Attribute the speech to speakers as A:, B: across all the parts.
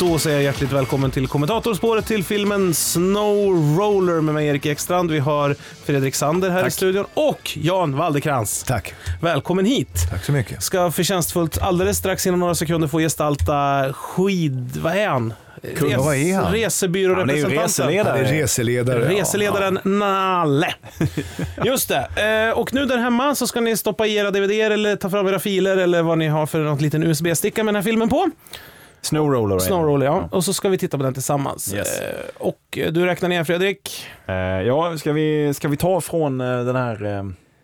A: då säger jag hjärtligt välkommen till kommentatorspåret till filmen Snow Roller med mig Erik Ekstrand. Vi har Fredrik Sander här i
B: Tack.
A: studion och Jan Waldekrans.
B: Tack.
A: Välkommen hit!
B: Tack så mycket.
A: Ska förtjänstfullt alldeles strax inom några sekunder få gestalta skid... Vad är han?
B: Kung, vad är han?
C: Han är ju
A: Resebyrårepresentanten.
B: Han är
C: reseledare.
B: reseledare.
A: Reseledaren Nalle. Just det. Eh, Och nu där hemma så ska ni stoppa i era DVDer eller ta fram era filer eller vad ni har för något liten USB-sticka med den här filmen på.
C: Snowroller. är det.
A: Snowroll, ja. Och så ska vi titta på den tillsammans.
C: Yes.
A: Eh, Och eh, du räknar ner Fredrik.
C: Eh, ja, ska vi, ska vi ta från eh, den här eh,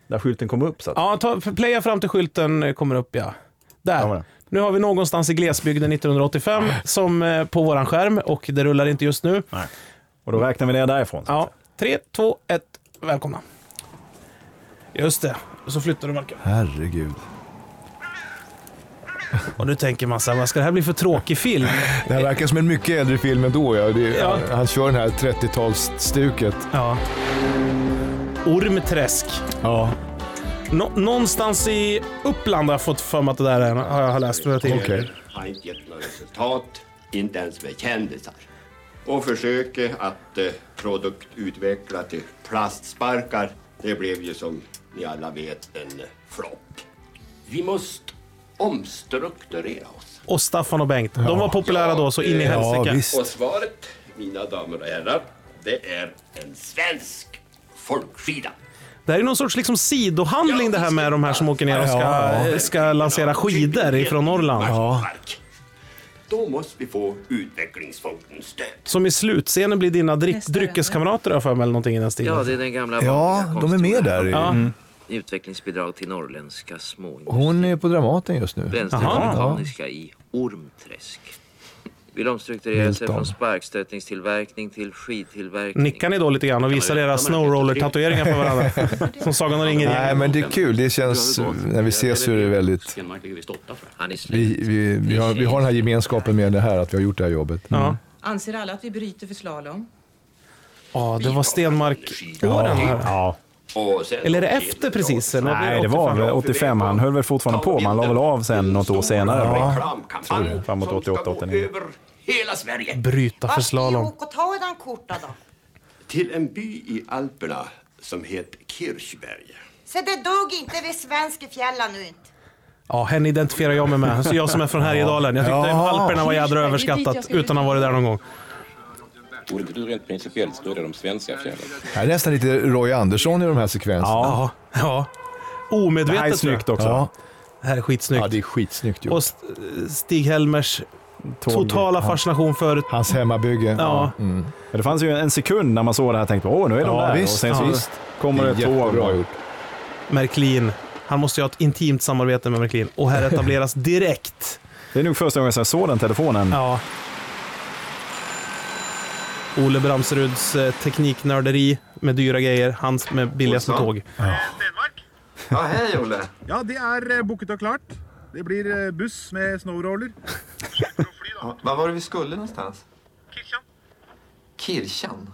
C: där skylten kom upp? Så att,
A: Ja, ta, playa fram till skylten eh, kommer upp ja.
C: Ja,
A: Där.
C: men.
A: Nu har vi någonstans i glesbygden 1985 som eh, på våran skärm och det rullar inte just nu.
C: Och då räknar vi ner därifrån. så att
A: Ja, 3, 2, 1, välkomna. Just det, och så flyttar du Malcolm.
B: Herregud.
A: Och nu tänker man så här, vad ska det här bli för tråkig film?
B: Det här verkar som en mycket äldre film ändå. Ja. Det,
A: Ja.
B: han, han kör den här 30-talsstuket.
A: Ja. Ormträsk.
B: Ja.
A: Nå- någonstans i Uppland har jag fått för mig att det där är, har jag har läst. vad jag tänker.
B: Okej.
D: har inte gett något resultat, inte ens med kändisar. Och försöket att eh, produktutveckla till plastsparkar, det blev ju som ni alla vet en eh, flopp. Vi måste omstrukturera oss.
A: Och Staffan och Bengt. De var populära då så in i
D: Ja,
A: helsike.
B: visst.
D: Och svaret, mina damer och herrar, det är en svensk folkskida.
A: Det här är någon sorts liksom sidohandling det här med de här som åker ner och ska, ska lansera skidor ifrån Norrland.
D: Plastspark. Då måste vi få utvecklingsfondens stöd.
A: Som i slutscenen blir dina dryck, dryckeskamrater har jag för mig eller någonting i den
E: Ja,
A: stilen.
E: det är den gamla vanliga
B: Ja, de är med
E: konstformen.
B: där.
A: Ja.
E: Utvecklingsbidrag till norrländska småindustrier.
B: Hon är på Dramaten just nu.
E: Vänstermekaniska i Ormträsk. Vill omstrukturera sig
B: Milton.
E: från sparkstötningstillverkning till skidtillverkning.
A: Nickar ni då lite grann och visar era snowroller-tatueringar för varandra? Som Sagan och
B: Nej,
A: ringen.
B: men det är kul. Det känns, när vi ses så är det väldigt...
E: Han är
B: Vi,
E: slut.
B: vi, vi, har, vi har den här gemenskapen med det här, att vi har gjort det här jobbet. Mm.
A: Ja.
F: Anser alla att vi bryter för slalom?
A: ja, det var Stenmark-åren
C: säga.
A: här.
B: Mm.
C: Ja.
D: Och sen-
A: Eller är det efter precis? Eller
C: Nej, det var väl 85. Eh, Han höll väl fortfarande på, men han la väl av sen något år senare.
D: Reklamkampanj
C: det. Framåt 88,
D: som ska gå
C: 89.
D: över hela Sverige.
A: Bryta för slalom.
G: och ta den korta då.
D: Till en by i Alperna som heter Kirchberg.
G: Så det dog inte vid svenska fjällen nu inte.
A: Ja, henne identifierar jag mig med. Så jag som är från Härjedalen. Jag tyckte
B: Ja.
A: Alperna var jädra
F: Det är dit jag
A: överskattat
F: skulle
A: utan att ha varit där någon gång.
H: Borde inte du rent principiellt stödja de svenska fjällen?
B: Det är nästan lite Roy Andersson i de här sekvenserna.
A: Ja. ja. Omedvetet.
C: Det här är
A: tror jag.
C: snyggt också.
B: Ja.
A: Det här är skitsnyggt.
B: ja, det är skitsnyggt
A: Och
B: gjort.
A: St- Stig-Helmers
C: Tåg.
A: totala fascination för...
B: Hans hemmabygge.
A: Ja.
B: mm.
C: Men Det fanns ju en sekund när man såg det här och tänkte åh, nu är de
B: Ja,
C: där.
B: visst,
C: och sen
A: ja.
C: så
B: visst.
C: kommer
B: Det
C: det
B: är
C: ett tåg.
B: jättebra gjort.
A: Märklin. Han måste ju ha ett intimt samarbete med Märklin. Och här etableras direkt.
C: Det är nog första gången som jag såg den telefonen.
A: Ja. Ole Bramseruds eh, tekniknörderi med dyra grejer. Hans med billigaste
D: Och så.
A: tåg.
D: Ja, hej Olle.
I: Ja, det er eh, booket og klart. Det blir eh, buss med snowroller.
J: Vad var det vi skulle någonstans? Kirchan.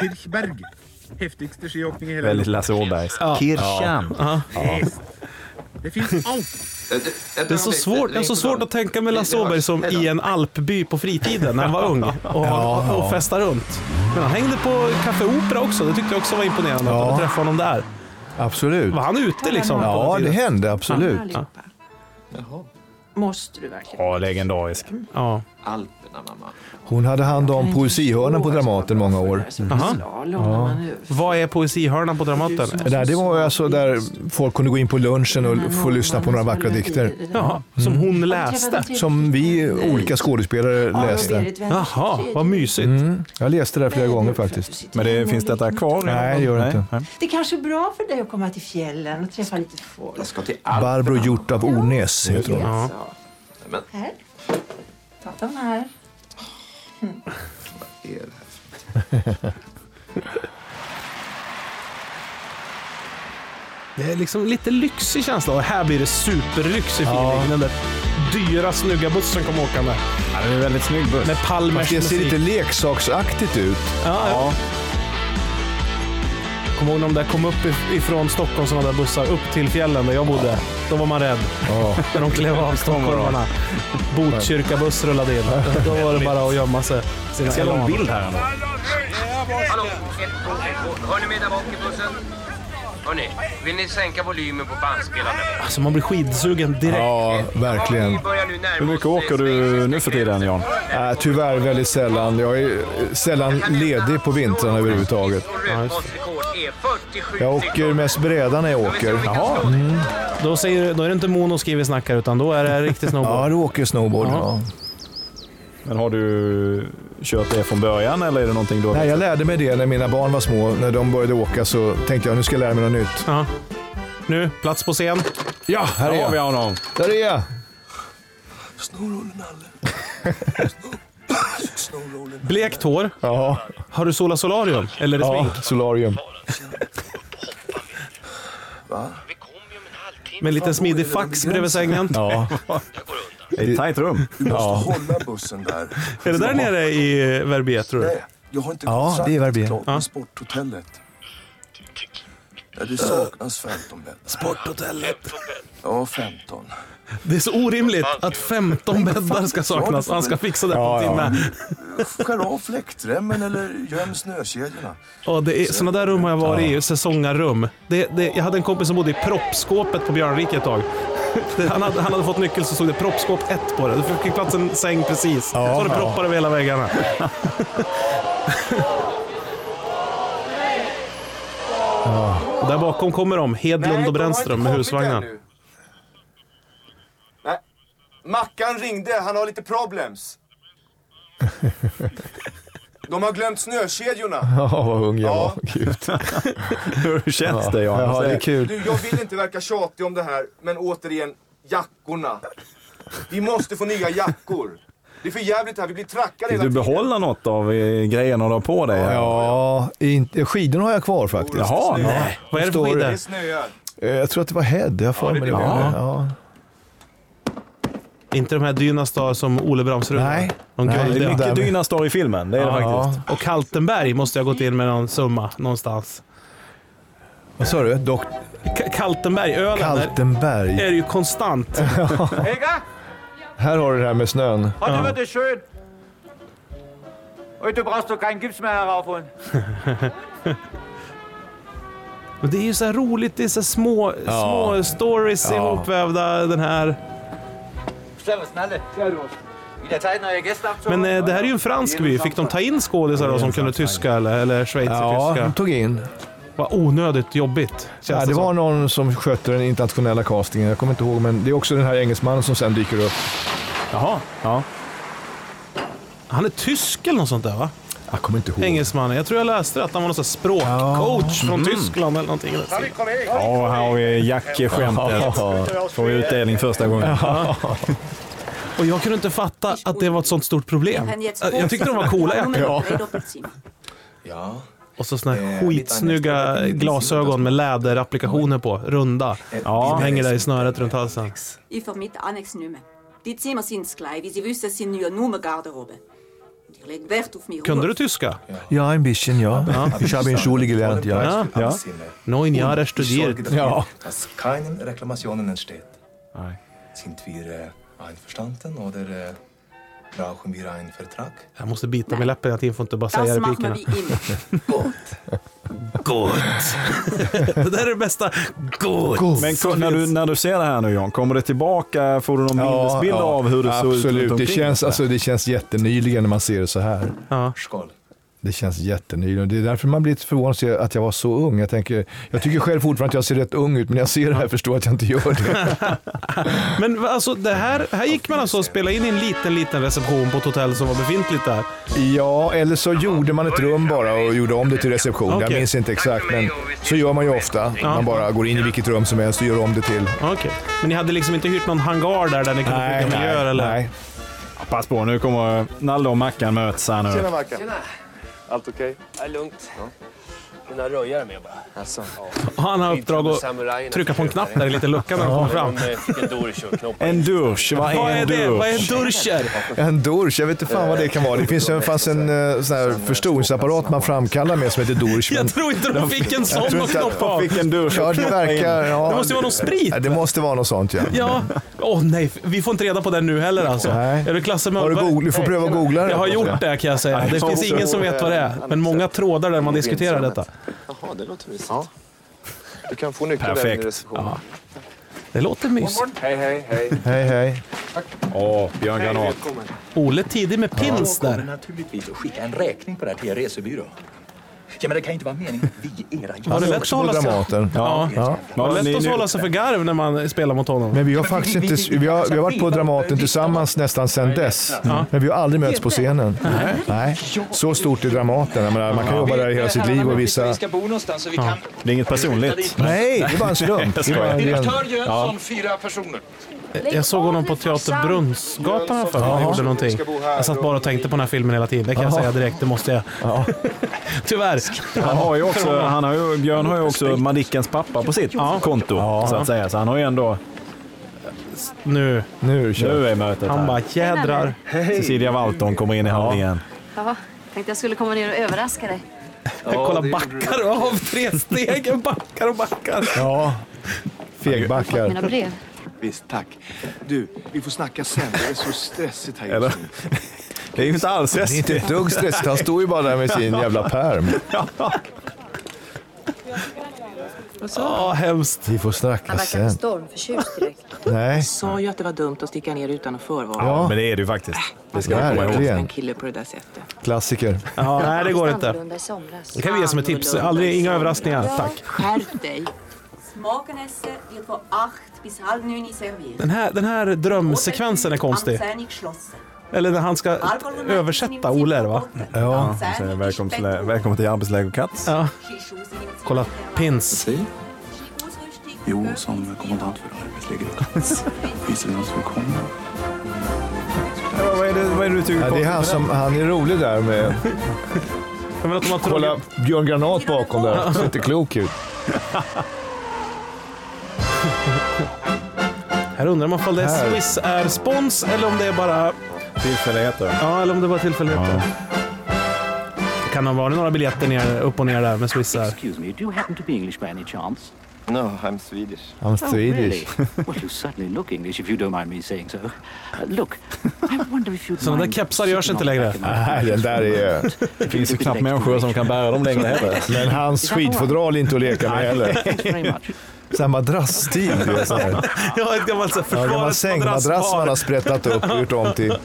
I: Kirchberg. Heftigste skiåkning i hele
C: Väldigt
I: verden.
C: Lasse Åberg.
B: Kirchan.
I: Det fins alt.
J: Kirchan?
A: Det är så svårt, det är så svårt att tänka med Lasse Åberg som i en alpby på fritiden när han var ung och, och, och festade runt. Men han hängde på Café Opera också. Det tyckte jag också var imponerande att
B: Ja.
A: man träffa honom där.
B: Absolut.
A: Var han ute liksom? på
B: Ja,
A: den
B: det
A: tiden?
B: hände absolut.
F: Allihopa. Måste du verkligen?
C: Ja, legendarisk.
A: Ja.
J: Alperna, mamma.
B: Hon hade hand om poesihörnan på Dramaten många år.
A: Aha. Vad är poesihörnan på Dramaten?
B: Det, där, det var ju alltså där folk kunde gå in på lunchen och få lyssna på några vackra dikter.
A: Jaha, som hon läste?
B: Som vi olika skådespelare läste.
A: Jaha, vad mysigt.
B: Mm. Jag läste det här flera gånger faktiskt.
C: Men det, finns detta kvar?
B: Nej, det gör det inte.
C: Nej.
G: Det är kanske är bra för dig att komma till fjällen och träffa lite folk.
J: Jag ska till
B: Barbro Hjort av Ornäs heter hon.
A: Ja.
G: Här. Ta de här.
J: Alper.
A: Det är liksom lite lyxig känsla. Och här blir det superlyxig feeling. Den där dyra snygga bussen kom åkande.
C: Ja, det är en väldigt snygg buss.
A: Med Palmers
B: Fast det ser
A: musik.
B: lite leksaksaktigt ut.
A: Ja, ja. Kommer ihåg när de där kom upp if- ifrån Stockholm, sådana där bussar, upp till fjällen där jag bodde. Då var man rädd.
B: Ja.
A: När de klev av stockholmarna. Botkyrkabuss rullade in. Då var det bara att gömma sig. Sina
C: Ganska lång
A: elan.
C: bild här ändå.
K: Hallå! Ett, två, ett, två. Hör ni mig där bak i bussen? Hörni, vill ni sänka volymen på bandspelaren?
A: Alltså man blir skidsugen direkt.
B: Ja, verkligen.
C: Hur mycket åker du nu för tiden Jan?
B: Äh, tyvärr väldigt sällan. Jag är eh, sällan ledig på vintrarna överhuvudtaget. Jag åker mest bräda när jag åker.
A: Jaha. Då, säger, då är det inte monoski vi snackar, utan då är det riktigt snowboard.
B: Ja, du åker snowboard. Ja.
C: Men har du kört det från början eller är det någonting du har...
B: Nej, jag lärde mig det när mina barn var små. När de började åka så tänkte jag nu ska jag lära mig något nytt.
A: Ja. Nu, plats på scen.
B: Ja, här är
C: Där har vi
B: jag.
C: honom.
B: Där är jag.
A: Blekt hår.
B: Ja,
A: Har du sola solarium? Eller är det
B: ja
A: smink?
B: solarium.
A: Med en liten smidig fax bredvid sängen.
B: Ja.
C: Det är ett tajt rum.
B: Ja.
L: Hålla bussen där.
A: Är det där nere i Verbier, tror du?
L: Nej, jag har inte
B: Ja,
L: kontrakt
B: det är Verbier.
L: klart
A: Ja.
L: med sporthotellet. Ja, det saknas 15 bäddar. Sporthotellet? Ja, 15.
A: Det är så orimligt att 15 bäddar ska saknas och han ska fixa det på en timme.
L: Skär av fläktremmen eller göm snökedjorna.
A: Ja, det är, sådana där rum har jag varit i, säsongarum. Det, det, jag hade en kompis som bodde i proppskåpet på Björnrike ett tag. Det, han, hade, han hade fått nyckel så stod det proppskåp 1 på det. Du fick plats en säng precis. Så var det proppar över hela väggarna. Och där bakom kommer de, Hedlund och Brännström med husvagnar.
J: Nej. Mackan ringde, han har lite problems. De har glömt snökedjorna.
B: Ja, vad ung jag
J: Ja.
B: var. Gud.
C: Hur känns det Jan?
B: Ja, det är
J: Du,
B: kul.
J: jag vill inte verka tjatig om det här, men återigen, jackorna. Vi måste få nya jackor. Det är för jävligt här, vi blir trackade
C: Vill
J: hela
C: du
J: tiden.
C: behålla något av eh, grejerna du har på dig?
B: Ja, inte, skidorna har jag kvar faktiskt.
C: Jaha, nej.
A: Vad är det för
B: Förstår
A: skidor?
J: Det snöar.
B: Eh, Jag tror att det var Head. Jag har för mig det.
C: Ja.
B: Ja.
A: Inte de här Dynastar som Ole Bramsrud
B: Nej.
A: De
B: Nej,
A: guldiga.
B: det är mycket
C: Mycket
B: Därmed.
C: Dynastar i filmen, det är det faktiskt.
A: Ja. Och Kaltenberg måste jag ha gått in med någon summa någonstans.
B: Vad sa du? Dok
A: K- Kaltenberg, ölen där
B: Kaltenberg.
A: är det ju konstant.
K: Hejga!
B: Här har du det här med snön.
K: Har du varit schön? Heute brauchst du keinen Gips mehr heraufholen.
A: Men det är ju så här roligt, det är så här små, små stories ihopvävda den här.
K: Servus, Nalle. Servus. Wieder Zeit, neue Gäste abzuholen.
A: Men eh, det här är ju en fransk by. Fick de ta in skådisar då som kunde tyska eller, eller
B: Ja,
A: schweizertyska?
B: de tog in.
A: Vad onödigt jobbigt. Känns
B: Ja, det
A: som.
B: var någon som skötte den internationella castingen. Jag kommer inte ihåg, men det är också den här engelsmannen som sen dyker upp.
C: Jaha, ja.
A: Han är tysk eller något sånt där va?
B: Jag kommer Ah, inte ihåg.
A: Engelsmannen. Jag tror jag läste att han var någon sån här språkcoach
B: Mm.
A: från Tyskland eller någonting.
C: ja här har vi Jacke-skämtet. Får utdelning första gången.
A: Och jag kunde inte fatta att det var ett sånt stort problem. Jag tyckte de var coola jackor.
J: Ja.
A: Och så såna
B: Eh,
A: här skitsnygga glasögon med läderapplikationer på, runda.
C: Ja.
A: Som hänger där i snöret runt halsen.
M: Ich vermiete annex nimmer. Die Zimmer sind's gleich, wie Sie wissen, sind nur nur Garderobe. Und ich leg Wert auf mich.
A: Kunde du tyska?
B: Ja, ein bisschen, ja. Ich habe ein Schule gelernt, ja.
A: Ja.
C: Ja.
A: Neun Jahre
L: Ich sorge
A: studiert.
L: dafür,
B: Ja.
L: dass keinen Alltså, Reklamationen entsteht.
C: Nej.
L: Sind wir äh, einverstanden oder äh, brauchen wir einen Vertrag?
A: Jag måste bita mig i läppen hela tiden, får inte bara säga
M: Das machen wir
A: Alltså, replikerna.
M: wie immer.
A: Gott! det där är det bästa. Gott!
C: Men ko- när du, när du ser det här nu Jan, kommer det tillbaka? Får du någon minnesbild av hur det såg ut? runt
B: absolut. Det
C: omkring?
B: känns, alltså, det känns jättenyligen när man ser det så här.
A: Ja.
L: Skål.
B: Det känns jättenyligen. Det är därför man blir lite förvånad att se att jag var så ung. Jag, tänker, jag tycker själv fortfarande att jag ser rätt ung ut, men när jag ser det här förstår jag att jag inte gör det.
A: Men va, alltså, det här, här gick man alltså och spelade in i en liten, liten reception på ett hotell som var befintligt där.
B: Ja, eller så gjorde man ett rum bara och gjorde om det till reception. Jag
A: Okej.
B: minns inte exakt, men så gör man ju ofta. Man bara går in i vilket rum som helst och gör om det till.
A: Okej. Men ni hade liksom inte hyrt någon hangar där, där ni kunde bygga miljöer eller?
B: nej.
C: Pass på, nu kommer Nalle och Mackan möts här nu.
J: Mackan.
K: Allt okej? Okay? Ja, lugnt.
N: mina röjare med bara. Alltså.
A: Han har uppdrag att trycka på en knapp där i en liten lucka när de kommer fram.
N: En Durkör-knopp.
C: En dusch, vad är
A: Vad är
C: en
A: det?
C: dusch?
A: Vad är en durscher?
B: En dorsch, jag vet inte fan vad det kan vara. Det finns ju fanns en eh, sån här förstoringsapparat man framkallar med som heter dorsch.
A: Jag tror inte de fick en sån att knoppa av.
B: Fick en dorsch ja, det verkar... Ja,
A: Det måste ju vara någon sprit.
B: Ja, det måste vara något sånt ja.
A: Ja, åh nej, vi får inte reda på den nu heller alltså.
B: Nej.
A: Är du klasse med
B: Har du googl- du får pröva att googla det.
A: Jag har gjort det kan jag säga. Det
B: Ja,
A: finns
B: så-
A: ingen som vet vad det är, men många trådar där man diskuterar detta.
L: Jaha, det låter mysigt. Du kan få nyckeln där
A: Perfekt.
L: inne i receptionen.
A: Det låter mysigt.
L: Hej, hej, hej.
B: Hej hej.
C: Åh, Björn Granat.
A: Ole tidig med pins
O: Jag kommer
A: där.
O: naturligtvis att skicka en räkning på det här till er resebyrå. Ja, men det kan ju inte vara meningen att vi, era
A: Var det lätt att hålla sig, ja.
B: Ja.
A: Var det lätt
B: Ni-
A: att
B: ni-
A: hålla sig för garv när man spelar mot honom?
B: Men vi har faktiskt inte, vi har, vi har varit på Dramaten tillsammans nästan sedan dess. Mm.
A: Ja.
B: Men vi har aldrig mötts på scenen. Nej. Så stort är Dramaten. Jag menar, man kan jobba där hela sitt liv och vissa...
O: bo någonstans så vi
B: Ja.
C: Det är inget personligt.
B: Nej, det är bara en slump.
C: Jag skojar.
B: Det är bara en-
A: Ja.
L: fyra personer.
A: Jag såg honom på Teater Brunnsgatan här för mig. Han
B: Jaha.
A: gjorde någonting. Jag satt bara och tänkte på den här filmen hela tiden. Det kan jag
C: Jaha.
A: säga direkt, det måste jag. Tyvärr.
C: Han har ju också, han har ju, Björn har ju också Madickens pappa på sitt konto, så att säga. Så han har ju ändå...
A: Nu,
B: nu,
C: nu är mötet
A: Han
C: här.
A: bara jädrar.
C: Cecilia Walton kommer in i hamn igen.
P: Ja, tänkte jag skulle komma ner och överraska dig.
A: Kolla, backar av tre stegen. Backar och backar.
B: Ja, fegbackar.
P: Mina brev.
L: Visst, tack. Du, vi får snacka sen. Det är så stressigt här just
B: Eller?
L: nu.
C: Det är ju inte alls
B: Det är inte ett dugg stressigt. Han står ju bara där med sin jävla pärm.
A: Ja, hemskt.
B: Vi får snacka sen.
F: stormförtjust direkt.
B: Nej.
F: Sa ju att det var dumt att sticka ner utan att förvarna.
B: Ja.
C: Men det är det ju faktiskt.
B: Det ska man komma ihåg. Verkligen.
F: En kille på det där sättet.
B: Klassiker.
A: Ja, nej, det går inte.
M: i somras.
A: Det kan vi ge som ett tips. Aldrig, inga överraskningar. Tack.
M: Skärp dig. Morgenessen wird vor acht bis halb neun serviert.
A: Den här, den här drömsekvensen är konstig.
M: Am Zehn geschlossen.
A: Eller när han ska översätta Ole, är det va?
C: Ja, han säger välkommen till, lä- välkommen till arbetsläger Katz.
A: Ja. Kolla, pins.
L: Jo, som kommandant för arbetslägret. Finns det någon som kommer?
C: Vad är det, vad är det du tycker
B: Ja, det är han som, han är rolig där med... Kolla Björn Granat bakom där. Han ser inte klok ut.
A: Här undrar man om det är
B: Här.
A: Swiss är spons eller om det är bara...
C: Tillfälligheter.
A: Ja, eller om det bara är tillfälligheter. Det Kan ha varit några biljetter ner, upp och ner där med Swiss Air.
Q: Excuse me, do you happen to be English by any chance?
L: No, I'm Swedish.
B: I'm
Q: oh, really? well, you certainly look English, if you don't mind me saying so. Uh, look, I wonder if you'd
A: Sådana där
Q: mind
A: kepsar görs inte
Q: sitting on
A: längre.
Q: the back of my-
B: Nej, den där är...
C: Det finns ju knappt människor som kan bära dem längre heller.
B: Men hans skidfodral är inte att leka med heller. Sån madrasstil. du vet, så här.
A: Ja, ett gammalt så här
B: Ja, gammal
A: försvarets
B: sängmadrass man har sprättat upp och gjort om till...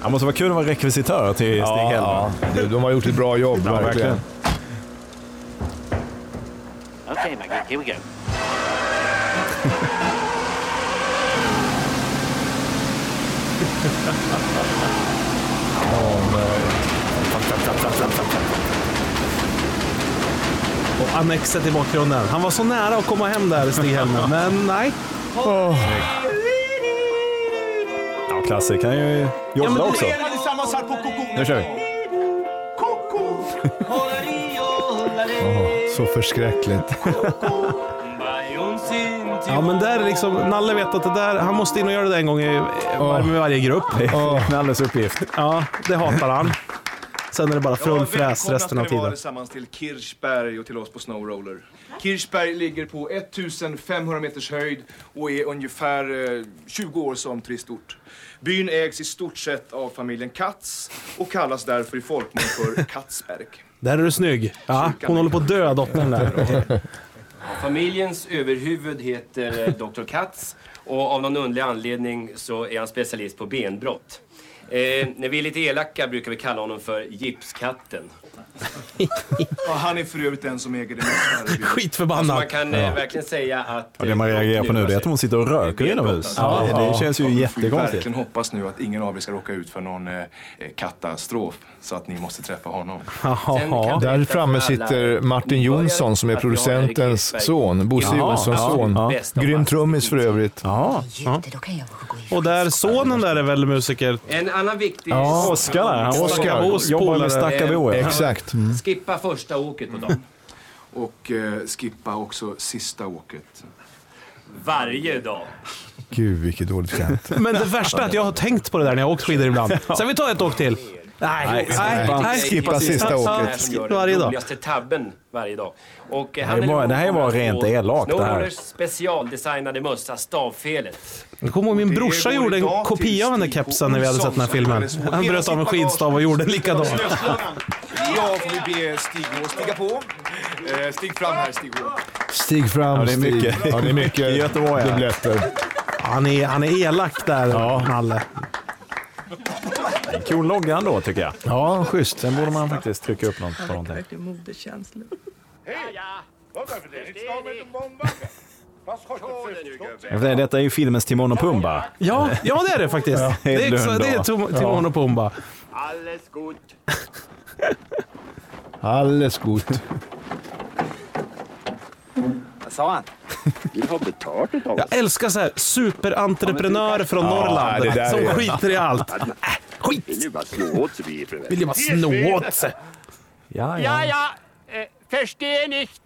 C: Han måste vara kul att vara rekvisitör till
B: Ja,
C: Stig Hellman.
B: Du, De har gjort ett bra jobb,
C: Ja, verkligen.
B: verkligen.
Q: Okay, Maggie, here we go.
A: Och annexet i bakgrunden. Han var så nära att komma hem där, Stig-Helmer, men nej.
C: Ja, Klasse kan ju jodla också. Nu kör vi.
B: Så förskräckligt.
A: Ja, men där är liksom, Nalle vet att det där, han måste in och göra det en gång i, var- med varje grupp.
C: Oh. Nalles uppgift.
A: Ja, det hatar han. Sen är det bara frullfräs resten av tiden.
J: tillsammans till Kirchberg och till oss på Snowroller. Kirchberg ligger på 1500 meters höjd och är ungefär eh, 20 år som turistort. Byn ägs i stort sett av familjen Katz och kallas därför i folkmun för Katzberg.
A: Där är du snygg. Ja, hon håller på att dö, dottern där.
R: Familjens överhuvud heter eh, Dr. Katz och av någon underlig anledning så är han specialist på benbrott. Eh, när vi är lite elaka brukar vi kalla honom för Gipskatten.
J: Ja, han är för övrigt den som äger det mesta här i byn.
A: Skitförbannad.
R: Man kan eh, verkligen säga att...
C: Och det man reagerar på nu det är att hon sitter och röker inomhus. Ja, det känns ju
J: Vi
C: jättekonstigt.
J: verkligen hoppas nu att ingen av er ska råka ut för någon eh, eh, katastrof så att ni måste träffa honom.
B: Ja, där framme sitter Martin Jonsson som är producentens son. Bosse
A: Ja,
B: Jonssons
A: ja,
B: son.
A: ja.
B: Grym trummis för övrigt.
A: Ja. Och där, sonen där är väl musiker?
R: En annan viktig...
A: Ja, Oskar där. Han var Oskar. Stackabo. Jobbar med Stackabo, ja.
R: Eh,
B: Exakt. Mm.
R: Skippa första åket på dagen.
J: Och eh, skippa också sista åket.
R: Varje dag.
B: Gud, vilket dåligt skämt.
A: Men det värsta är att jag har tänkt på det där när jag har åkt skidor ibland. Sen vi tar ett åk till. Nej, nej, nej. nej. Skippa varje dag.
R: Roligaste tabben varje dag. Och eh,
C: Det här
R: är
C: var- det här var rent
R: på
C: elakt, det här.
R: Snowrollers specialdesignade mössa, stavfelet.
A: Jag kommer ihåg min brorsa gjorde en kopia av den där kepsen när vi hade sett den här filmen. Han bröt av en skidstav och gjorde en likadan.
J: Ja, får vi be Stig H stiga på. Eh, stig fram här, Stig H.
B: Stig fram,
A: Ja, det är
B: Stig.
A: mycket.
B: Ja, det är mycket
A: Göteborg, ja.
B: dubbletter.
A: Han är, han är elak där, Nalle.
C: Cool logga ändå tycker jag.
B: Ja, schysst.
C: Sen borde man faktiskt trycka upp något på någonting.
S: verkligen moderkänslor.
C: Det- Detta är ju filmens Timon och Pumba.
A: Ja, ja det är det faktiskt.
C: Ja,
A: det är,
C: Hedlund
A: exa- det är
C: då.
A: Tim-
C: Ja.
A: Timon och Pumba.
D: Alles gut.
B: Alles gut.
N: Vad sa han?
D: Vi har betalt utav
A: Jag älskar så här superentreprenörer från
D: Ja,
A: Norrland
D: det där
A: som
D: är-
A: skiter i allt. Äh, skit!
D: Vill ju bara slå åt sig, vi
A: Vill ju bara snå åt sig.
C: Ja,
T: Ja, ja, äh, verstehe nicht.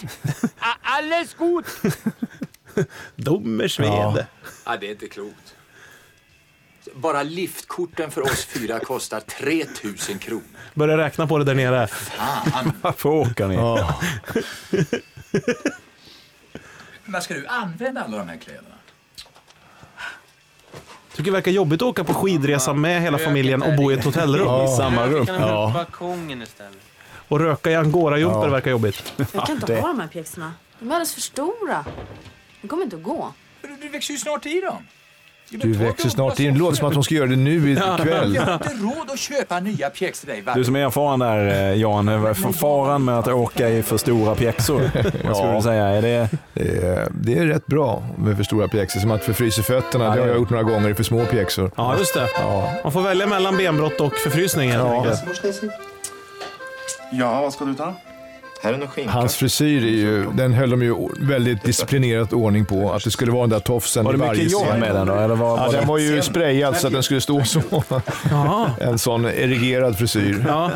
T: A- Alles gut.
A: Dummer Schwede.
U: Ja, det är inte klokt. Bara liftkorten för oss fyra kostar 3 000 kronor.
A: Börja räkna på det där nere.
U: Fan.
C: Varför åker ni?
U: Men ska du använda alla de här kläderna?
A: Tycker det verkar jobbigt att åka på skidresa med hela familjen och bo i ett hotellrum.
V: Ja.
A: Ja.
V: balkongen istället.
A: Och röka i angorajumpor
V: Ja.
A: verkar jobbigt.
V: Jag
W: kan inte ha de här pjäxorna. De är alldeles för stora. De kommer inte att gå.
U: Du, du växer ju snart i dem.
B: Du växer snart in. Det låter som att hon ska göra det nu ikväll.
U: Jag har inte råd att köpa nya pjäxor till dig. va?
C: Du som är erfaren där eh, Jan, vad är för faran med att åka i för stora pjäxor? Vad skulle du säga? Är det...
B: Det är, Eh, det är rätt bra med för stora pjäxor. Som att förfrysa fötterna, det har jag gjort några gånger i för små pjäxor.
A: Ja, just det. Man får välja mellan benbrott och förfrysning helt enkelt.
I: Ja, vad ska du ta?
D: Här är någon skinka.
B: Hans frisyr är ju, den höll de ju väldigt disciplinerat ordning på. Att det skulle vara den där tofsen
C: Var det
B: i varje
C: mycket jobb
B: scen.
C: med den då, eller var-
B: ja,
C: var
B: den
C: det-
B: var ju sprayad så att den skulle stå så. en sån erigerad frisyr.
A: Ja.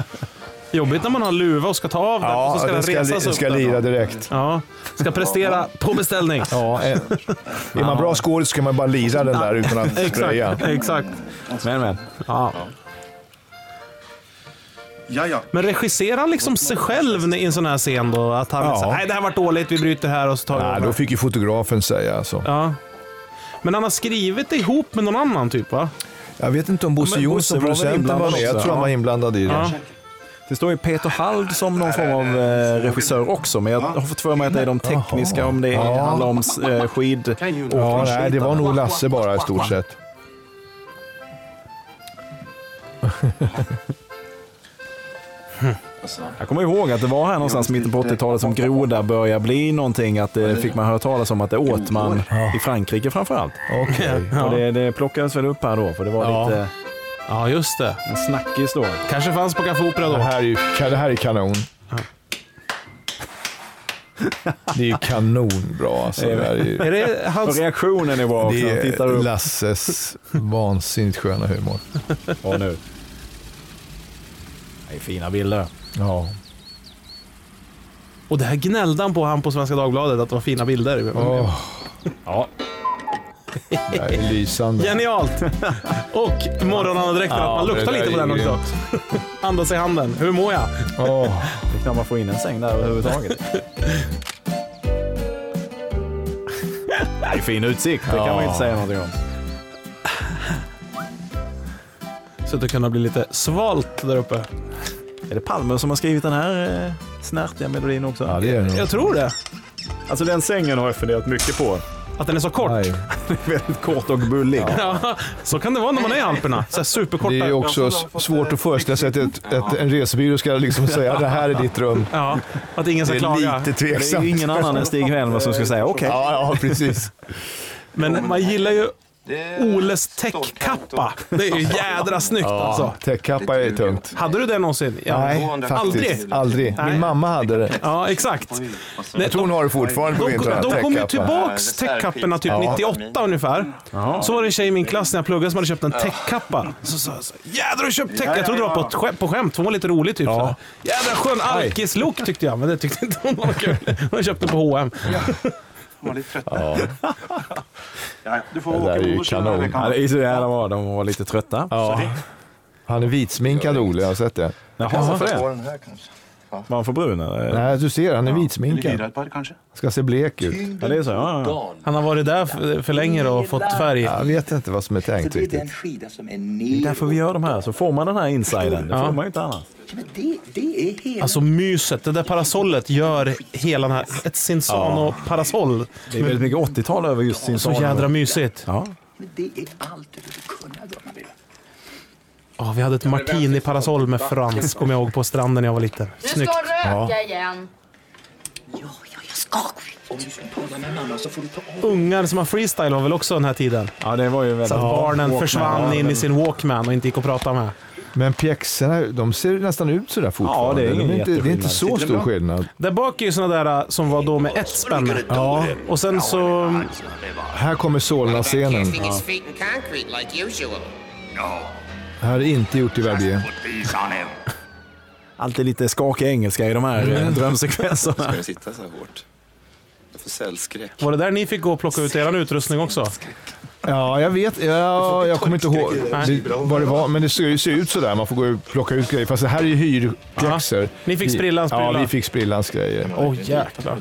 A: Jobbigt när man har luva och ska ta av den och så ska den,
B: den ska,
A: resas
B: li-
A: upp.
B: ska
A: där.
B: lira direkt.
A: Ja, ska prestera på beställning.
B: Ja, eh, är man bra skådis så kan man bara lira den där utan att
A: Exakt,
B: spraya.
A: exakt.
C: Men, men.
A: Ja.
I: Ja, ja.
A: Men regisserar han liksom sig själv i en sån här scen då? Att han
B: Ja.
A: säger nej det här var dåligt, vi bryter här och så tar vi
B: Nej,
A: över."
B: då fick ju fotografen säga alltså.
A: Ja. Men han har skrivit det ihop med någon annan typ va?
B: Jag vet inte om Bosse
A: Men
B: Jonsson,
A: Bosse var väl
B: producenten, var
A: inblandad
B: med. Jag
A: också?
B: tror han var
A: Ja.
B: inblandad i
A: Ja.
B: det.
C: Det står ju Peter Hald som någon form av eh, regissör också, men jag har fått för mig att det är de tekniska, om det
B: Ja.
C: handlar om eh, skid...
B: Ja, nej, det var nog Lasse bara i stort sett.
C: Jag kommer ihåg att det var här någonstans i mitten på 80-talet som groda började bli någonting, att det fick man höra talas om att det åt man i Frankrike framförallt.
B: Okej.
C: Och det, det plockades väl upp här då, för det var
B: Ja.
C: lite...
A: Ja, just det.
C: En snackis då.
A: Kanske fanns på Café Opera då.
B: Det här är, ju, det här är kanon. Det är ju kanonbra. Alltså. Det här är ju...
C: Är det hans- Och reaktionen är bra också.
B: Det
C: Han tittar
B: är
C: upp.
B: Lasses vansinnigt sköna humor.
C: Ja, nu. Det är fina bilder.
B: Ja.
A: Och det här gnällde han på, han på Svenska Dagbladet, att det var fina bilder.
B: Åh.
C: Ja.
B: Det här är lysande.
A: Genialt! Och morgonandedräkten,
C: Ja,
A: att man
C: det
A: luktar
C: där
A: lite på
C: är
A: den också. Andas i handen. Hur mår jag?
B: Oh.
C: Det är knappt man får in en säng där överhuvudtaget. Det är fin utsikt, det kan man ju inte säga någonting om.
A: Så att det kunde bli lite svalt där uppe.
C: Är det Palme som har skrivit den här eh, snärtiga melodin också? Ja,
B: det är
A: Jag tror det.
C: Alltså den sängen har jag funderat mycket på.
A: Att den är så kort?
C: Väldigt kort och bullig.
A: Ja, så kan det vara när man är i Alperna. Så här superkorta.
B: Det är ju också s- svårt att föreställa sig att ett, ett, en resebyrå ska liksom säga det här är ditt rum.
A: Ja, att ingen ska
B: det är
A: klaga.
B: lite tveksamt.
A: Det är ju ingen annan än Stig Helmer som ska säga okej.
B: Ja, ja, precis.
A: Men man gillar ju Oles täckkappa. Det är ju jädra snyggt
B: Ja,
A: alltså.
B: Täckkappa är tungt.
A: Hade du det någonsin? Ja.
B: Nej,
A: aldrig.
B: faktiskt. Aldrig. Min mamma hade det.
A: Ja, exakt. Nej,
B: tror hon har det fortfarande på
A: de,
B: vintern,
A: De kom ju
B: täckkappa.
A: tillbaks täckkapporna typ
B: Ja.
A: 98 ungefär. Så var det en tjej i min klass när jag pluggade som hade köpt en täckkappa. Så sa jag så här, jädrar du köpt täckkappa. Jag trodde det var på, ett skämt, på skämt, hon var lite rolig typ. så här. Jädra skön alkislook tyckte jag, men det tyckte inte hon var kul. Hon köpte på H&M.
J: var lite trött.
B: Ja.
J: Ja, du får
B: Det
J: åka
B: där är ju
J: på och köra
B: kanon.
J: den
B: Ja,
J: här
B: det är
C: Så jävla var de var lite trötta.
B: Ja. Han är vitsminkad Ole, jag har sett det.
C: Jaha, varför det? Var han för brun eller?
B: Nej, du ser, han är
C: Eller
B: vitsminkad.
J: Hydrad kanske?
B: Ska se blek ut.
C: Ja, det är så. Ja, ja.
A: Han har varit där för, för länge då och fått färg.
B: Jag vet inte vad som är tänkt
O: Det är
B: riktigt.
O: den skida som är
C: Det är
O: ner.
C: därför vi gör de här, så får man den här insidern. Det får man ju inte annars.
O: Men det, det är hela...
A: Alltså myset, det där parasollet gör hela den här, ett Cinzano-parasoll.
C: Det är väldigt mycket 80-tal över just Cinzano.
A: Så jädra mysigt.
C: Ja.
O: Men det är allt du borde kunna, Gunnar Bill.
A: vi hade ett martini-parasoll med Frans, kommer jag ihåg, på stranden när jag var liten.
P: Nu
A: Snyggt.
P: ska du röka igen.
O: Om du ska tala med mamma så får du ta av
A: Ungar som har freestyle var väl också den här tiden?
C: Ja, det var ju väldigt...
A: Så att
B: Ja,
A: barnen
B: Walkman,
A: försvann
B: ja,
A: in i
B: den-
A: sin Walkman och inte gick att prata med.
B: Men pjäxorna, de ser nästan ut sådär fortfarande.
A: det är ingen
B: de är inte, det är inte så
A: jätteskillnad.
B: stor skillnad.
A: Där bak är ju såna där äh, som var då med ett spänne. Ja. Och sen så...
B: Här kommer Solna-scenen.
E: Casting his feet in concrete like usual. No,
B: Här är inte gjort i Verbier.
E: these on him.
C: Alltid lite skakig engelska i de här
A: Mm.
C: eh, drömsekvenserna.
L: Ska det sitta så här hårt? Jag får cellskräck.
A: Var det där ni fick gå och plocka ut er utrustning också?
B: Ja, jag vet. Ja, jag kommer inte ihåg
A: Nej.
B: det, vad det var, men det ser, ser ut sådär. Man får gå och plocka ut grejer. Fast det här är ju hyrpjäxor.
A: Ni fick sprillans
B: Ja,
A: prylar.
B: vi fick sprillans grejer.
A: Åh jäklar.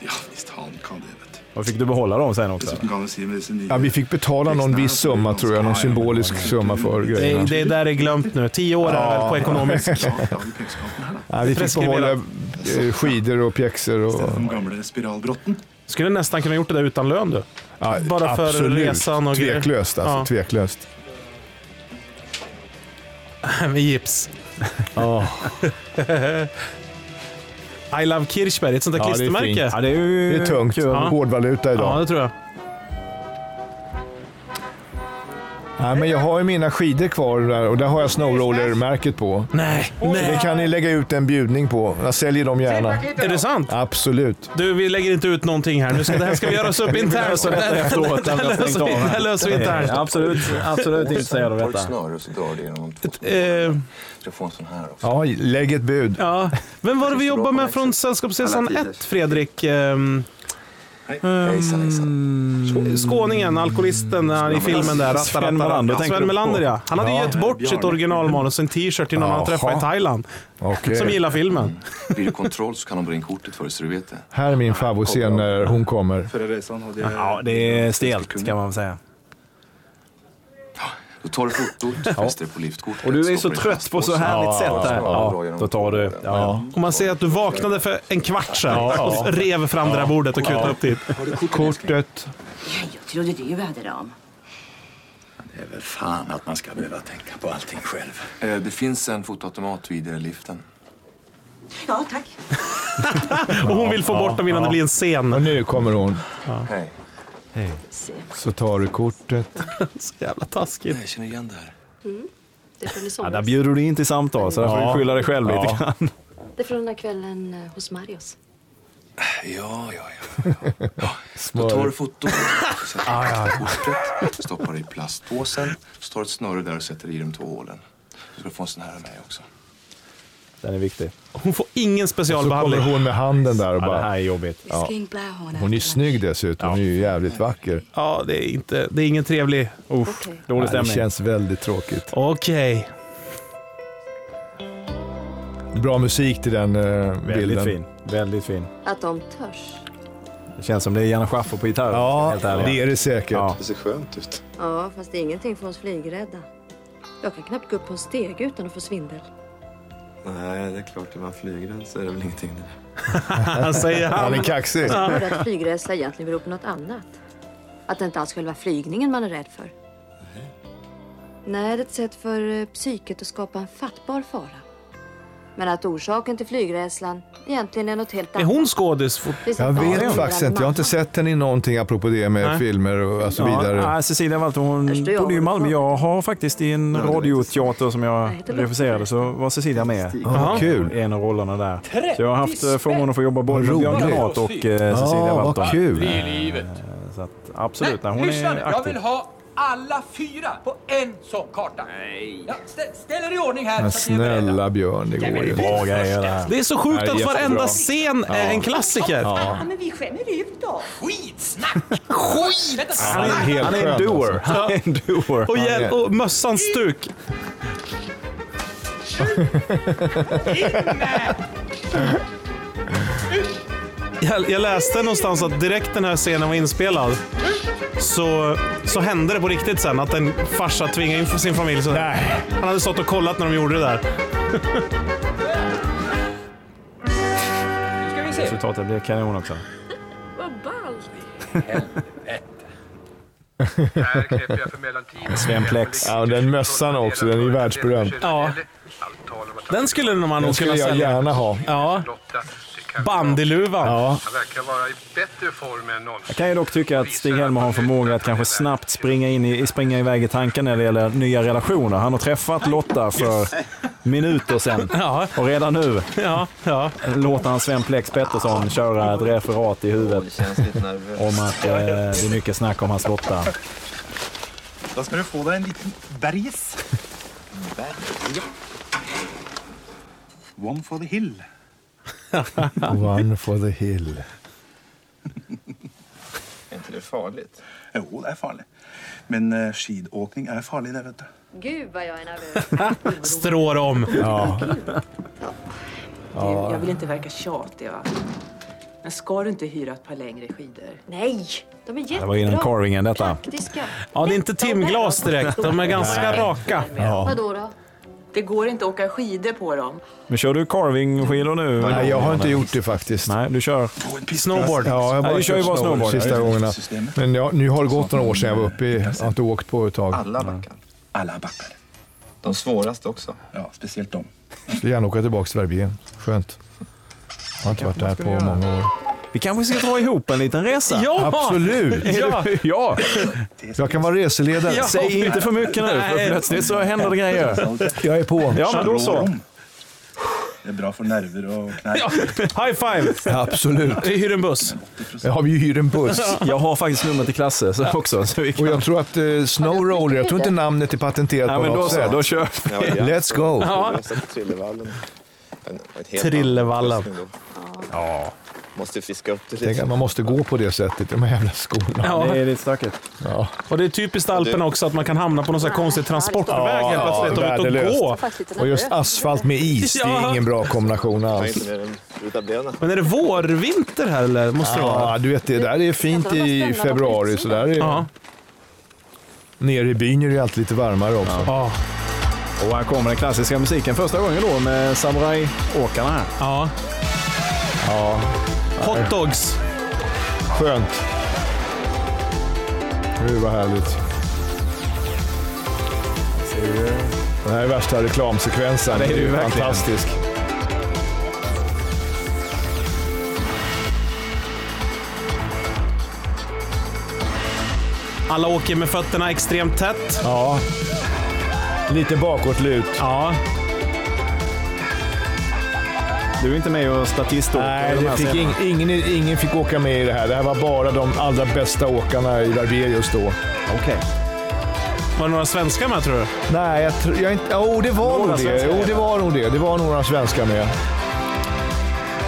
L: Ja, visst han kan det. Vet.
C: Och fick du behålla dem sen också?
L: Dessutom kan man se med sin nya...
B: Ja, vi fick betala någon viss summa tror jag, någon symbolisk summa för
A: Det,
B: grejerna.
A: det där är glömt nu. Tio år är det väl på ekonomisk.
B: Ja, vi fick behålla
A: Preskriberat.
B: eh, skidor och pjäxor. Och... De gamla spiralbrotten.
A: Skulle nästan kunna gjort det där utan lön du.
B: Ja,
A: Bara för
B: absolut.
A: resan och grejer.
B: Tveklöst alltså,
A: Ja.
B: tveklöst.
A: Med gips. I love Kirchberg, ett sånt där
B: Ja, det är
A: klistermärke.
B: fint. Ja,
C: det är ju
B: Det är tungt. Hårdvaluta idag.
A: Ja, det tror jag.
B: Nej, men jag har ju mina skidor kvar där och där har jag snowroller-märket på.
A: Nej,
B: Det kan ni lägga ut en bjudning på. Jag säljer dem gärna.
A: Är det sant?
B: Absolut.
A: Du, vi lägger inte ut någonting här. Nu ska, det här ska vi göra oss upp internt.
C: Vi löser detta efteråt,
A: Det här
C: när vi
A: löser vi-
C: har stängt av
A: det här
C: här.
A: löser vi internt.
C: Ja, absolut. Absolut intresserad av
L: Ta ett
C: detta.
L: snöre och så drar du genom två
A: Eh,
L: ska få en sån här också.
B: Ja, lägg ett bud.
A: ja. Vem var det vi jobbade med från Sällskapsresan 1, Fredrik? Ehm,
B: Mm.
A: ehm, Skåningen, alkoholisten han i filmen där.
C: Mm. Sven
A: Ratta, ratta,
C: Melander
A: ratta.
C: tänker
A: Sven
C: du
A: Melander
C: på?
A: ja. Han hade
C: Ja.
A: gett bort sitt originalmanus, en t-shirt till någon han
L: Jaha.
A: träffade i Thailand.
B: Okej.
A: Som gillar filmen.
L: Blir det kontroll så kan de dra in kortet för dig så du vet det.
B: Här är min favoritscen när hon kommer.
L: Förra resan hade
C: Ja, det är stelt kan man väl säga.
L: Då tar du fotot, fäster det på liftkortet.
C: Och du är så
L: stoppar i
C: trött på så
L: plastpåsen.
C: härligt sätt där.
L: Ja,
C: Ja, då tar du... Ja.
A: Om man ser att du vaknade för en kvart sedan
C: Ja, ja.
A: och rev fram det där bordet och kutade
C: Ja.
A: upp dit.
B: Kortet.
H: Jag trodde du hade dem.
L: Det är väl fan att man ska behöva tänka på allting själv. Det finns en fotoautomat vid eh, liften.
H: Ja, tack.
A: Och hon vill få bort dem innan det blir en scen.
B: Och nu kommer hon.
L: Hej.
B: Hej. Så tar du kortet.
A: Så jävla taskigt.
L: Jag känner igen det här.
P: Mm. Det är från i
C: Ja,
P: somras.
C: där bjuder du in till samtal, så där får
B: Ja.
C: du skylla dig själv
B: Ja.
C: lite grann.
P: Det är från den där kvällen eh, hos Marius.
L: Ja, ja, ja. ja. Då tar du fotot, sätter du kortet, stoppar det i plastpåsen, så tar du ett snöre där och sätter i de två hålen. Så ska du få en sån här av mig också.
C: Den är viktig.
A: Hon får ingen
B: Så kommer
A: specialbehandling.
B: hon med handen där och bara...
A: det här
B: är jobbigt. Ja.
H: Skingblahorna.
B: Hon är ju snygg dessutom. Hon är ju jävligt vacker.
A: Ja, det är, inte, det är ingen trevlig... Uff,
B: Ja, Det känns väldigt tråkigt.
A: Okej.
B: Bra musik till den eh, bilden.
C: Väldigt fin. Väldigt fin.
P: Att de törs.
C: Det känns som det är Janne Schaffer på gitarr.
B: Ja,
C: helt ärligt.
B: det är det säkert.
C: Ja.
L: Det ser skönt ut.
P: Ja, fast det är ingenting för oss flygrädda. Jag kan knappt gå upp på en steg utan att få svindel.
L: Nej, det är klart. Är man flygrädd så är det väl ingenting.
A: Han säger han.
B: Han är kaxig.
P: Jag hörde att flygrädsla egentligen beror på något annat. Att det inte alls själva flygningen man är rädd för. Nej, det är ett sätt för eh, psyket att skapa en fattbar fara. Men att orsaken till flygrädslan egentligen är något helt
A: Är
P: annat.
A: hon skådis? fort-
B: Jag vet faktiskt inte. Jag har inte sett henne i någonting apropå det med
C: Nej.
B: filmer och och så
C: Ja,
B: vidare.
C: nej, Cecilia Walter, hon
P: jag
C: bodde ju i Malmö. Jag har faktiskt i en
B: Nej, det
C: radioteater som jag
P: heter det.
C: regisserade så var Cecilia med i
B: Ja, vad kul.
C: en av rollerna där. Så jag har haft eh, förmånen att få jobba både med Björn
B: roligt.
C: Granat och eh,
B: Ja,
C: Cecilia
B: vad
C: Walter.
B: kul. Det
C: Eh, Så att, absolut, nej, hon
O: Lyssna nu,
C: är
O: jag vill
C: aktiv.
O: ha alla fyra på en sån karta. Nej. Ja, stä, ställ er i ordning här.
B: Men
O: så att ni är beredda.
B: snälla Björn, det går ju
C: bra grejer det här.
A: Det är så sjukt
C: Nej,
A: att
C: jättebra.
A: varenda scen är en klassiker.
C: Ja.
H: men vi skämmer ut oss.
O: Skitsnack!
H: Skit!
A: Han är- han är en doer.
C: Han är en doer.
A: Och,
C: Han
A: hjäl-
C: är-
A: och mössans stuk. Jag, jag läste någonstans att direkt den här scenen var inspelad så, så hände det på riktigt sen att en farsa tvingade in sin familj. Så Han hade stått och kollat när de gjorde det där.
O: Nu ska vi se.
C: Resultatet blir kanon också.
O: Vad ballt.
C: Svemplex.
B: Ja, och den mössan också, den är ju världsberömd.
A: Ja. Den skulle man
B: Den
A: nog
B: skulle
A: kunna
B: jag
A: sälja.
B: gärna ha.
A: Ja. Bandyluvan.
C: Ja.
G: Han verkar vara i bättre form än någonsin.
C: Jag kan ju dock tycka att Stig-Helmer har en förmåga att kanske snabbt springa, in i, springa iväg i tanken när det gäller nya relationer. Han har träffat Lotta för minuter sedan och redan nu låter han Sven Plex Pettersson köra ett referat i huvudet om att eh, det är mycket snack om hans Lotta.
K: Da skal du få deg en liten bergis. Bergis. One for the hill.
B: One for the hill.
K: Er ikke det farlig? Jo, det er farlig. Men eh, skidåkning er farlig, det, vet du.
P: Gud vad jag är nervös.
A: Strår om.
K: Ja.
F: Jag vill inte verka tjatig va. Men ska du inte hyra ett par längre skidor?
P: Nej, de är jättebra.
C: Det var innan carvingen detta.
P: Praktiska.
A: Ja, det är inte timglas direkt. De är ganska
C: Nej.
A: raka.
C: Ja.
P: Vadå då?
F: Det går inte att åka skidor på dem.
C: Men kör du carvingskidor nu?
B: Nej, jag har inte gjort det faktiskt.
C: Nej, du kör?
A: Snowboard.
B: Ja, jag bara
C: du kör ju bara snowboard.
B: sista gångerna. Men jag, nu har det gått några år sedan jag var uppe i, jag har inte åkt på ett tag.
K: Alla backar. Alla backar. De svåraste också. Ja, speciellt de.
B: Skulle gärna åka tillbaka till Verbier. Skönt. Jag har inte varit där på många år.
C: Vi kanske ska dra ihop en liten resa?
B: Ja! Absolut.
C: Ja! ja.
B: Jag kan vara reseledare.
C: Ja. Säg inte för mycket nu, för
K: Nej.
C: plötsligt så händer det grejer.
B: Jag är på.
C: Ja, men då så.
K: Det är bra för nerver och knä.
A: High five!
B: Absolut.
A: Vi hyr en buss.
B: Jag har ju hyrt en buss.
C: Jag har faktiskt numret till Klasse så också. Så vi kan...
B: Och jag tror att eh, Snow Roller, jag tror inte namnet är patenterat
C: Nej,
B: på
C: men då
B: något
C: så,
B: sätt.
C: då kör vi.
B: Let's go.
A: Ja.
S: Trillevallen. Den var ett helt
A: Trillevallen.
S: annat lösning då. Måste fiska upp det
B: Tänk
S: lite.
B: att man måste gå på det sättet, de här jävla skorna.
A: Ja. Det är
C: lite stökigt.
B: Ja.
A: Och det är typiskt Alperna också att man kan hamna på någon sån här konstig transportväg helt plötsligt. De är ute och gå.
B: Och just asfalt med is, det
A: Ja.
B: är ingen bra kombination
S: Jag är inte
B: alls.
S: mer än utabena.
A: Men är det vårvinter här eller? Måste det vara?
B: Ja, du vet det där är fint i februari, så där är
A: Ja.
B: Nere i byn är det alltid lite varmare också.
A: Ja.
C: Och här kommer den klassiska musiken första gången då med samurajåkarna här.
A: Ja.
B: ja.
A: Hot dogs.
B: Skönt. Gud vad härligt. Den här är värsta reklamsekvensen.
C: Ja, det är det ju verkligen.
B: Fantastisk.
A: Alla åker med fötterna extremt tätt.
B: Ja. Lite bakåtlut.
A: Ja.
C: Du är inte med och statiståker i
B: Nej,
C: de
B: det
C: här
B: fick
C: scenerna.
B: ing, ingen, ingen fick åka med i det här. Det här var bara de allra bästa åkarna i Verbier just då.
C: Okej.
A: Var det några svenskar med tror du?
B: Nej, jag tror jag inte... Jo, det var
A: Några
B: nog det.
A: svenskar
B: Jo,
A: med.
B: det var nog det. Det var några svenskar med.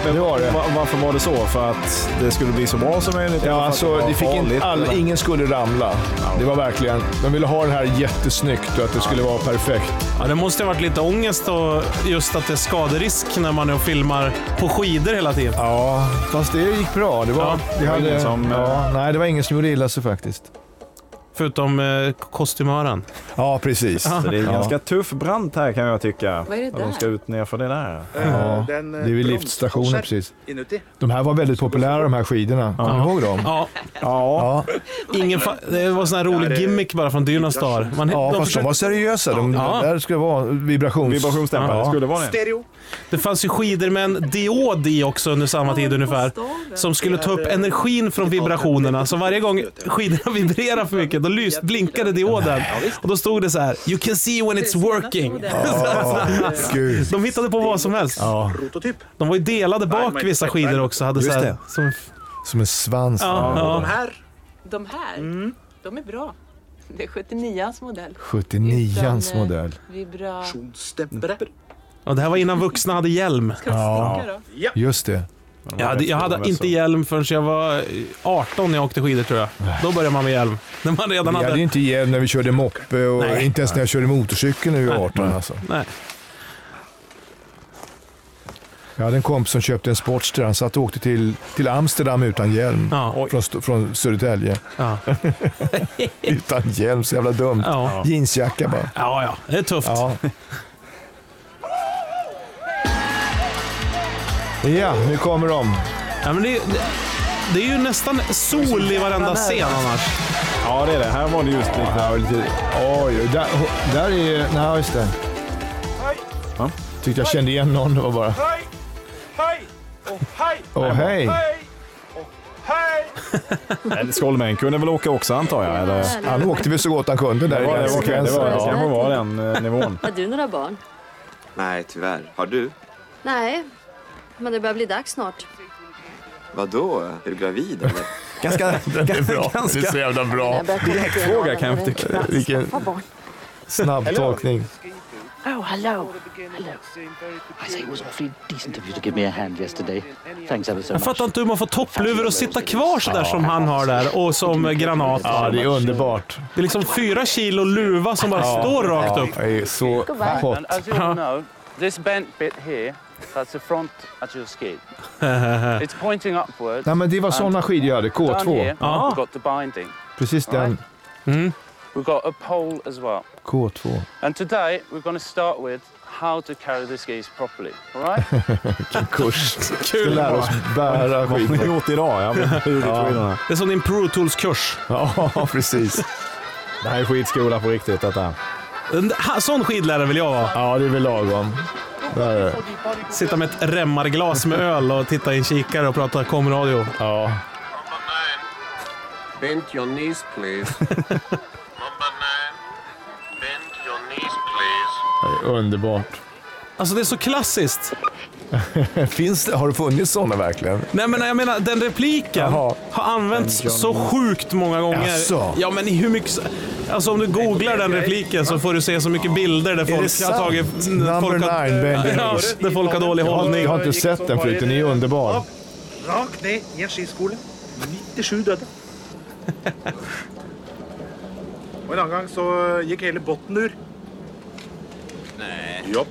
B: Det var det.
C: Va- Varför var det så? För att det skulle bli så bra som möjligt?
B: Ja, alltså, det fick
C: inte
B: in, all, ingen skulle ramla. Det var verkligen... De ville ha det här jättesnyggt och att det skulle vara perfekt.
A: Ja, det måste ha varit lite ångest och just att det är skaderisk när man är och filmar på skidor hela tiden.
B: Ja, fast det gick bra. Det var,
A: Ja,
B: vi
A: det var
B: hade,
A: ingen som,
B: ja, nej, det var ingen som gjorde illa sig faktiskt.
A: Förutom eh, kostymören.
B: Ja, precis.
C: Så det är en
B: Ja.
C: ganska tuff brant här kan jag tycka.
A: Vad är det
C: Att de
A: där?
C: ska ut ner för det där.
B: Ja, det
G: den, eh,
B: är vid liftstationen precis. De här var väldigt populära de här skidorna. Kommer ni ihåg dem?
A: Ja. ja. Ingen fa- det var sån här rolig gimmick bara från Dynas dagar. Man-
B: ja, fast de
A: försökte-
B: var seriösa. De,
A: Ja.
B: Där skulle det vara vibrations...
C: Vibrationsdämpare, det skulle vara det.
G: Stereo.
A: Det fanns ju skidor med en diod i också under samma tid ungefär. Som skulle ta upp energin från vibrationerna. Så varje gång skidorna vibrerade för mycket, då lys, blinkade dioden. Och då stod det så här, you can see when it's working.
B: gud.
A: De hittade på vad som helst. De var ju delade bak vissa skidor också. Hade så
B: Just
A: här,
B: det.
A: som,
B: Som en svans.
A: Ja, ja.
F: De här? De här?
E: Mm.
F: De är bra. Det är 79ans modell.
B: 79ans modell.
F: Vibrationsdämpare.
A: ja, det här var innan vuxna hade hjälm.
B: Ja, just det.
A: Jag hade, jag hade inte hjälm förrän jag var 18 när jag åkte skidor tror jag. Då började man med hjälm. När man redan
B: Vi hade ju
A: hade...
B: inte hjälm när vi körde moppe och
A: Nej.
B: inte ens när jag körde motorcykel när vi var 18 alltså.
A: Nej.
B: Jag hade en kompis som köpte en Sportster. Han satt och åkte till, till Amsterdam utan hjälm. från, St- från Södertälje. utan hjälm, så jävla dumt.
A: Ja.
B: Jeansjacka bara.
A: Ja, ja, det är tufft.
B: Ja. ja, nu kommer de.
A: Ja, men det, är- det är ju nästan sol i varenda scen annars.
B: Ja, det är det. Här var det just lite... Ja, lite oj, där, där är... Nej, just det. Ja. Tyckte jag kände igen någon. Det var bara...
M: Hej! Hej! Och hej!
B: Åh, hej.
C: Men Skolmen kunde väl åka också antar jag? Eller?
B: Han åkte väl så gott han kunde där
C: det var,
B: i
C: det
B: den
C: var, det
B: sekvensen.
C: var, det
B: Ja.
C: kanske var den eh, nivån.
P: Har du några barn?
S: Nej, tyvärr. Har du?
P: Nej, men det börjar bli dags snart.
S: Vadå? Är du gravid eller?
C: Ganska...
B: Det är bra. Det är så jävla bra.
S: Direktfråga kan jag tycka.
B: Vilken
P: barn.
B: snabb tolkning.
Q: Oh, hello. Hello. I say it was awfully decent of you to give me a hand yesterday. Thanks ever so
A: Jag
Q: much.
A: fattar inte hur man får toppluvor och sitta kvar sådär som han har där och som granat.
B: Ja, det är underbart.
A: Det är liksom fyra kilo luva som bara
B: Ja.
A: står rakt
B: Ja,
A: upp.
B: Det är så
Q: And
B: hot.
Q: as you all know, this bent bit here, that's the front at your ski. It's pointing upwards.
B: Nej, men det var
Q: and
B: sådana skidor jag hade.
Q: down
B: K2.
Q: here, We've got the binding.
B: Precis den. Mm.
Q: We've got a pole as well.
B: K2.
Q: And today we're going to start with how to carry the skis properly. All right?
B: Vilken kurs.
A: Kul.
B: Ska lära oss bära
A: Vad har ni
B: skidor.
A: gjort
C: idag? Ja, men hur är skidorna?
A: Det är som din Pro Tools-kurs.
B: Ja, precis.
C: Det här är skidskola på riktigt detta.
A: En ha- sån skidlärare vill jag vara.
B: Ja, det är väl lagom.
A: Sitta med ett remmarglas med öl och titta i en kikare och prata komradio.
B: Ja.
M: Bend your knees, please.
B: Det är underbart.
A: Alltså det är så klassiskt.
B: Finns det, har det funnits sådana verkligen?
A: Nej men jag menar, den repliken har använts så sjukt många gånger.
B: Jaså?
A: Ja men i hur mycket... Alltså om du googlar den repliken så får du se så mycket bilder där
B: Är det
A: folk har
B: sant?
A: tagit...
B: Number
A: folk har-
B: nine, Benjamin.
A: Ja, där folk har dålig
B: Jag har,
A: hållning.
B: jag har inte sett den förut. Den är underbar.
M: Rakt ned i en skiskole. 97 døde.
I: Og en annen gang så gikk hele botten ur.
M: Nej.
I: Jopp.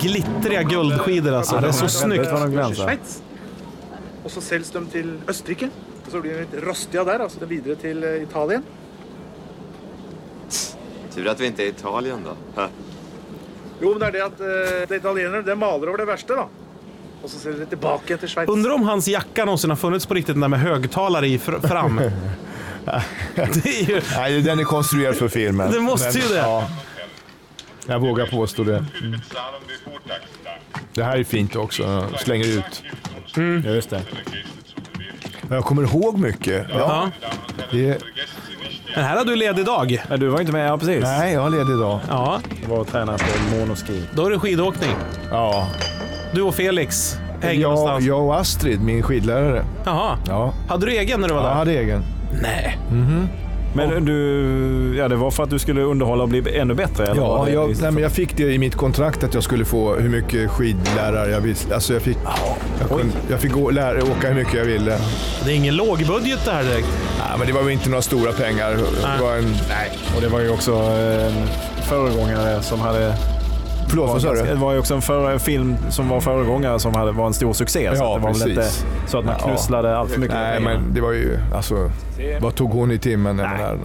A: Glittriga guldskidor alltså. Det är så snyggt.
I: Schweiz. Og så selges de til Østerrike. Og så blir de litt rostige der, altså de videre til eh, Italien.
S: Tur att vi inte är i Italien då. Ha.
I: Jo, men det er det at eh, de italienerne de maler over det verste, da. Og så selger de tilbake igjen til Schweiz.
A: Undrar om hans jacka någonsin har funnits på riktigt, den där med högtalare i fr- fram. det är ju...
B: Nej, den är konstruerad för filmen.
A: Det måste ju det.
B: Ja. Jag vågar påstå det. Mm. Det här är fint också. Jag Slänger ut.
C: Ja, just det.
B: Jag kommer ihåg mycket. Ja. Det är...
A: Den här hade du ledig dag.
C: Du var inte med, ja precis.
B: Nej, jag har ledig idag.
A: Ja.
C: Jag var och tränade på monoski.
A: Då är det skidåkning.
B: Ja.
A: Du och Felix hänger
B: Jag,
A: någonstans.
B: jag och Astrid, min skidlärare.
A: Jaha.
B: Ja.
A: Hade du egen när du var
B: Jag
A: där?
B: hade egen.
A: Nej.
C: Men du, ja det var för att du skulle underhålla och bli ännu bättre? Eller var
B: Ja,
C: det
B: jag,
C: just-
B: nej, men jag fick det i mitt kontrakt att jag skulle få hur mycket skidlärare jag ville. Alltså jag fick, jag kunde, jag fick gå, lära, åka hur mycket jag ville.
A: Det är ingen lågbudget det här direkt.
B: Nej, men det var väl inte några stora pengar. Det var en, nej.
C: Och det var ju också en föregångare som hade...
B: Förlåt,
C: var
B: vad sa du?
C: ganska- Det var ju också en före- film som var föregångare som hade, var en stor succé. så
B: Ja,
C: att det var väl inte
B: precis.
C: så att man
B: Ja.
C: knusslade allt för mycket.
B: Nej, men det var ju... Alltså, vad tog hon i timmen? Nej. Där,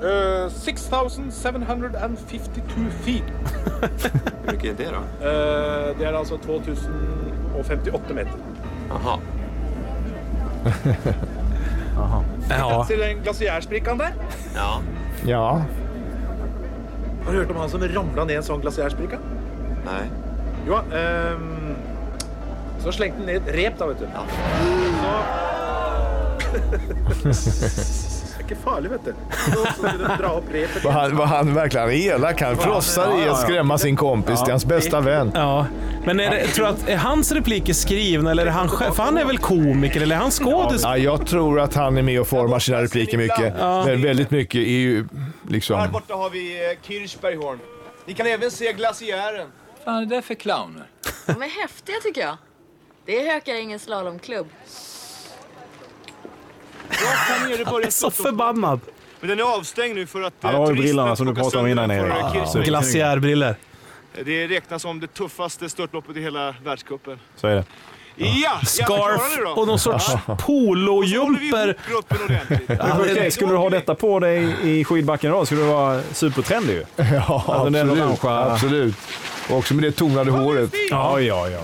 B: nej.
I: Uh, 6752 feet.
S: Hur mycket är det då?
I: Eh, det er altså 2058 meter.
S: Jaha.
A: Ja.
I: Ser du den glaciærsprikkaen der?
S: Ja.
B: Ja.
I: Har du hørt om han som ramla ned en sånn glasersprike?
S: Nej.
I: Jo, ehm, så slengte han ned et rep, da, vet du. Så... Det er ikke farlig, vet du. Så så skulle de dra opp repet.
B: Var han, var han verkligen elak? Han frossar i att skrämma sin kompis. Det är hans bästa vän.
A: Ja. Men är det, tror du att är hans repliker skrivna eller är han själv? För han är väl komiker eller är han skådis?
B: Ja, jag tror att han är med och formar sina repliker mycket.
A: Ja.
B: Men väldigt mycket är ju liksom...
J: Här borta har vi eh, Kirchberghorn. Ni kan även se glaciären.
U: fan är det där för clowner?
N: De är häftiga tycker jag. Det är hökar ingen slalomklubb.
A: Han är så förbannad.
J: Men den är avstängd nu för att... eh,
C: Han har ju brillorna som du
J: plockar
C: pratade om innan
J: sönder
C: Erik.
J: för, eh, Kirchberg.
A: Glaciärbriller.
J: Det räknas som det tuffaste störtloppet i hela världscupen.
C: Så är det.
J: Ja,
A: Scarf och någon sorts polojumper.
C: Hade, skulle du ha detta på dig i skidbacken idag skulle du vara supertrendig ju.
B: Ja,
C: Alltså, den
B: absolut.
C: orangea-
B: absolut. Och också med det tonade håret.
C: Ja, ja, ja.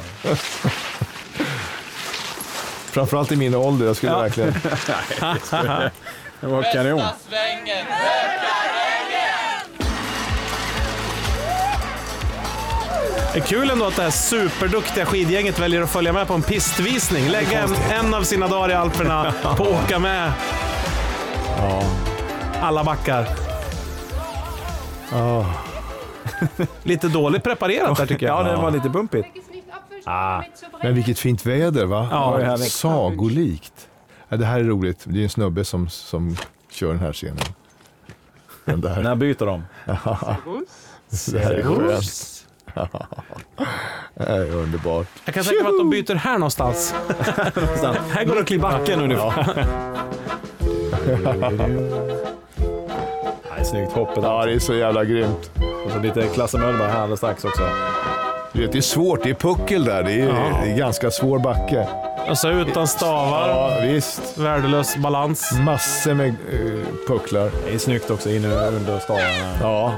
B: Framförallt i min ålder. Jag skulle
C: Ja.
B: verkligen...
C: Nej, det var kanon.
E: svängen!
A: Det är kul ändå att det här superduktiga skidgänget väljer att följa med på en pistvisning. Lägga en, en av sina dagar i Alperna på att åka med alla backar. Lite dåligt preparerat där tycker jag.
C: Ja, det var lite bumpigt.
B: Men vilket fint väder va?
A: Ja, det är härligt.
B: Sagolikt. Ja, det här är roligt. Det är en snubbe som, som kör den här scenen. Den där.
C: När byter de?
B: Det här är skönt. Det här är underbart.
A: Jag kan tänka mig att de byter här någonstans. här går de till backen ungefär.
C: Nej, snyggt hoppet. alltså.
B: Ja, det är så jävla grymt.
C: Och så lite Klasse Möllberg här alldeles strax också.
B: Du vet, det är svårt. Det är puckel där. Det är, det är ganska svår backe.
A: Alltså utan stavar.
B: Ja, visst.
A: Värdelös balans.
B: Massor med eh, pucklar.
C: Det är snyggt också inne under stavarna.
B: Ja.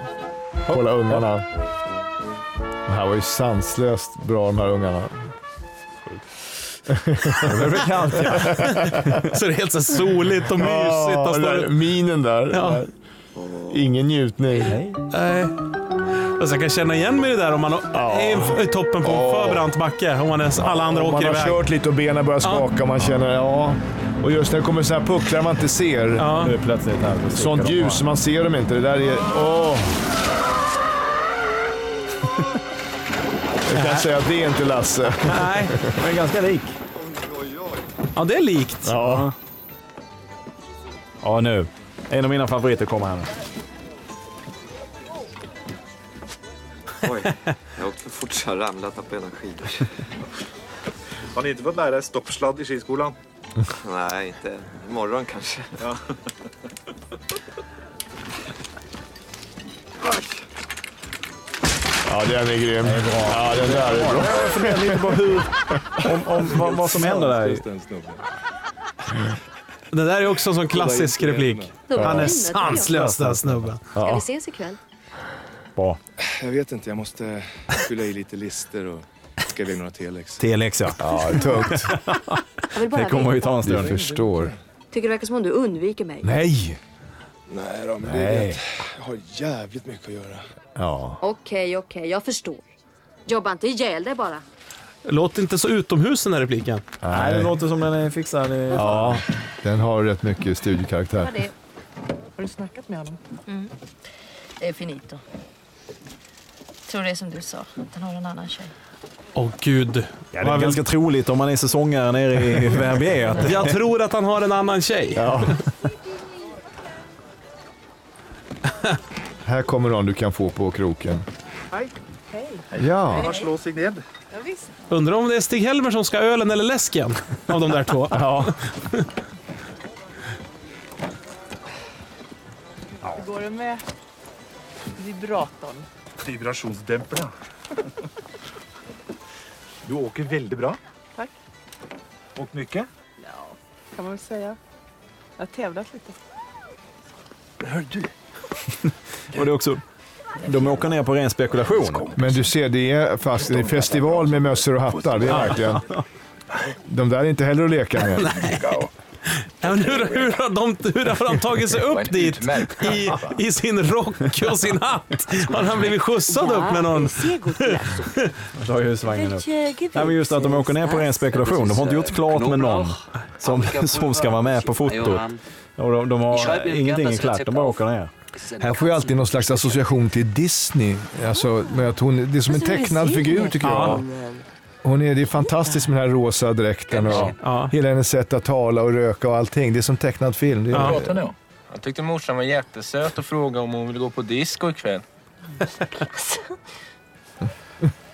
B: Kolla ungarna. Det här var ju sanslöst bra de här ungarna.
C: Det blev kallt ja.
A: Så det är helt så soligt och mysigt.
B: Ja, den
A: Han står-
B: där, minen där.
A: Ja.
B: Ingen njutning.
A: Nej. Alltså jag kan känna igen mig i det där om man är i toppen på en för brant backe. Om man är, alla andra
B: Och man
A: åker
B: har
A: iväg.
B: kört lite och benen börjar skaka och man känner ja. Och just när det kommer sådana här pucklar man inte ser.
C: Nu är det plötsligt här.
B: Sånt ljus, man ser dem inte. Det där är... Åh! Jag kan
A: Äh.
B: säga att det är inte Lasse.
A: Nej,
C: men ganska lik.
A: Ja, det är likt.
B: Ja.
C: Ja, nu. En av mina favoriter kommer här nu.
S: Oj, jag åkte för fort så jag ramlade och tappade ena skidor.
M: Har ni inte fått lära er stoppsladd i skiskolan?
S: Nej, inte imorgon kanske.
B: Ja, den är grym. Ja, den där är bra.
C: Jag funderar lite på hur, om, om, vad, vad som händer där.
A: Det där är också en sån klassisk replik.
P: Ja.
A: Han är sanslös den här snubben.
P: Ska vi ses ikväll?
C: Bra.
L: Jag vet inte, jag måste fylla i lite lister och ska iväg några telex.
C: Telex ja.
B: Ja, tungt.
P: Jag vill bara
C: Det kommer ju
P: veta.
C: ta en stund.
B: Du förstår.
P: Tycker det verkar som om du undviker mig.
B: Nej!
L: Nej då, men det är
B: Nej.
L: det. Jag har jävligt mycket att göra.
B: Ja.
P: Okej, okej, jag förstår. Jobba inte ihjäl dig bara.
A: Låt inte så utomhus den här repliken.
C: Nej, det låter som den är fixad. i-
B: Ja, den har rätt mycket studiokaraktär.
N: det.
H: Har du snackat med honom?
N: Mm. Det är finito. Tror det är som du sa, att han har en annan tjej.
A: Åh gud.
C: Ja, det är ganska troligt om man är säsongare nere i Verbier. att-
A: Jag tror att han har en annan tjej.
B: Här kommer någon du kan få på kroken.
I: Hej.
B: Ja.
I: Varsågod, Signed.
A: Undrar om det är Stig-Helmer som ska ha ölen eller läsken av de där två.
C: ja.
M: Hur går det med vibratorn? Vibrationsdämparna.
K: Du åker väldigt bra.
M: Tack.
K: Åkt mycket.
M: Kan man väl säga. Jag har tävlat lite.
K: Hör du?
C: Och det är också, de åker ner på ren spekulation.
B: Men du ser, det är fast det är festival med mössor och hattar. Det är verkligen. De där är inte heller att leka med.
A: Ja, men hur, hur, har de, hur har han tagit sig
U: Det var
A: upp
U: en
A: dit
U: utmärkt
A: i,
U: pappa.
A: i sin rock och sin hatt? Har han blivit skjutsad upp med någon?
C: Drar husvagnen upp. Nej, men just att de åker ner på ren spekulation. De har inte gjort klart med någon som, som ska vara med på fotot. Och de, de har ingenting är klart, de bara åker ner.
B: Här får jag alltid någon slags association till Disney. Alltså, med att Alltså, hon, det är som en tecknad figur tycker jag. Hon är, det är fantastiskt med den här rosa dräkten och hela hennes sätt att tala och röka och allting. Det är som tecknad film. Det är,
R: Jag tyckte morsan var jättesöt och frågade om hon ville gå på disco ikväll.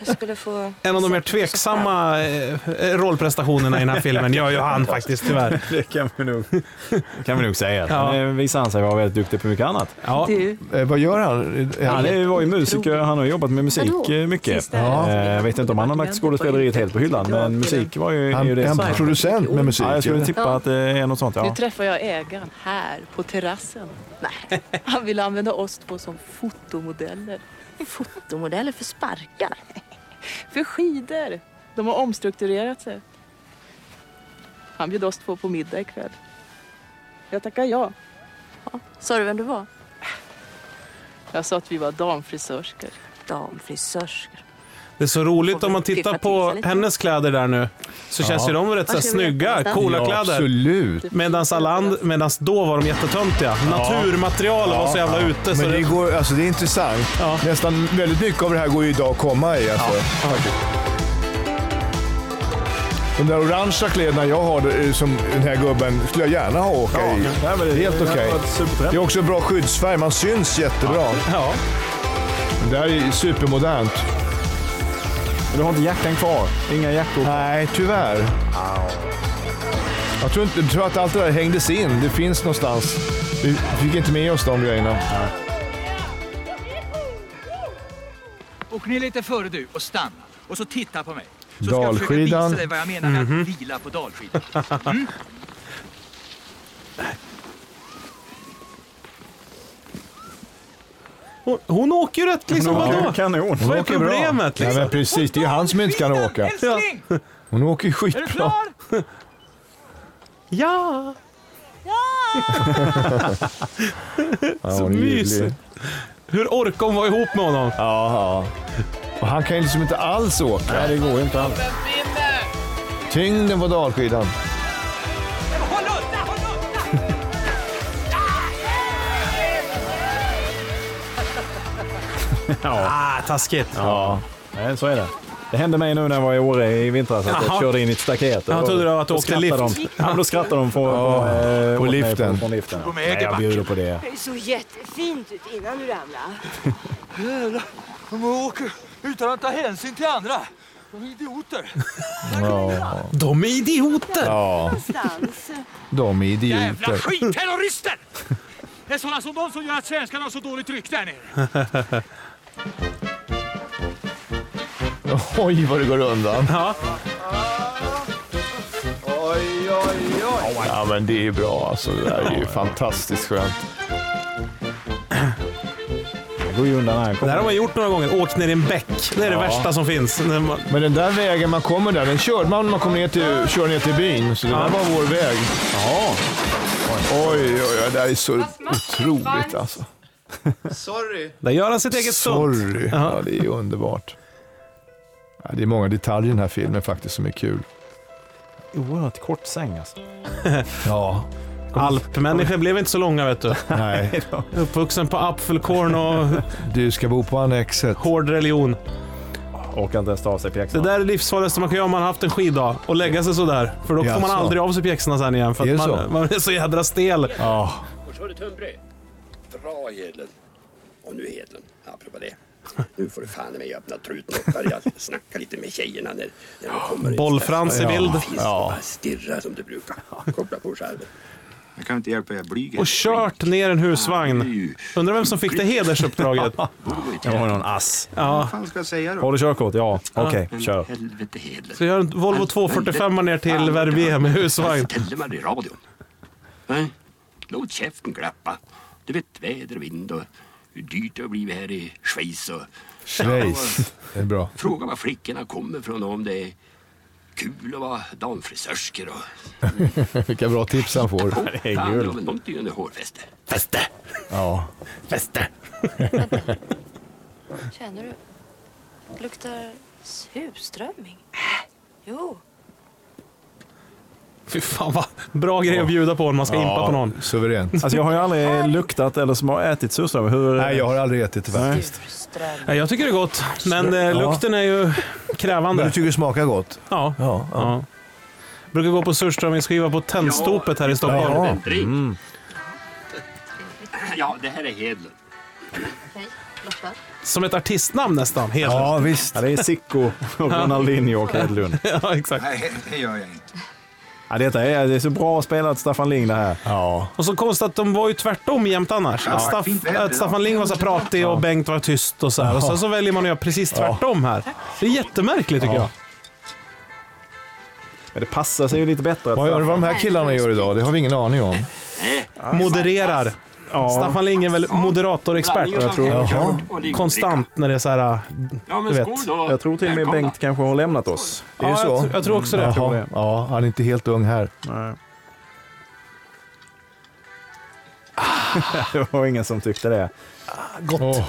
T: Jag skulle få...
A: En av de mer tveksamma eh, rollprestationerna i den här filmen gör ju han faktiskt tyvärr.
C: Det kan vi nog, kan vi nog säga.
A: Ja.
C: Ja. visar han sig vara väldigt duktig på mycket annat.
A: Ja.
F: Du.
B: Eh, vad gör han?
C: Han är- var ju musiker, han har jobbat med musik
B: Vadå?
C: eh, mycket.
B: Sista- Ja.
C: Eh, Jag vet inte om han har lagt skådespeleriet helt på hyllan, men musik var ju, är
B: Han
C: ju det.
B: är en
C: som-
B: producent med musik,
C: Ja, jag skulle typ-
B: eller?
C: tippa att det är något sånt.
T: Nu
C: Ja.
T: träffar jag ägaren här på terrassen. Nej. Han vill använda oss två som fotomodeller. Fotomodeller för sparkar? För skidor. De har omstrukturerat sig. Han bjöd oss två på middag ikväll. Jag tackar ja. ja. Sa du vem du var? Jag sa att vi var damfrisörskor. Damfrisörskor.
A: Det är så roligt om man tittar på hennes kläder där nu. Så
B: Ja.
A: känns ju de rätt så här,
B: Varsågod,
A: snygga,
B: nästa.
A: coola
B: Ja,
A: kläder.
B: absolut.
A: Medans, alla and, medans då var de jättetöntiga. Naturmaterial var så jävla ute.
B: Men
A: så
B: det, går, alltså, det är intressant. Nästan väldigt mycket av det här går ju idag att komma i. Alltså. De där orangea kläderna jag har, det är som den här gubben, skulle jag gärna ha åka i. Helt
C: det-
B: okej.
C: det var ett supertrend.
B: Det är också bra skyddsfärg, man syns jättebra.
A: Ja.
B: Det här är ju supermodernt.
C: Du har inte jackan kvar? Inga jackor?
B: Nej, tyvärr. Jag tror, inte, jag tror att allt det där hängdes in. Det finns någonstans. Vi fick inte med oss de grejerna.
V: Åk ner lite före du och stanna. Och så titta på mig. Så ska jag försöka
B: Dalskidan.
V: visa dig vad jag menar med
B: Mhm.
V: att vila på dalskidan. Mm.
A: Hon, hon åker ju rätt liksom.
B: Hon åker
A: Vadå?
B: kanon.
A: Vad är problemet
B: Ja,
A: liksom?
B: men precis, det är ju han som inte kan åka.
A: Älskling!
B: Hon åker ju skitbra.
A: Ja!
B: Ja,
A: så
B: hon är ljuvlig.
A: mysigt. Hur orkar hon vara ihop med honom?
B: Ja, Och han kan ju liksom inte alls åka. Nej, det går inte alls. Tyngden på dalskidan.
A: Ah, taskigt.
C: Ja. Nej, så är det. Det hände mig nu när jag var i Åre i vintras att
A: Jaha.
C: jag körde in i ett staket.
A: Jag
C: Och
A: trodde det var att
C: då
A: du åkte
C: skrattade
A: lift.
C: De. Ja, men då skrattade de från, från, eh,
B: på
C: åt mig
B: liften.
C: Från, från liften.
B: Gå med,
C: Nej, jag
B: Gebback.
C: bjuder på det.
X: Det såg jättefint ut innan du ramlade.
V: Jävlar, de åker utan att ta hänsyn till andra. De är idioter.
A: De är idioter!
B: Ja. De är
V: Jävla
B: idioter.
V: skitterrorister! Det är sådana som de som gör att svenskarna har så dåligt rykte här nere.
B: Oj, vad det går undan.
A: Ja.
J: Oj, oj, oj.
B: Ja, men det är bra alltså. Det där är ju fantastiskt skönt.
C: Det går ju undan här.
A: Det här har man gjort några gånger. Åkt ner i en bäck. Det är det
B: Ja.
A: värsta som finns. När man-
B: Men den där vägen man kommer där, den körde man när man kom ner till, kör ner till byn. Så det där var vår väg. Ja. Oj, oj, oj. Det där är så otroligt alltså.
A: Sorry. Där gör han sitt eget stunt.
B: Sorry. Ja, det är underbart. Ja, det är många detaljer i den här filmen faktiskt som är kul.
C: Oerhört kort säng alltså.
B: Ja.
A: Alpmänniskor blev inte så långa vet du.
B: Nej.
A: Uppvuxen på apfelkorn och
B: Du ska bo på Annexet.
A: hård religion.
C: Orkar inte ens ta av sig
A: Det
C: pjäxorna.
A: där är det livsfarligaste man kan göra om man har haft en skiddag och lägga sig sådär. För då får man
C: Jaså?
A: aldrig av sig pjäxorna sen igen. För
C: Är
A: att
C: det
A: man,
C: så?
A: man är så jädra stel.
D: Och så är det tunnbröd. Dra Hedlund. Och nu Hedlund, apropå det. Nu får du fan i mig öppna truten och börja snacka lite med tjejerna när, när de kommer. in.
A: Bollfrans i bild.
D: Finns det bara Stirra som du brukar. Koppla på skärmen. Jag kan inte hjälpa, jag är blyg.
A: Och kört ner en husvagn. Undrar vem som fick det hedersuppdraget?
C: Det var någon ass.
A: Ja.
D: Vad ska jag säga
C: Har du körkort? Ja.
A: Ja.
C: Okej, kör.
D: Helvete Hedlund.
A: Så jag gör en Volvo 245 ner till Verbier med husvagn.
D: Ställde man i radion. Nej, Låt käften glappa. Du vet väder och vind och hur dyrt det har blivit här i Schweiz. Och...
B: Schweiz. Det är bra.
D: Fråga var flickorna kommer från och om det är kul att vara damfrisörskor och
B: Vilka bra tips han får.
D: fan, ja, men de är ju under hårfäste. Fäste!
B: Ja.
D: Fäste!
N: Känner du? Det luktar surströmming. Jo.
A: Fy fan vad bra grej att bjuda på om man ska impa på någon.
B: Suveränt.
C: Alltså jag har ju aldrig luktat eller som har ätit surströmming. Hur...
B: Nej, jag har aldrig ätit det
C: faktiskt.
A: Nej, Jag tycker det är gott, men eh,
C: Ja.
A: lukten är ju krävande.
B: Men du tycker det smakar gott?
A: Ja. ja, Brukar gå på surströmmingsskiva på Tennstopet här i
D: Ja.
A: Stockholm.
D: Mm. Ja, det här är Hedlund.
A: Som ett artistnamn nästan. Hedlund.
C: Ja, visst. det är Sicko och Ronaldinho och Hedlund.
A: ja, exakt.
K: Nej, det gör jag inte.
C: Ja, detta är, det är så bra spelat Staffan Ling det här.
B: Ja.
A: Och så konstigt att de var ju tvärtom jämt annars.
C: Ja,
A: att,
C: fint
A: Staff,
C: väder
A: att Staffan Ling var så här pratig och Bengt var tyst och så här. Och sen så väljer man att göra precis tvärtom här. Det är jättemärkligt tycker jag.
C: Men det passar sig ju lite bättre.
B: Vad gör vad de här killarna gör idag? Det har vi ingen aning om.
A: Modererar. Staffan Ling är väl moderatorexpert.
C: Jag tror- Jaha.
A: Konstant när det är så här, du vet.
C: Jag tror till och med Bengt kanske har lämnat oss.
A: Det är ju Ja, jag så. tr- jag tror också det. Jag tror
B: Jaha.
A: det.
B: Ja, han är inte helt ung här.
C: det var ingen som tyckte det.
B: Gott.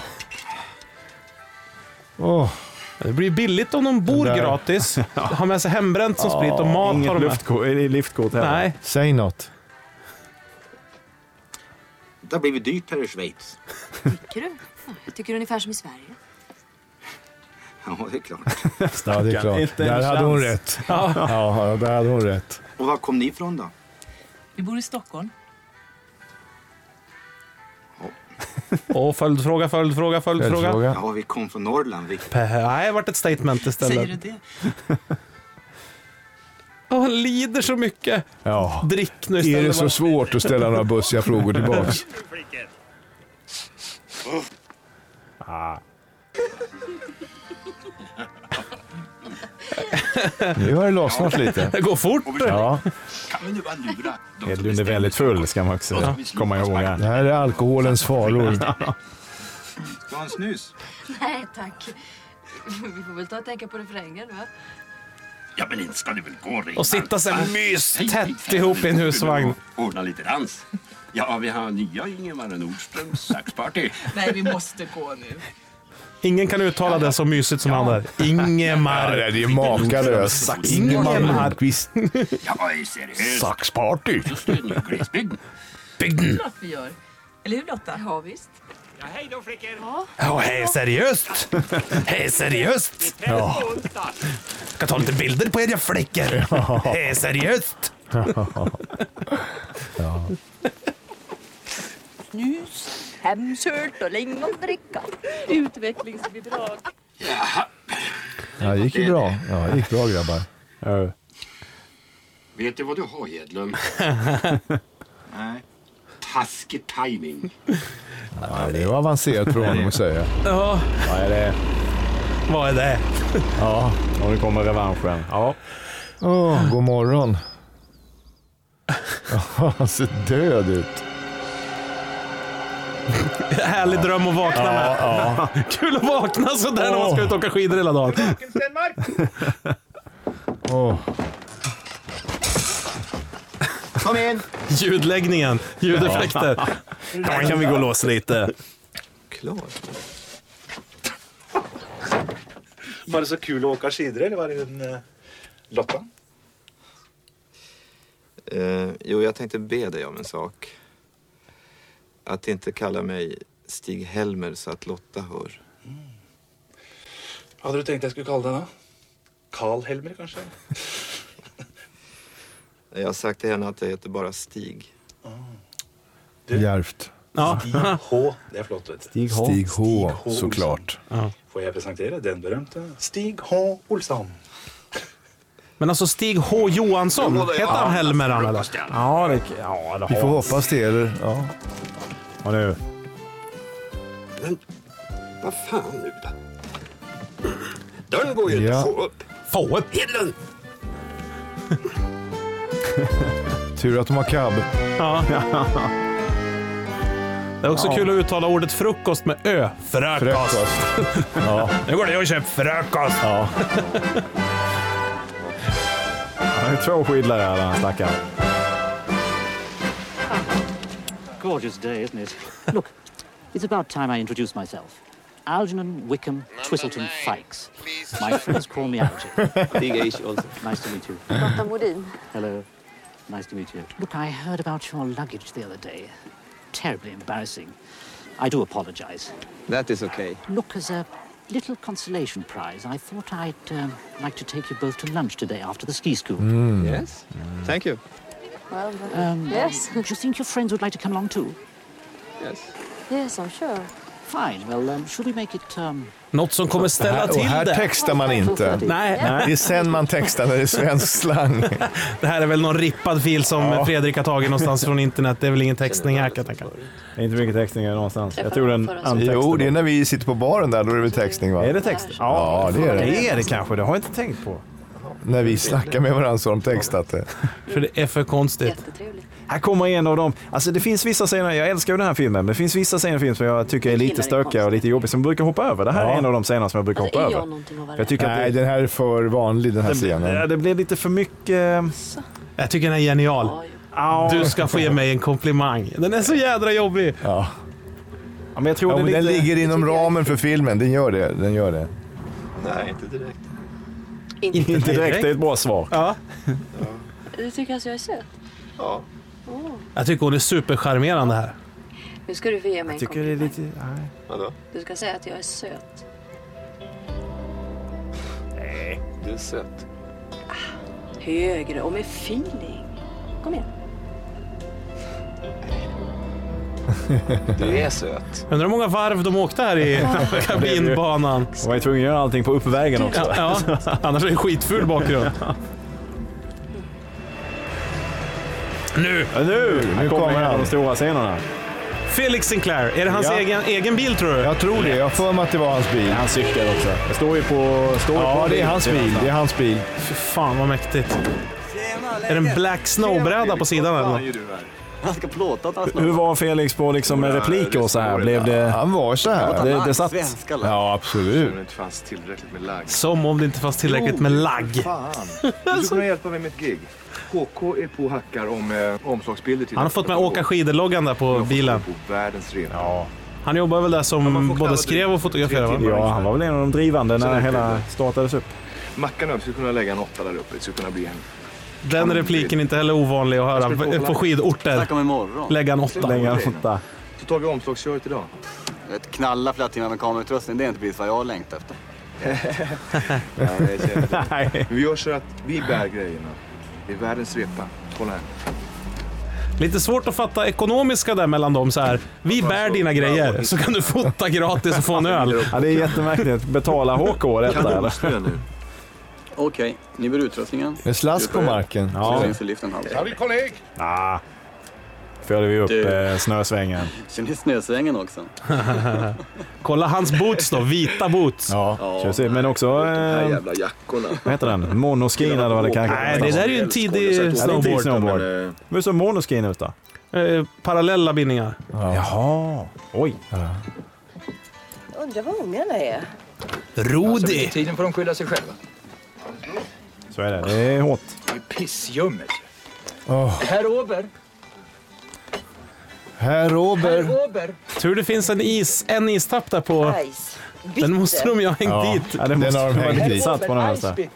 A: Det blir billigt om de bor
C: Den där.
A: gratis, har med sig hembränt som sprit och mat har
C: Inget
A: de med.
C: luftkort, i liftkort heller.
A: Nej.
B: Säg något.
D: Det har blivit dyrt här i Schweiz.
P: Tycker du? Jag tycker ungefär som i Sverige.
D: Ja, det är klart.
B: Ja, det är klart. Där hade hon rätt.
A: Ja.
B: ja, där hade hon rätt.
D: Och var kom ni ifrån då?
H: Vi bor i Stockholm.
A: Och följdfråga, följdfråga, följdfråga.
D: Ja, vi kom från Norrland. Vi...
A: Pe- Nej, det vart ett statement istället.
D: Säger du det?
A: Åh, han lider så mycket.
B: Ja.
A: Drick nu
B: Är
A: istället
B: det så
A: bara.
B: svårt att ställa några bussiga frågor tillbaks?
C: Ah.
B: Nu har det lossnat lite.
A: Det går fort.
B: Ja.
D: Kan vi nu bara lura?
C: Hedlund är väldigt full ska man också
B: Ja.
C: komma ihåg. Här.
B: Det här är alkoholens faror.
D: Ska ha en snus?
N: Nej, tack. Vi får väl ta och tänka på refrängen, va?
D: Ja, men inte ska det väl gå redan.
A: Och sitta så här mys
D: Hej, hej,
A: tätt ihop i en husvagn.
D: Ordna lite dans. Ja, vi har nya Ingemar Nordströms saxparty.
H: Nej, vi måste gå nu.
A: Ingen kan uttala det så mysigt som han där. Ingemar.
B: Ja, det är ju makalöst.
A: Ingemar
B: Nordqvist.
D: Jag är seriös.
B: Saxparty.
D: Just det, nu glesbygden.
A: Bygden.
H: klart vi gör. Eller hur Lotta?
N: Ja, visst.
D: Ja, hej då flickor.
A: Ja, hej seriöst! Hej seriöst!
D: Ja.
A: Ska ta lite bilder på er jag fläcker. Hej seriöst!
T: Snus, hemkört och lingondricka. Utvecklingsbidrag.
B: Ja, det gick ju bra. Ja, det gick bra grabbar.
D: Vet du vad du har, Hedlund? Nej. Taskig timing.
B: Ja, det var avancerat från honom att säga.
A: Ja.
C: Vad är det?
A: Vad är det?
C: Ja, och nu kommer revanschen. Ja.
B: Åh, god morgon. Ja, Han ser död ut.
A: Härlig dröm att vakna med.
B: Ja,
A: Kul att vakna sådär när man ska ut och åka skidor hela dagen.
B: Åh.
D: Kom in!
A: Ljudläggningen, ljudeffekter.
C: Där kan vi gå loss lite.
M: Var det så kul att åka skidor eller var det en eh, Lotta?
S: Eh, jo, jag tänkte be dig om en sak. Att inte kalla mig Stig-Helmer så att Lotta hör.
M: Hade du tänkt jag skulle kalla den då? Karl Helmer kanske?
S: Jag har sagt till henne att jag heter bara Stig.
B: Djärvt.
A: Ja.
M: Stig H. Det är flott vet du.
B: Stig H. Stig H,
M: Olsson.
B: såklart.
M: Får jag presentera den berömda Stig H. Olsson.
A: Men alltså Stig H Johansson, hette han Helmer han eller?
C: Ja, det, ja, det
B: Vi får hoppas det. Eller? Ja.
C: Och nu.
D: Vad fan nu då? Dörren går ju inte
B: Ja.
D: att få upp.
A: Få upp?
D: Hedlund!
B: Tur att de har cab.
A: Ja. Det är också
B: Ja.
A: kul att uttala ordet frukost med ö. Frökost. Nu går det och köper frukost.
B: Ja.
C: Två skidlar är han, stackaren.
G: Gorgeous day, isn't it? Look, it's about time I introduce myself. Algernon Wickham Twistleton Fikes. My friends call me Algy.
S: Big H also.
G: Nice to meet you.
P: Lotta Morin.
G: Hello. Nice to meet you. Look, I heard about your luggage the other day. Terribly embarrassing. I do apologize.
S: That is okay.
G: Look, as a little consolation prize, I thought I'd um, like to take you both to lunch today after the ski school.
S: Mm. Yes? Thank you.
P: Well, but-
G: Um,
P: yes.
G: Do you think your friends would like to come along too?
S: Yes.
P: Yes, I'm sure.
A: Oh,
G: Fine. Well, um, should we make it? Um...
A: Något som kommer ställa
B: här, och
A: till
B: här
A: det.
B: textar man inte.
A: Nej.
B: Det är
A: Nej.
B: sen man textar när det är svensk slang.
A: Det här är väl någon rippad fil som Fredrik har tagit någonstans från internet. Det är väl ingen textning här kan jag tänka.
C: Det är inte mycket textningar någonstans. Jag tog den antexten.
B: Jo, det är när vi sitter på baren där, då är det väl textning va? Är
C: det textning?
B: Ja, det är det.
A: Det är det kanske, det har jag inte tänkt på.
B: När vi snackar med varandra så har de textat det.
A: För det är för konstigt.
C: Här kommer en av dem. Alltså det finns vissa scener, jag älskar ju den här filmen, det finns vissa scener i filmen som jag tycker är lite stökiga och lite jobbiga som jag brukar hoppa över. Det här är en av de scener som Alltså, jag brukar hoppa över. För Jag tycker att
B: Nej,
C: det,
B: den här är för vanlig den här
C: Den- ja,
B: scenen.
C: det blir lite för mycket... eh,
A: Jag tycker den är genial. Du ska få ge mig en komplimang. Den är så jädra jobbig.
B: Ja.
C: men jag tror
B: Ja,
C: det
B: men
C: är
B: den
C: lite...
B: ligger inom ramen för filmen, den gör det. Den gör det.
S: Nej, inte direkt.
C: Inte direkt, det är ett bra svar.
A: Ja.
N: Du tycker alltså jag är söt?
S: Ja.
N: Åh,
A: Jag tycker hon är supercharmerande här.
N: Nu ska du få ge mig en komplimang.
A: det är lite... Nej.
S: Vadå?
N: Du ska säga att jag är söt.
S: Nej. Du är söt.
N: Högre och med feeling. Kom igen.
S: Du är söt.
A: Undrar hur många varv de åkte här i kabinbanan.
C: Och jag är tvungen att göra allting på uppvägen också.
A: Ja, ja. Annars är det skitful bakgrund. Nu!
C: nu!
B: Nu
C: Nu kommer
B: kommer
C: en av
B: han.
C: de stora scenerna.
A: Felix Sinclair, är det hans
C: Ja.
A: egen, egen bil tror du?
B: Jag tror det, jag har för mig att det var hans bil.
C: Han cyklar också. Det står ju på... Står ju
B: Ja,
C: på
B: det är hans bil. Det är hans bil.
A: Fy fan vad mäktigt. Är det en Black Snow-bräda på sidan eller? något?
S: Han ska plåta att han
C: Hur var Felix på liksom med repliker och så här? Blev det...
B: Han var så här.
C: Det, det satt...
B: Ja, absolut.
L: Det fanns tillräckligt med lagg.
A: Som om det inte fanns tillräckligt med lagg.
L: Fan. Du skulle kunna hjälpa mig med ett gig. KK är på och hackar om eh, omslagsbilder till
A: Han har fått med åka skidor-loggan där på bilen.
L: på världens rep.
C: Ja.
A: Han jobbar väl där som både skrev och fotograferade? va?
C: Ja, han var väl en av de drivande när hela startades upp.
L: Mackan och jag skulle kunna lägga en åtta där uppe. Det skulle kunna bli en...
A: Den repliken är inte heller ovanlig att höra på skidorter.
U: Snacka om imorgon.
A: Lägga en åtta.
C: Lägga en
A: åtta.
L: Så tar vi omslagsköret idag.
U: Ett knalla flera timmar med kamerautrustning, det är inte precis vad jag har längtat efter.
L: Nej, jag känner det. Vi gör så att vi bär grejerna. Det är världens repa. Kolla här.
A: Lite svårt att fatta ekonomiska där mellan dem så här. Vi bär dina grejer så kan du fota gratis och få en öl.
C: Ja, det är jättemärkligt. Betala HK detta eller?
U: Okej, ni bär utrustningen.
B: Med slask på marken.
U: Ja.
C: Ja.
U: syns i liften halv.
L: Howdy, kolleg!
C: Ah. Följer vi upp eh, snösvängen.
U: Kör ni snösvängen också?
A: Kolla hans boots då, vita boots.
C: Ja, kör vi. Men också... Eh,
L: jackorna.
C: vad heter den? Monoskin eller vad det kan
A: Nej, det där är ju en tidig
C: Ja, det är en tidig
A: snowboard.
C: snowboard. Hur såg monoskin ut då?
A: Eh, parallella bindningar.
C: Jaha. Oj.
X: Undrar vad ungarna är.
A: Rodi!
U: Tiden får de skylla sig själva.
C: Så är det. Det är hårt.
U: Det är pissljummet.
B: Åh,
U: Herr Ober!
B: Herr Ober.
U: Ober!
A: Tur det finns en, is, en istapp där på... Den måste de ju ha hängt
B: Ja.
A: dit.
C: Ja, det måste
B: har de
C: vara
B: hängt dit.
C: ditsatt på någon vänster.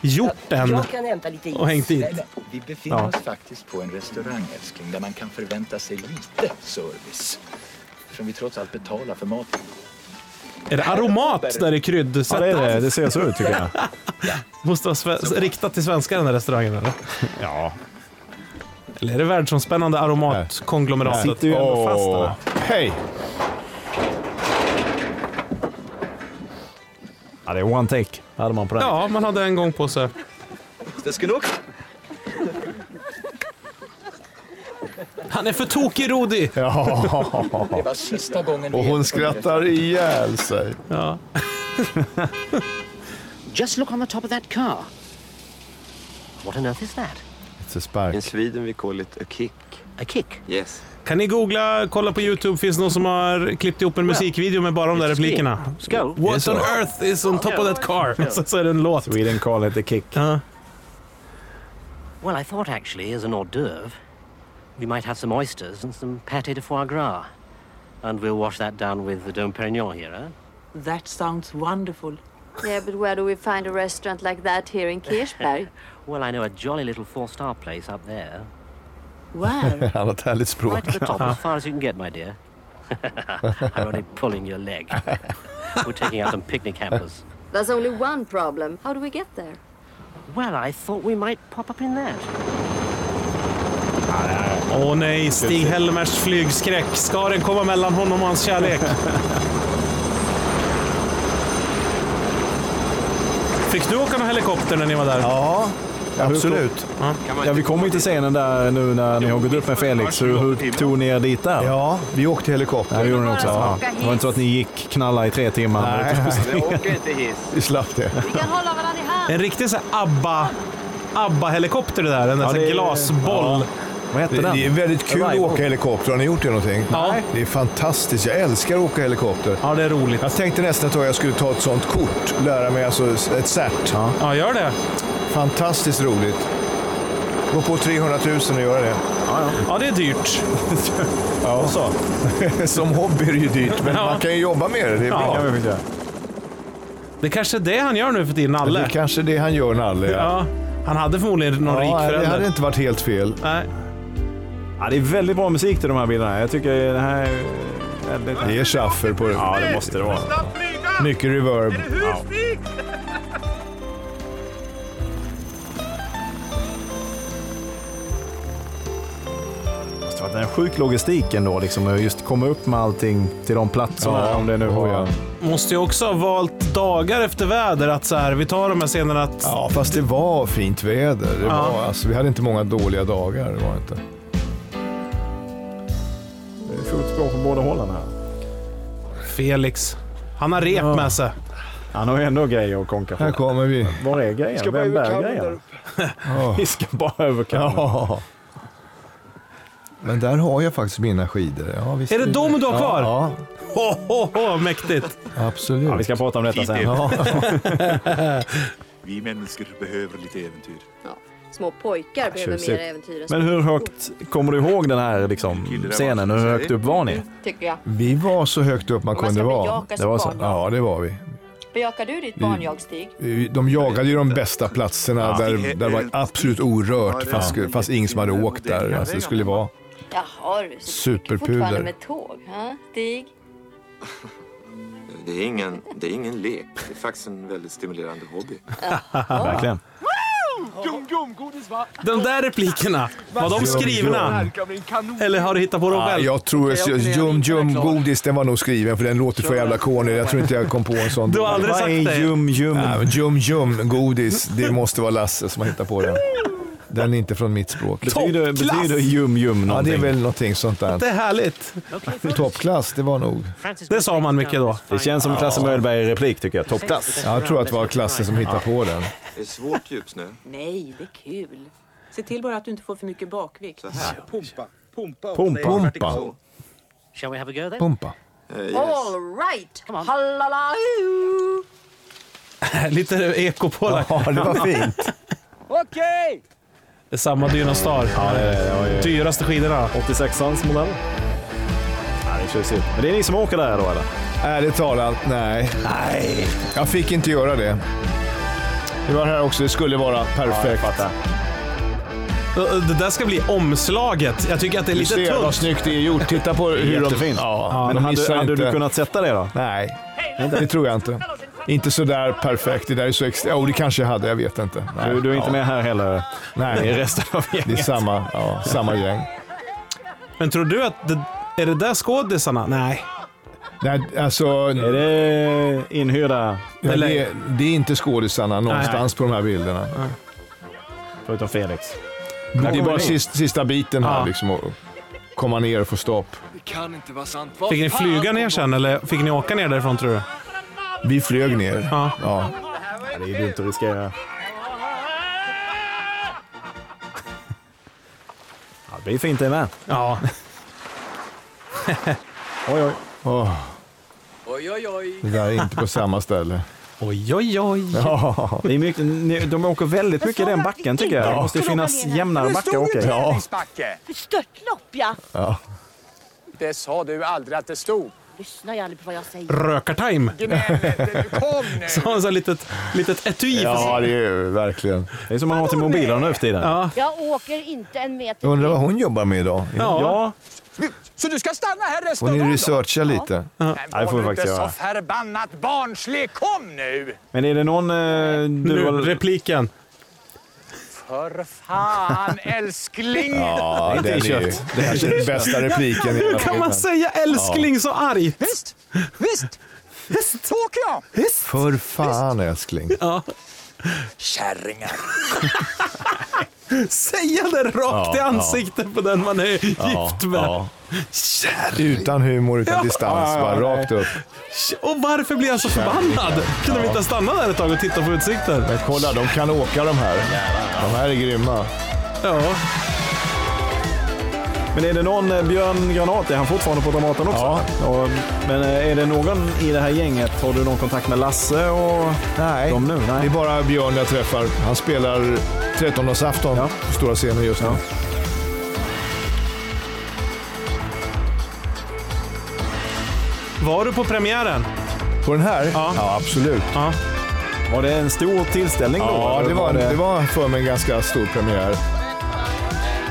A: Gjort den.
X: Jag kan hämta lite is.
A: Och hängt dit.
O: Vi befinner
A: Ja.
O: oss faktiskt på en restaurang, älskling, där man kan förvänta sig lite service. Eftersom vi trots allt betalar för maten.
A: Är det aromat där i
C: Ja,
A: kryddsättet?
C: det är det. Det ser så ut tycker jag.
A: Måste vara sve- riktat till svenskar den där restaurangen eller?
C: Ja.
A: Eller är det världsomspännande aromatkonglomeratet?
C: Här sitter ju ändå
A: Åh.
C: fast där.
B: Hej!
C: Ja, det är one take. Hade man på den.
A: Ja, man hade en gång på sig.
O: Das genug?
A: Han är för tokig Rodi!
O: Det var sista gången vi
B: Och hon
O: äter på den
B: skrattar ihjäl sig.
A: Ja.
G: Just look on the top of that car. What on earth is that?
B: It's a spark.
S: In Sweden we call it a kick.
G: A kick.
S: Yes.
A: Kan ni googla, kolla på Youtube, finns det någon som har klippt ihop en musikvideo med bara de där replikerna?
G: Skål.
A: What on earth is on top of that car? Så, så är det en låt.
C: Sweden call it the kick.
A: Ja.
G: Well, I thought actually, as an hors d'oeuvre, we might have some oysters and some pâté de foie gras. And we'll wash that down with the Dom Perignon here, eh?
F: That sounds wonderful.
P: Yeah, but where do we find a restaurant like that here in Kirchberg?
G: Well, I know a jolly little four-star place up there.
P: Where?
B: Han har ett härligt språk.
G: Right at the top, as far as you can get, my dear. I'm only pulling your leg. We're taking out some picnic hampers.
P: There's only one problem. How do we get there?
G: Well, I thought we might pop up in that.
A: Åh nej, Stig-Helmers flygskräck. Ska den komma mellan honom och hans kärlek? Fick du åka med helikopter när ni var där?
B: Ja, absolut.
C: Ja, vi kommer ju till scenen där nu när ni har gått upp med Felix. Hur, hur tog ni er dit där?
B: Ja, vi åkte helikopter.
C: Ja, det gjorde ni också. Ja.
N: åka hiss.
C: Det var inte så att ni gick knalla i tre timmar.
B: Nej. Jag
A: åker
C: inte hiss.
B: Vi slapp det.
N: Vi kan hålla varandra i hand.
A: En riktig så här ABBA, ABBA-helikopter det där. En
B: Ja,
A: sån
B: det är-
A: glasboll.
C: Vad
B: Det, det är väldigt kul att åka helikopter. Har ni gjort det någonting?
A: Ja.
B: Det är fantastiskt. Jag älskar att åka helikopter.
A: Ja, det är roligt.
B: Jag tänkte nästan att jag skulle ta ett sånt kort. Lära mig alltså ett cert. Ja,
A: gör det.
B: Fantastiskt roligt. Gå på 300 000 och göra det.
A: Ja, det är dyrt.
B: Ja.
A: Så.
B: Som hobby är det ju dyrt, men man kan ju jobba med det. Det är
A: Ja.
B: bra.
A: Det kan vi Det kanske är det han gör nu för tiden, Nalle.
B: Det är kanske det han gör, Nalle.
A: Ja, han hade förmodligen någon rik
B: ja, det
A: förälder.
B: hade inte varit helt fel.
A: Nej.
C: Ja, det är väldigt bra musik till de här bilderna. Jag tycker det här är väldigt...
B: Det är schaffer på det.
C: Ja, det måste det vara.
B: Mycket reverb.
C: Ja. Det måste varit en sjuk logistik ändå, liksom, att just komma upp med allting till de platserna.
A: Ja,
C: om det nu var...
A: Måste ju också ha valt dagar efter väder att så här, vi tar de här scenerna att...
B: Ja, fast det var fint väder. Det
A: Ja.
B: var, alltså, vi hade inte många dåliga dagar. Det var det inte.
C: Det är fotspår på båda hållen här.
A: Felix. Han har rep med sig.
C: Han har ju ändå grejer att konka på.
B: Här kommer vi.
C: Var är grejen?
A: Ska bara
C: Vem
A: över
C: bär
A: kabeln där
C: grejen? Vi ska bara över kabeln.
B: Ja. Men där har jag faktiskt mina skidor. Ja, visst
A: Är det dem du har kvar?
B: Ja,
A: Ho, ho, ho, mäktigt!
B: ja absolut.
C: Ja, vi ska prata om detta sen.
B: Ja.
K: Vi människor behöver lite äventyr.
P: Små pojkar behöver mer äventyr än
C: Men hur högt kommer du ihåg den här liksom, scenen? Hur högt upp var ni?
N: Tycker jag.
B: Vi var så högt upp man
N: Man ska
B: kunde vara.
N: bejaka sitt Det var så? barn,
B: Ja, det var vi.
N: Bejakar du ditt
B: Vi-
N: barnjag, Stig?
B: De jagade ju de bästa platserna
N: Ja.
B: där, där det var absolut orört fast, fast ingen som hade åkt där. Alltså, det skulle vara
N: Jaha du, så fortfarande
B: superpuder.
N: med tåg, ha? Stig?
S: Det är, ingen, det är ingen lek. Det är faktiskt en väldigt stimulerande hobby.
C: Verkligen.
M: Gum, gum, godis va?
A: De där replikerna, var de skrivna? Eller har du hittat på dem
B: Ja,
A: själv?
B: jag tror att Jum Jum Godis den var nog skriven för den låter för jävla corny. Jag tror inte jag kom på en sån.
A: Du har aldrig Vad sagt är det. Jum Jum?
B: Ja, men jum Jum Godis, det måste vara Lasse som har hittat på den. Den är inte från mitt språk.
C: Betyder- Toppklass! betyder jum jum
B: Ja, det är
C: någonting?
B: väl någonting sånt där.
A: Det är härligt.
B: Toppklass, det var nog.
A: Det sa man mycket då.
C: Det känns som en Klasse Möllberg-replik tycker jag. Toppklass.
B: Ja, jag tror att det var Klasse som hittade på den.
S: Det är svårt djupsnö.
F: Nej, det är kul. Se till bara att du inte får för mycket bakvikt. Så
S: här.
F: Pumpa. Pumpa.
G: Shall we have a go then?
B: Pumpa.
N: All right! Hallalahu!
A: Lite eko på det.
B: Ja, det var fint.
M: Okej!
A: Det är samma Dynastar. Ja, Dyraste skidorna.
C: 86ans Typ modell. Ja, det är tjusigt. Men det är ni som åker där då eller?
B: Ärligt talat, nej. Nej. Jag fick inte göra det. Det var här också, det skulle vara perfekt.
A: Det- Det där ska bli omslaget. Jag tycker att det är
B: Du
A: lite
B: ser
A: tunt.
B: vad snyggt det är gjort. Titta på hur de...
C: Jättefint.
B: Ja,
C: Men
B: men de
C: hade-
B: missar
C: hade
B: inte.
C: du kunnat sätta det då?
B: Nej, det tror jag inte. Inte sådär perfekt. Det där är så extra... Jo, det kanske jag hade. Jag vet inte. Nej.
C: Du, du är inte
B: Ja.
C: med här heller.
B: Nej.
C: Det är resten av gänget.
B: Det är samma, ja, samma gäng.
A: Men tror du att det, är det där skådisarna? Nej.
B: Nej, alltså... Är
C: det inhyrda?
B: Ja,
A: Eller-
B: det, det är inte skådisarna någonstans på de här bilderna.
C: Förutom Felix.
B: Det är
C: kommer
B: bara
C: ni.
B: sista, sista biten här
C: Ja.
B: liksom. att Komma ner och få stopp.
M: Det kan inte vara sant.
A: Fick ni flyga ner sen eller fick ni åka ner därifrån tror du?
B: Vi flög ner.
A: Ja.
B: ja.
C: Det är ju dumt att riskera. Ja, det blir fint det med.
A: Ja.
C: oj, oj.
B: Åh,
M: Oj, oj, oj.
B: det där är inte på samma ställe.
A: Oj, oj, oj.
C: Ja. Det är mycket, ni- de åker väldigt mycket i den backen tycker jag. Det måste ju finnas jämnare backar att åka i.
E: Backe. Störtlopp, ja.
C: Ja.
E: Det sa du aldrig att det stod.
N: Lyssnar jag aldrig på vad jag säger?
A: Rökartime.
E: Du menar, kom nu.
A: Så har han så här litet, litet etui.
C: Ja,
A: det
B: är verkligen.
C: Det är som man har till mobilerna nu för tiden.
A: Ja.
E: Jag åker inte en meter.
B: Jag undrar vad hon jobbar med idag.
C: Ja.
E: Så du ska stanna här resten
B: Får ni
E: av dagen?
B: researcha lite?
C: Ja.
E: Var du inte så förbannat barnslig. Kom nu!
C: Men är det någon... Eh,
A: nu, repliken.
E: För fan, älskling!
B: Ja,
A: Inte
B: den är,
A: i
B: ju-
A: kött.
B: det är kanske den bästa repliken. i hela
A: Hur kan
B: filmen.
A: man säga älskling så argt?
E: Visst, visst, visst åker jag.
B: För fan älskling.
E: Kärringar.
A: Säga det rakt
B: Ja,
A: i
B: ja.
A: ansiktet på den man är gift med.
B: Utan humor, utan
A: Ja.
B: distans.
A: Ja, ja, ja,
B: bara
A: nej.
B: rakt upp.
A: Och varför blir han så förbannad? Kunde vi inte stanna där ett tag och titta på utsikten?
B: Men kolla, de kan åka de här. De här är grymma.
A: Ja.
C: Men är det någon eh, Björn Granat, är han fortfarande på Dramaten också? Ja. Och, men eh, är det någon i det här gänget, har du någon kontakt med Lasse och
B: Nej.
C: dem nu? Nej.
B: Det är bara Björn jag träffar. Han spelar 13-årsafton på stora scenen just nu.
A: Var du på premiären?
B: På den här?
A: Ja,
B: absolut.
A: Ja.
C: Var det en stor tillställning då?
B: Ja,
C: Eller
B: det var, det var för mig en ganska stor premiär.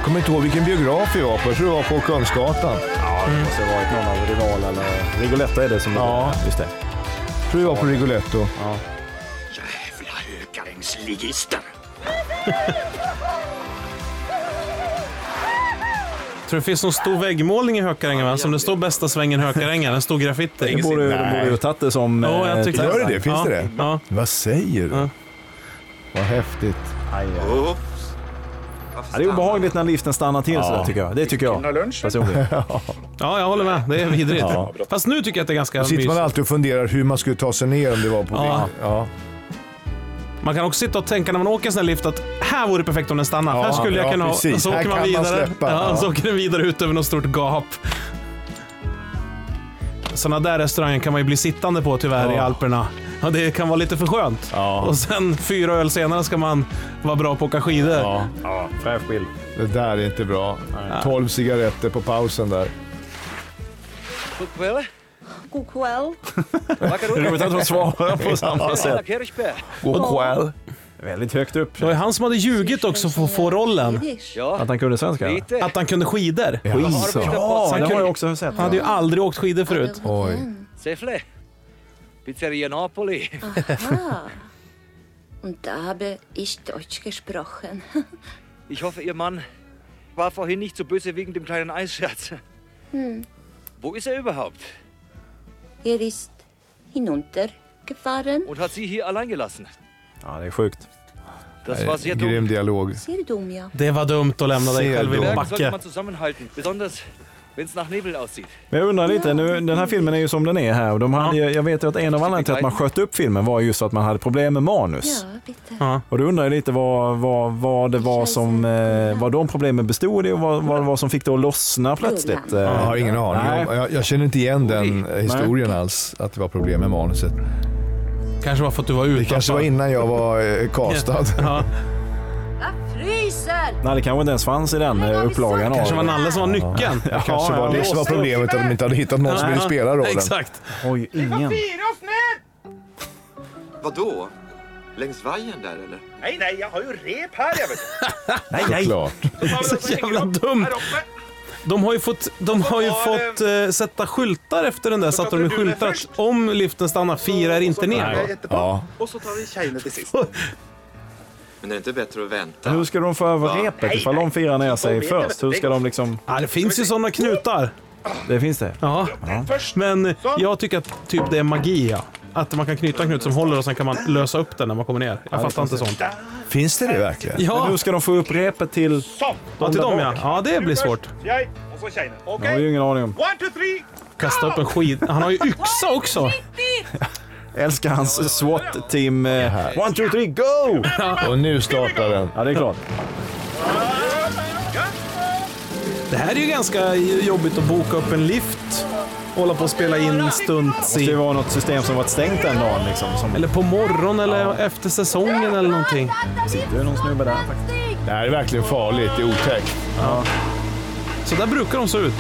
B: Kommer inte ihåg vilken biograf vi var på. Jag tror det var på Kungsgatan.
C: Ja, det måste ha varit någon av Rival eller... Rigoletta är det som... Ja. Just det.
B: Jag tror det var på Rigoletto.
C: Ja.
E: Jävla högarängsligister.
A: Tror det finns någon stor väggmålning i Hökarängen va? Som det står bästa svängen Hökarängen. Den står graffiti.
C: Det borde, de borde ju ha tagit det som...
A: Jo, jag
C: eh,
A: tycker
B: Gör
A: det.
B: det det? Finns
A: Ja.
B: det det?
A: Ja.
B: Vad säger du? Vad häftigt.
C: Ja, det är obehagligt när liften stannar till sådär tycker jag. Det tycker jag personligen.
A: Ja, jag håller med. Det är vidrigt.
B: Ja.
A: Fast nu tycker jag att det är ganska
B: Då sitter man
A: mysigt.
B: alltid och funderar hur man skulle ta sig ner om det var på
A: Ja.
B: ja. Ja.
A: Man kan också sitta och tänka när man åker en sån här lift att här vore det perfekt om den stannar. här skulle jag
B: ja,
A: kunna ha...
B: precis.
A: Så
B: Här
A: åker man
B: kan man
A: vidare.
B: släppa.
A: ja,
B: Ja.
A: Så åker den vidare ut över något stort gap. Sådana där restauranger kan man ju bli sittande på tyvärr i Alperna. Ja, det kan vara lite för skönt. Och sen fyra öl senare ska man vara bra på att åka skidor. Ja,
C: ja fräsch bild.
B: Det där är inte bra. 12 cigaretter på pausen där.
M: God kväll. God kväll.
C: Det är roligt att de svarar på samma sätt.
M: God kväll.
C: Väldigt högt upp.
A: Det var ju han som hade ljugit också för att få rollen.
M: Ja.
C: Att han kunde svenska? eller?
A: Att han kunde skidor.
C: Ja, Skidor. det har jag också sett.
A: Han hade ju aldrig åkt skidor förut.
B: Oj.
M: Säffle. Pizzeria Napoli.
I: Aha. Und da habe ich Deutsch gesprochen.
M: Ich hoffe, Ihr Mann war vorhin nicht so böse wegen dem kleinen Eisscherz.
I: Hm.
M: Wo ist er überhaupt?
I: Er ist hinuntergefahren.
M: Und hat Sie hier allein gelassen?
C: Ja, det är sjukt.
M: Das war sehr dumm.
B: Grym dialog.
I: Sehr dumm, ja.
A: Det var dumt att lämna dig
M: Sehr
A: själv i en
M: Bergen sollte
A: backe.
M: man zusammenhalten, besonders wenn es nach Nebel aussieht.
C: Men jag undrar lite, nu, den här filmen är ju som den är här och de hade, ju- jag vet ju att en av anledningarna till att man sköt upp filmen var just att man hade problem med manus. Och då undrar jag lite vad, vad, vad det var som, eh, vad de problemen bestod i och vad, vad det var som fick det att lossna plötsligt. eh.
B: Jag har ingen aning. om-
C: Nej.
B: Jag, jag känner inte igen den historien alls, att det var problem med manuset.
A: Kanske var för att du var ute.
B: Det kanske var innan jag var eh, castad.
A: Ja.
I: Jag fryser!
C: Nej, det kanske inte ens fanns i den eh, upplagan. av-
B: kanske var
A: Nalle som var nyckeln.
B: Det kanske var det som var problemet, att de inte hade hittat någon som ville spela rollen.
A: Exakt.
C: Oj, ingen.
E: oss med!
S: Vadå? Längs vajern där eller?
E: Nej, nej, jag har ju rep här. Jag vet.
C: Nej, nej.
A: Så jävla dumt. De har ju fått, de har ju fått eh, sätta skyltar efter den där så att de skyltar att om liften stannar, fira er inte ner.
B: Ja.
E: Och så tar vi tjejerna till sist.
S: Men är det inte bättre att vänta?
C: Hur ska de få över repet ifall de firar ner sig först? Hur ska de liksom...
A: Ja, det finns ju sådana knutar.
C: Det finns det?
A: Ja. Men jag tycker att typ det är magi. Ja. Att man kan knyta en knut som håller och sen kan man lösa upp den när man kommer ner. Jag fattar inte sånt.
B: Finns det det verkligen?
A: Ja.
C: Men hur ska de få upp repet till...
A: Ja, till dem ja. Ja, det blir svårt.
E: Jag och så tjejerna.
C: Jag har ju ingen aning om.
E: One, two, three!
A: Kasta upp en skid. Han har ju yxa också.
C: Jag älskar hans SWAT-team. eh, One, two, three, go!
B: Och nu startar den.
C: Ja, det är klart.
A: Det här är ju ganska jobbigt att boka upp en lift hålla på och spela in stunts i.
C: Det var något system som varit stängt den dagen. Liksom, som...
A: Eller på morgonen eller efter säsongen eller någonting.
C: Sitter ju någon snubbe där faktiskt.
B: Det här är verkligen farligt. Det är otäckt.
A: Ja. Så där brukar de se ut.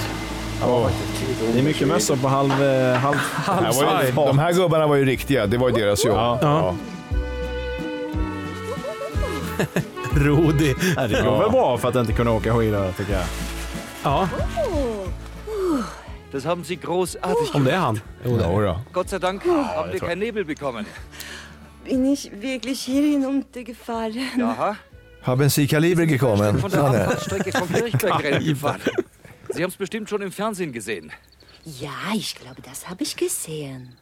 C: Det är mycket mössor på halv... eh, halv,
B: Det här var ju, de här gubbarna var ju riktiga. Det var ju deras jobb. Ja.
A: Rodi.
C: Nej, det går väl bra för att inte kunna åka skidor tycker jag.
A: Ja.
M: Das haben Sie großartig
A: Om det är han. Jo, det
B: är.
M: Gott sei Dank haben wir keinen Nebel bekommen.
Q: Bin ich wirklich hier hinuntergefahren?
M: Jaha.
B: Haben Sie Kaliber gekommen?
M: Von der
B: Ja, ne.
M: Abfahrtstrecke vom Kirchbergrennen gefahren. Sie haben es bestimmt schon im Fernsehen gesehen.
Q: Ja, ich glaube, das habe ich gesehen.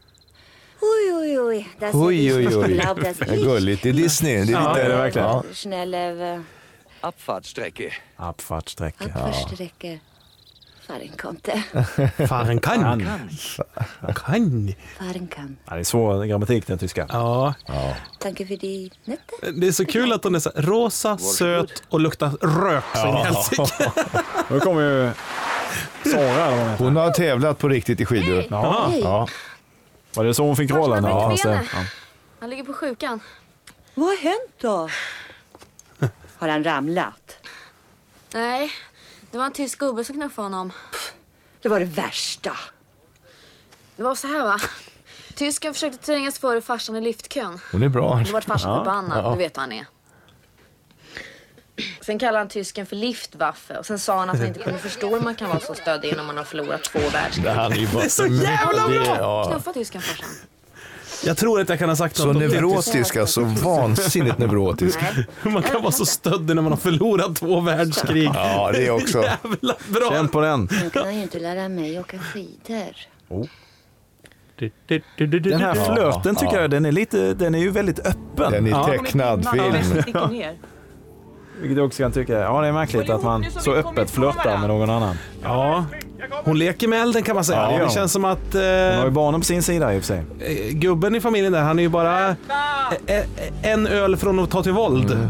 I: Ui, ui, ui. Das
B: Oj, oj,
I: Ich
B: oj.
I: glaube, dass
B: Det är
I: ich
B: gulligt. Det är Disney. Det är lite,
I: Ja, det är det verkligen.
B: Ja.
I: schnell
C: eh,
I: över
M: Abfahrtstrecke.
C: Abfahrtstrecke.
I: försträcker. Farin konnte.
A: Fahren kann.
C: Kan.
A: Kan.
I: Farin kan.
C: Ja, det är svår grammatik den tyska.
A: Ja.
I: Tack för det.
A: Det är så kul att hon är så här rosa, söt och luktar rök så in i
B: Ja.
A: helsike.
C: Nu kommer ju Sara.
B: Hon har tävlat på riktigt i skidor.
C: Ja.
B: Ja.
C: Var det så hon fick rollen?
P: Vart
C: Ja,
P: man
C: fast
P: bryter
C: det,
P: benen. Han ligger på sjukan.
Q: Vad har hänt då? Har han ramlat?
P: Nej, det var en tysk gubbe som knuffade honom.
Q: Det var det värsta.
P: Det var så här va. Tysken försökte trängas före farsan i liftkön.
B: Hon är bra.
P: Då vart farsan
B: Ja,
P: förbannad.
B: ja.
P: Du vet hur han är. Sen kallade han tysken för liftwaffe och sen sa han att han inte kunde förstå hur man kan vara så stöddig när man har förlorat två världskrig.
B: Det här är ju bara- Det är så
A: jävla bra!
B: Det- ja.
P: Knuffa tysken farsan.
A: Jag tror att jag kan ha sagt
B: Så
A: något. om
B: neurotisk alltså. Vansinnigt neurotisk.
A: Man kan vara så stöddig när man har förlorat två världskrig.
B: Ja, det är också.
A: Jävla bra. Känn
C: på den.
I: Jag kan ju inte lära mig åka skidor.
C: Den här
A: Ja,
C: flöten tycker
A: ja.
C: jag den är lite, den är ju väldigt öppen.
B: Den är Ja. tecknad film.
C: Vilket jag också kan tycka, ja det är märkligt att man så öppet flörtar med någon annan.
A: Ja, hon leker med elden kan man säga.
C: Ja, det gör
A: det
C: hon.
A: känns som att eh,
C: Hon har ju barnen på sin sida i och för sig.
A: eh, gubben i familjen där, han är ju bara eh, eh, en öl från att ta till våld.
C: Mm.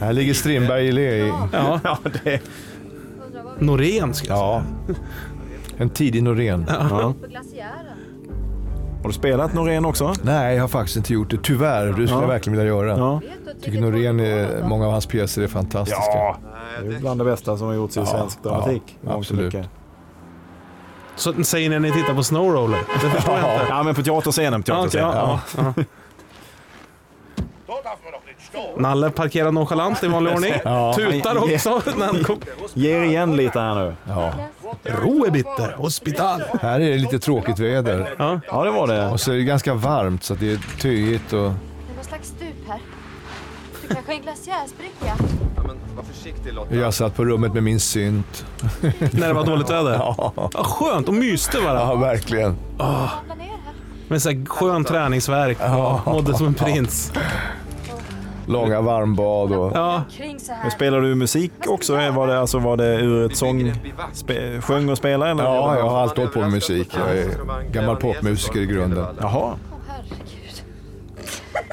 B: Här ligger Strindberg i le. i-
A: Ja.
C: det...
A: Norén ska jag
B: Ja. En tidig Norén.
C: Ja. Har du spelat Norén också?
B: Nej, jag har faktiskt inte gjort det. Tyvärr. Det skulle
C: Ja.
B: jag verkligen vilja göra.
C: Ja.
B: Tycker Norén, är, många av hans pjäser är fantastiska.
C: Ja, det är ju bland det bästa som har gjorts i svensk dramatik.
B: Ja, absolut.
A: Så säger ni när ni tittar på Snowroller? Det förstår jag inte.
C: Ja, men på teaterscenen. På teaterscenen.
A: Ja, okej, ja, Nalle parkerar nonchalant i vanlig ordning.
C: Ja.
A: Tutar också. när han kom-
C: Ger igen lite här nu.
B: Ja.
A: Ruhebitte, hospital.
B: Här är det lite tråkigt väder.
A: Ja.
C: det var det.
B: Och så är det ganska varmt så att det är töjigt
R: Det
B: och...
R: är någon slags stup här. Det kanske är en glaciärsbricka.
L: Var försiktig Lotta.
B: Jag satt på rummet med min synt.
A: När det var dåligt väder?
B: Ja.
A: Ja, skönt, och myste bara.
B: Ja, verkligen.
A: Oh. Med så här skön träningsvärk.
B: Ja.
A: Mådde som en prins.
B: Långa varmbad och...
A: Ja.
R: Kring så här.
C: Men spelar du musik också? Var det, alltså, var det ur ett sång... Spe, sjöng och spelade? Eller?
B: Ja, alltså, jag har alltid hållit på med musik. Jag är gammal popmusiker i grunden.
C: Jaha.
R: Herregud.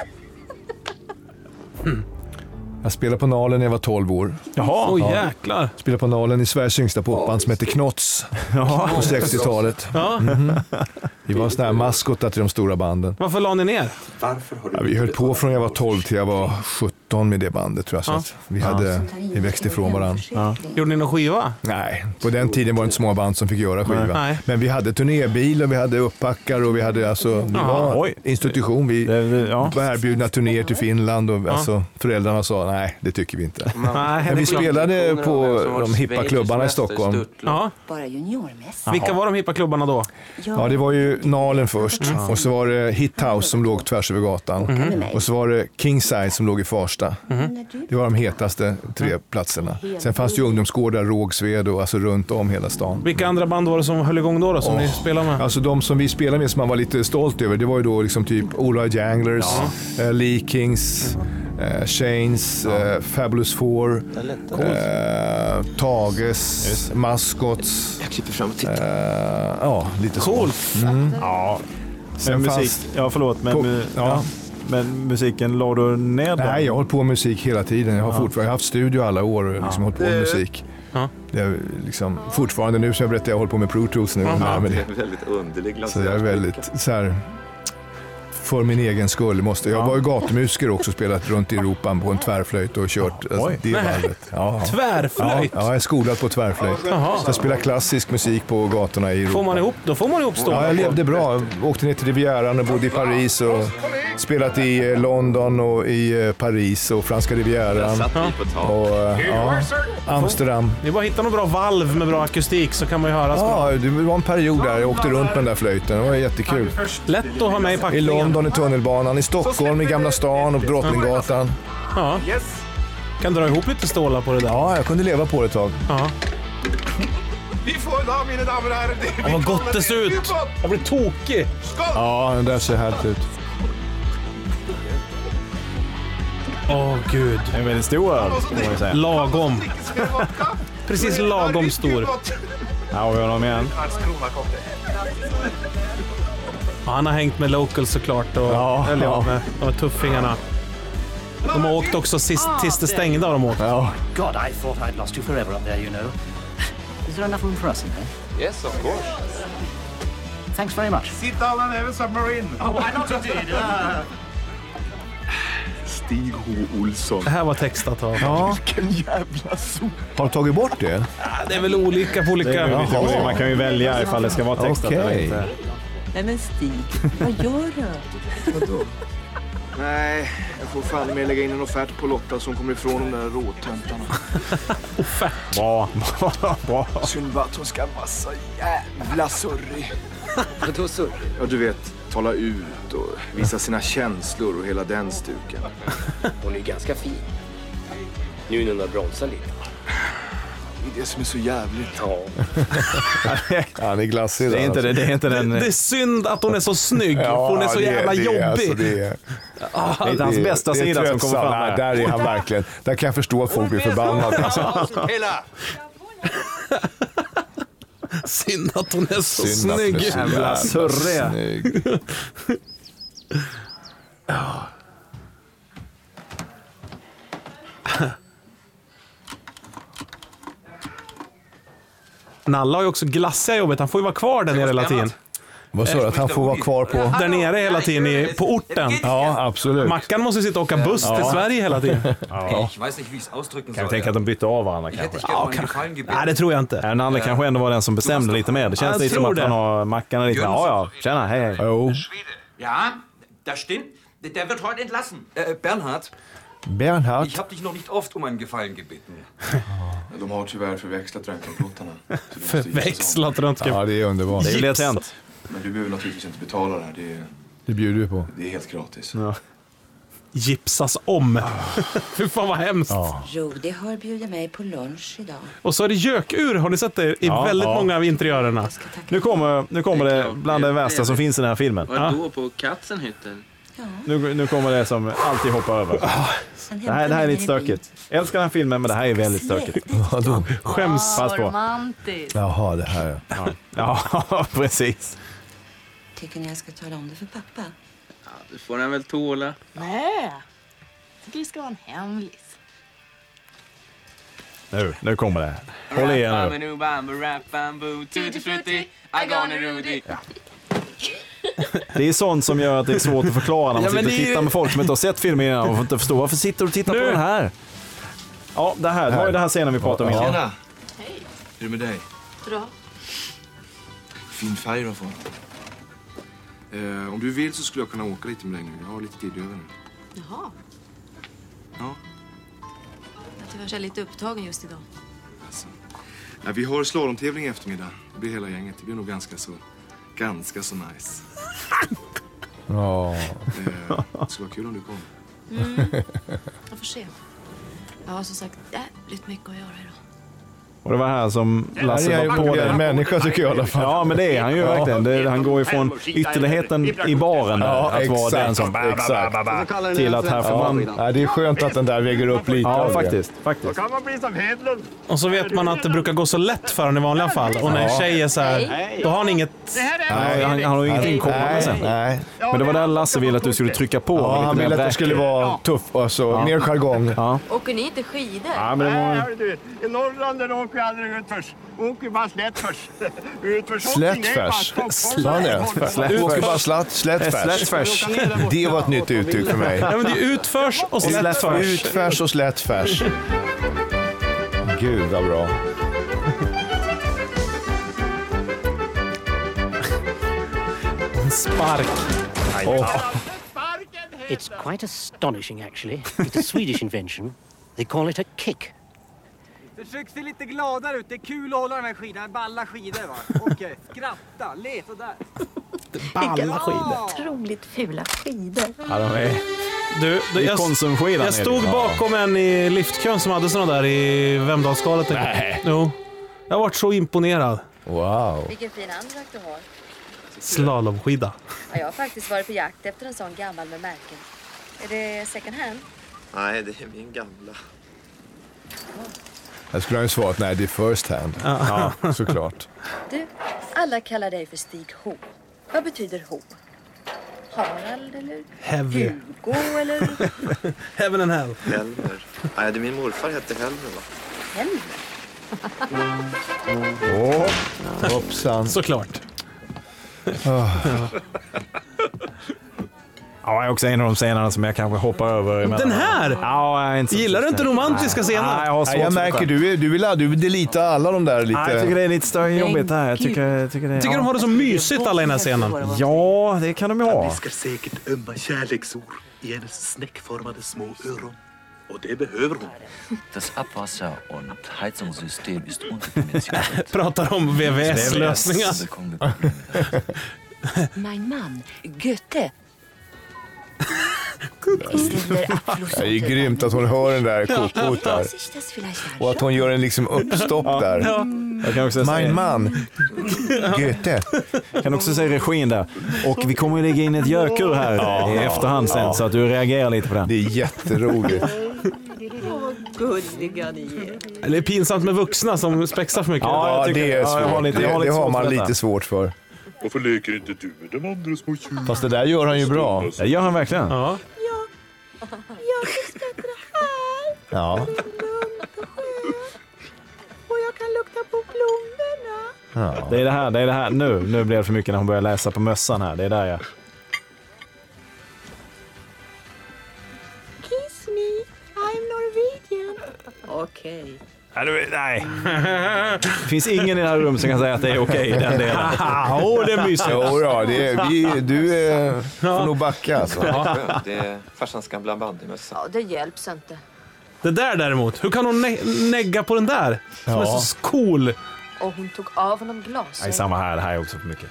B: Jag spelade på Nalen när jag var 12 år.
C: Jaha.
A: Åh, jäklar.
B: Spelade på Nalen i Sveriges yngsta popband som hette Knots
C: Jaha.
B: på 60-talet.
A: Ja.
B: Mhm. Vi var sådana här maskotar till de stora banden.
A: Varför la ni ner?
B: Ja, vi höll på från jag var 12 till jag var 17 med det bandet tror jag. Så att vi, hade, vi växte ifrån varandra.
A: Gjorde ni någon skiva?
B: Nej, på den tiden var det inte så många band som fick göra skiva.
A: Nej.
B: Men vi hade turnébil och vi hade uppbackar och vi hade alltså, vi
A: Ja.
B: var institution. Vi var erbjudna turnéer till Finland och
A: Ja.
B: alltså, föräldrarna sa nej, det tycker vi inte.
A: Nej,
B: Men
A: det är
B: vi
A: klart.
B: spelade på
A: som har
B: de
A: varit
B: hippa
A: Schweiz,
B: klubbarna i
A: Mäster,
B: Stockholm.
A: Ja.
I: Bara juniormässigt.
A: Vilka var de hippa klubbarna då?
B: Ja, Mm. det var ju Nalen först och så var det Hithouse som låg tvärs över gatan.
I: Mhm.
B: Och så var det Kingside som låg i Farsta.
I: Mhm.
B: Det var de hetaste tre platserna. Sen fanns det ju ungdomsgårdar, Rågsved och alltså runt om hela stan.
A: Vilka andra band var det som höll igång då, då som ni spelade med?
B: Alltså de som vi spelade med som man var lite stolt över, det var ju då liksom typ Ola Janglers, eh, Lee Kings, eh, Shanes, eh, Fabulous Four, eh, Tages, Maskots. Jag klipper fram och tittar. Eh, ja, lite så. Mm.
C: Ja. Men
B: Sen
C: musik,
B: fanns-
C: ja förlåt, men,
B: På-
C: mu- ja.
B: ja.
C: men musiken la du ner den?
B: Nej, jag har hållit på med musik hela tiden. Jag har
C: Ja.
B: fortfarande jag har haft studio alla år och liksom hållit på med musik. Det är liksom, fortfarande nu så jag berättar jag håller på med Pro Tools nu.
S: Ja,
B: men
S: det
B: det-
S: är en väldigt underlig
B: Så jag är
S: glasögon.
B: väldigt så här, för min egen skull måste jag. Jag var ju gatumusiker också, spelat runt i Europa på en tvärflöjt och kört alltså, det
A: Nej.
B: varvet. Ja.
A: Tvärflöjt?
B: Ja, ja, jag är skolad på tvärflöjt.
A: Jaha.
B: Så jag spelar klassisk musik på gatorna i Europa.
A: Får man ihop, då får man ihop
B: Ja, jag
A: stålar.
B: levde bra. Åkte ner till Rivieran och bodde i Paris och spelat i eh, London och i eh, Paris och franska
A: Där
B: Rivieran.
A: satt vi på tak.
B: Och, eh, ja, Amsterdam.
A: Det är bara att hitta någon bra valv med bra akustik så kan man ju höras bra.
B: Ja, det var en period där jag åkte runt med den där flöjten. Det var jättekul.
A: Lätt att ha med i
B: I
A: packningen.
B: London i tunnelbanan, i Stockholm i Gamla stan och på Drottninggatan.
A: Ja. Kan dra ihop lite stålar på det där.
B: Ja, jag kunde leva på det ett tag.
A: Ja.
H: Vi får da, mine damer og herrer, det
A: Ja, vad gott det ser ut! Jag blir tokig!
B: Ja, den där ser härligt ut.
A: Åh gud.
C: En väldigt stor öl, kan man ju säga.
A: Lagom. Precis lagom stor.
C: Här har vi honom igen.
A: Ja, han har hängt med Locals såklart och ja, eller ja. med de här tuffingarna. De har åkt också sist,
J: Ah,
A: tills det stängde har de åkt.
J: God, I thought I'd lost you forever up there, you know. Is there enough room for us in there?
L: Yes, of course.
J: Thanks very much.
H: Sit down and have a submarine.
J: Oh, why not indeed? Ah.
L: Stig H. Olsson.
A: Det här var textat av.
B: Ja.
L: Vilken jävla sol.
B: Har du tagit bort det?
A: Det är väl olika på olika...
C: Det är väl lite
B: Jaha.
C: olika. Man kan ju välja ifall det ska vara textat eller
B: Okej.
C: inte.
X: Nej men Stig, vad gör du?
L: Vadå? Nej, jag får fan med lägga in en offert på Lotta som kommer ifrån de där råtöntarna.
C: Bra, bra, bra.
L: Synd bara att hon ska vara så jävla surrig. Vadå surrig? Ja, du vet, tala ut och visa sina känslor och hela den stuken.
U: Hon är ju ganska fin. Nu när hon har bromsat lite.
L: Det är det som är så jävligt. Ja.
B: Han är alltså. glassig
C: Det är inte det- det är inte den-
A: Det är synd att hon är så snygg. för hon är så
B: det-
A: jävla
B: det är-
A: jobbig.
B: alltså, det är-
A: Ah,
C: Det är inte hans
B: Det-
C: bästa
B: det är
C: sida som kommer
B: tröttsamt.
C: fram
B: Nej,
C: här.
B: Där är han verkligen. Där kan jag förstå att folk blir förbannade. alltså.
A: Synd att hon är så
B: Synd att hon är
A: snygg.
B: så jävla Jävla surre. snygg.
A: Ja. Nalla har ju också glassiga jobbet. Han får ju vara kvar där nere hela tiden.
B: Vad sa du? Att han får vara kvar på...
A: Där nere hela tiden i, på orten.
B: Ja, absolut.
A: Mackan måste ju sitta och åka buss till
C: Ja.
A: Sverige hela tiden.
C: Ja.
J: Ich weiß nicht, wie ich es ausdrücken
C: Kan vi
J: soll.
C: tänka att de bytte av varandra kanske?
J: Ja, kanske.
A: Nej, det tror jag inte.
C: Den andra kanske ändå var den som bestämde lite mer. Det känns
J: Jag
C: lite som
J: tror
C: att
J: det.
C: han har Mackan är lite... Ja, ja. Tjena, hej, hej.
J: Ja, das stimmt. Der wird heute entlassen. Äh, Bernhard,
B: Bernhard.
J: ich habe dich noch nicht oft um einen Gefallen gebeten.
L: De har tyvärr förväxlat röntgenplåtarna. så du måste gipsa
A: Förväxlat
L: om.
A: röntgen.
B: Ja, det är underbart. Det är ju lätt hänt.
L: Men du behöver naturligtvis inte betala det här. Det är,
B: Det bjuder vi på.
L: det är helt gratis.
A: Gipsas om. Fy fan vad hemskt.
I: Jo, det har bjudit mig på lunch idag.
A: Och så är det gökur, har ni sett det? I
C: Ja,
A: väldigt
C: ja.
A: många av interiörerna.
C: Nu kommer, nu kommer det bland det värsta som finns i den här filmen.
V: Vadå på Katzenhütten?
C: Nu, nu kommer det som alltid hoppar över. Det här, det här är lite stökigt. Jag älskar den här filmen, men det här är väldigt stökigt.
B: Vadå?
C: Skäms. Pass på.
N: romantiskt.
B: Jaha, det här
C: ja. Ja, precis.
I: Tycker ni jag ska tala om det för pappa?
V: Det får han väl tåla.
N: Nej, det ska vara en hemlis.
C: Nu, nu kommer det. Håll i er nu.
V: Bambu, bambu, rap, bambu, tutti frutti, I gonna Rudy.
C: Det är sånt som gör att det är svårt att förklara när man
V: Ja, men
C: sitter
V: det
C: och
V: är ju-
C: tittar med folk som inte har sett filmen innan och inte förstår. Varför sitter du och tittar på den här? Ja, det här. Det var ju den här scenen vi pratade om innan.
L: Tjena! Hur är det med dig?
N: Bra.
L: Fin färg du har fått. Eh, om du vill så skulle jag kunna åka lite med dig nu. Jag har lite tid över nu.
N: Jaha.
L: Ja.
N: Tyvärr så är jag lite upptagen just idag.
L: Nej, Alltså. vi har slalomtävling i eftermiddag. Det blir hela gänget. Det blir nog ganska så... Ganska så nice.
B: Ja.
L: Eh, det skulle vara kul om du kom.
N: Mm. Jag får se. Jag har som sagt jävligt mycket att göra idag.
C: Och det var här som
B: Här
C: Lasse
B: är
C: var
B: jag
C: på
B: ju
C: den.
B: en människa, tycker jag i alla fall.
C: Ja, men det är han ju
B: Ja.
C: verkligen. Det, han går ju från ytterligheten i baren där,
B: Ja,
C: att vara
B: exakt,
C: den som...
B: exakt.
C: Till att här får man...
B: Ja, nej, det är skönt att den där väger upp lite.
C: Ja,
B: av det.
C: faktiskt. faktiskt.
H: kan man bli som Hedlund.
A: Och så vet man att det brukar gå så lätt för honom i vanliga fall. Och när en
C: Ja.
A: tjej är så här, då har han inget...
C: Nej, han, han har ju ingenting kommande
B: Nej,
C: sen.
B: nej.
C: Men det var där Lasse ville att du skulle trycka på.
B: Ja,
C: lite
B: han
C: mer
B: ville att det
C: bräcklig.
B: skulle vara tuff, alltså,
C: Ja.
B: mer jargong.
C: Ja.
N: Åker ni inte skidor?
C: Ja, men det var-
H: Nej, hör du, I Norrland där de
D: åker aldrig utförs. Åker bara slättfärs. Utförsåkning,
B: Slättfärs. Sa han det? Åker bara slatt, slättfärs. Det var ett nytt uttryck för mig.
A: Ja, men det är utförs och så slättfärs.
B: Utfärs och slättfärs. Gud vad bra.
A: En spark. Åh.
G: It's quite astonishing, actually. It's a Swedish invention. They call it a kick.
O: Försök se lite gladare ut. Det är kul att hålla den här skidan. Balla skidor va? Okej, skratta, le sådär.
A: Balla skidor.
P: Otroligt fula skidor.
C: Ja, de är...
A: Du, du,
C: Det är liksom.
A: jag,
C: konsumskidan,
A: jag stod
C: är det.
A: bakom en i liftkön som hade såna där i Vemdalsskalet. en gång.
C: Nej.
A: Jo. Jag har varit så imponerad.
B: Wow.
T: Vilken fin andrak du har.
A: Slalomskida.
T: Ja, jag har faktiskt varit på jakt efter en sån gammal med märken. Är det second hand?
S: Nej, det är min gamla.
B: Jag skulle ha ju svarat nej, det är first hand.
A: Ja.
B: Ja, såklart.
T: Du, alla kallar dig för Stig Ho. Vad betyder Ho? Harald eller
A: Heavy.
T: Go eller
A: Heaven and hell.
S: Helmer. Nej, det min morfar hette Helmer va?
T: Henry?
B: Åh, hoppsan.
A: Såklart.
C: Ja, jag är också en av de scenerna som jag kanske hoppar över. emellan.
A: Den här?
C: Ja, jag är inte så
A: Gillar du inte
C: förtjust.
A: romantiska scener?
C: Nej, jag har svårt
B: Nej, jag
C: för
B: märker,
C: det.
B: du, är- du vill, du vill delita alla de där lite...
C: Nej, jag tycker det är lite större jobbigt här. Jag tycker, jag tycker, det,
A: Tycker de har det så mysigt alla i den här scenen?
C: Ja, det kan de ju ha.
W: Viskar säkert ömma kärleksord i hennes snäckformade små öron. Och det behöver hon.
Y: Das Abwasser- und Heizungssystem ist unterdimensioniert.
A: Pratar om VVS-lösningar.
T: Mein man, Goethe.
B: Det är ju grymt att hon hör den där kokot där. Och att hon gör en liksom uppstopp där.
C: Ja. Jag kan också säga-
B: Mein man, Goethe.
C: Kan också säga regin där. Och vi kommer ju lägga in ett gökur här i efterhand sen
B: Ja.
C: så att du reagerar lite på den.
B: Det är jätteroligt.
X: Åh, vad gulliga ni är.
A: Eller är pinsamt med vuxna som spexar för mycket.
B: Ja, det är
A: jag har
B: svårt.
A: lite- jag
B: Det, det
A: lite
B: har
A: svårt
B: man
A: för detta.
B: lite svårt för.
W: Varför leker inte du med de andra små tjuren?
B: Fast det där gör han ju bra.
C: Det gör han verkligen. Ja.
X: Jag uppskattar det här.
B: Ja.
X: Och jag kan lukta på blommorna.
C: Det är det här, det är det här. Nu, nu blir det för mycket när hon börjar läsa på mössan här. Det är där jag...
X: Kiss me, I'm Norwegian. Okej.
C: Nej, du- Nej. Det finns ingen i det här rummet som kan säga att det är okej i den delen.
B: Åh, det är mysigt. Jo, då, det är, vi, du eh, får nog backa alltså.
S: Ja. Det är farsans gamla bandymössa.
P: Ja, det hjälps inte.
A: Det där däremot, hur kan hon ne- negga på den där? Som
C: Ja.
A: är så cool.
P: Och hon tog av honom
C: Nej,
P: glasögonen.
C: samma här. Det här är också för mycket.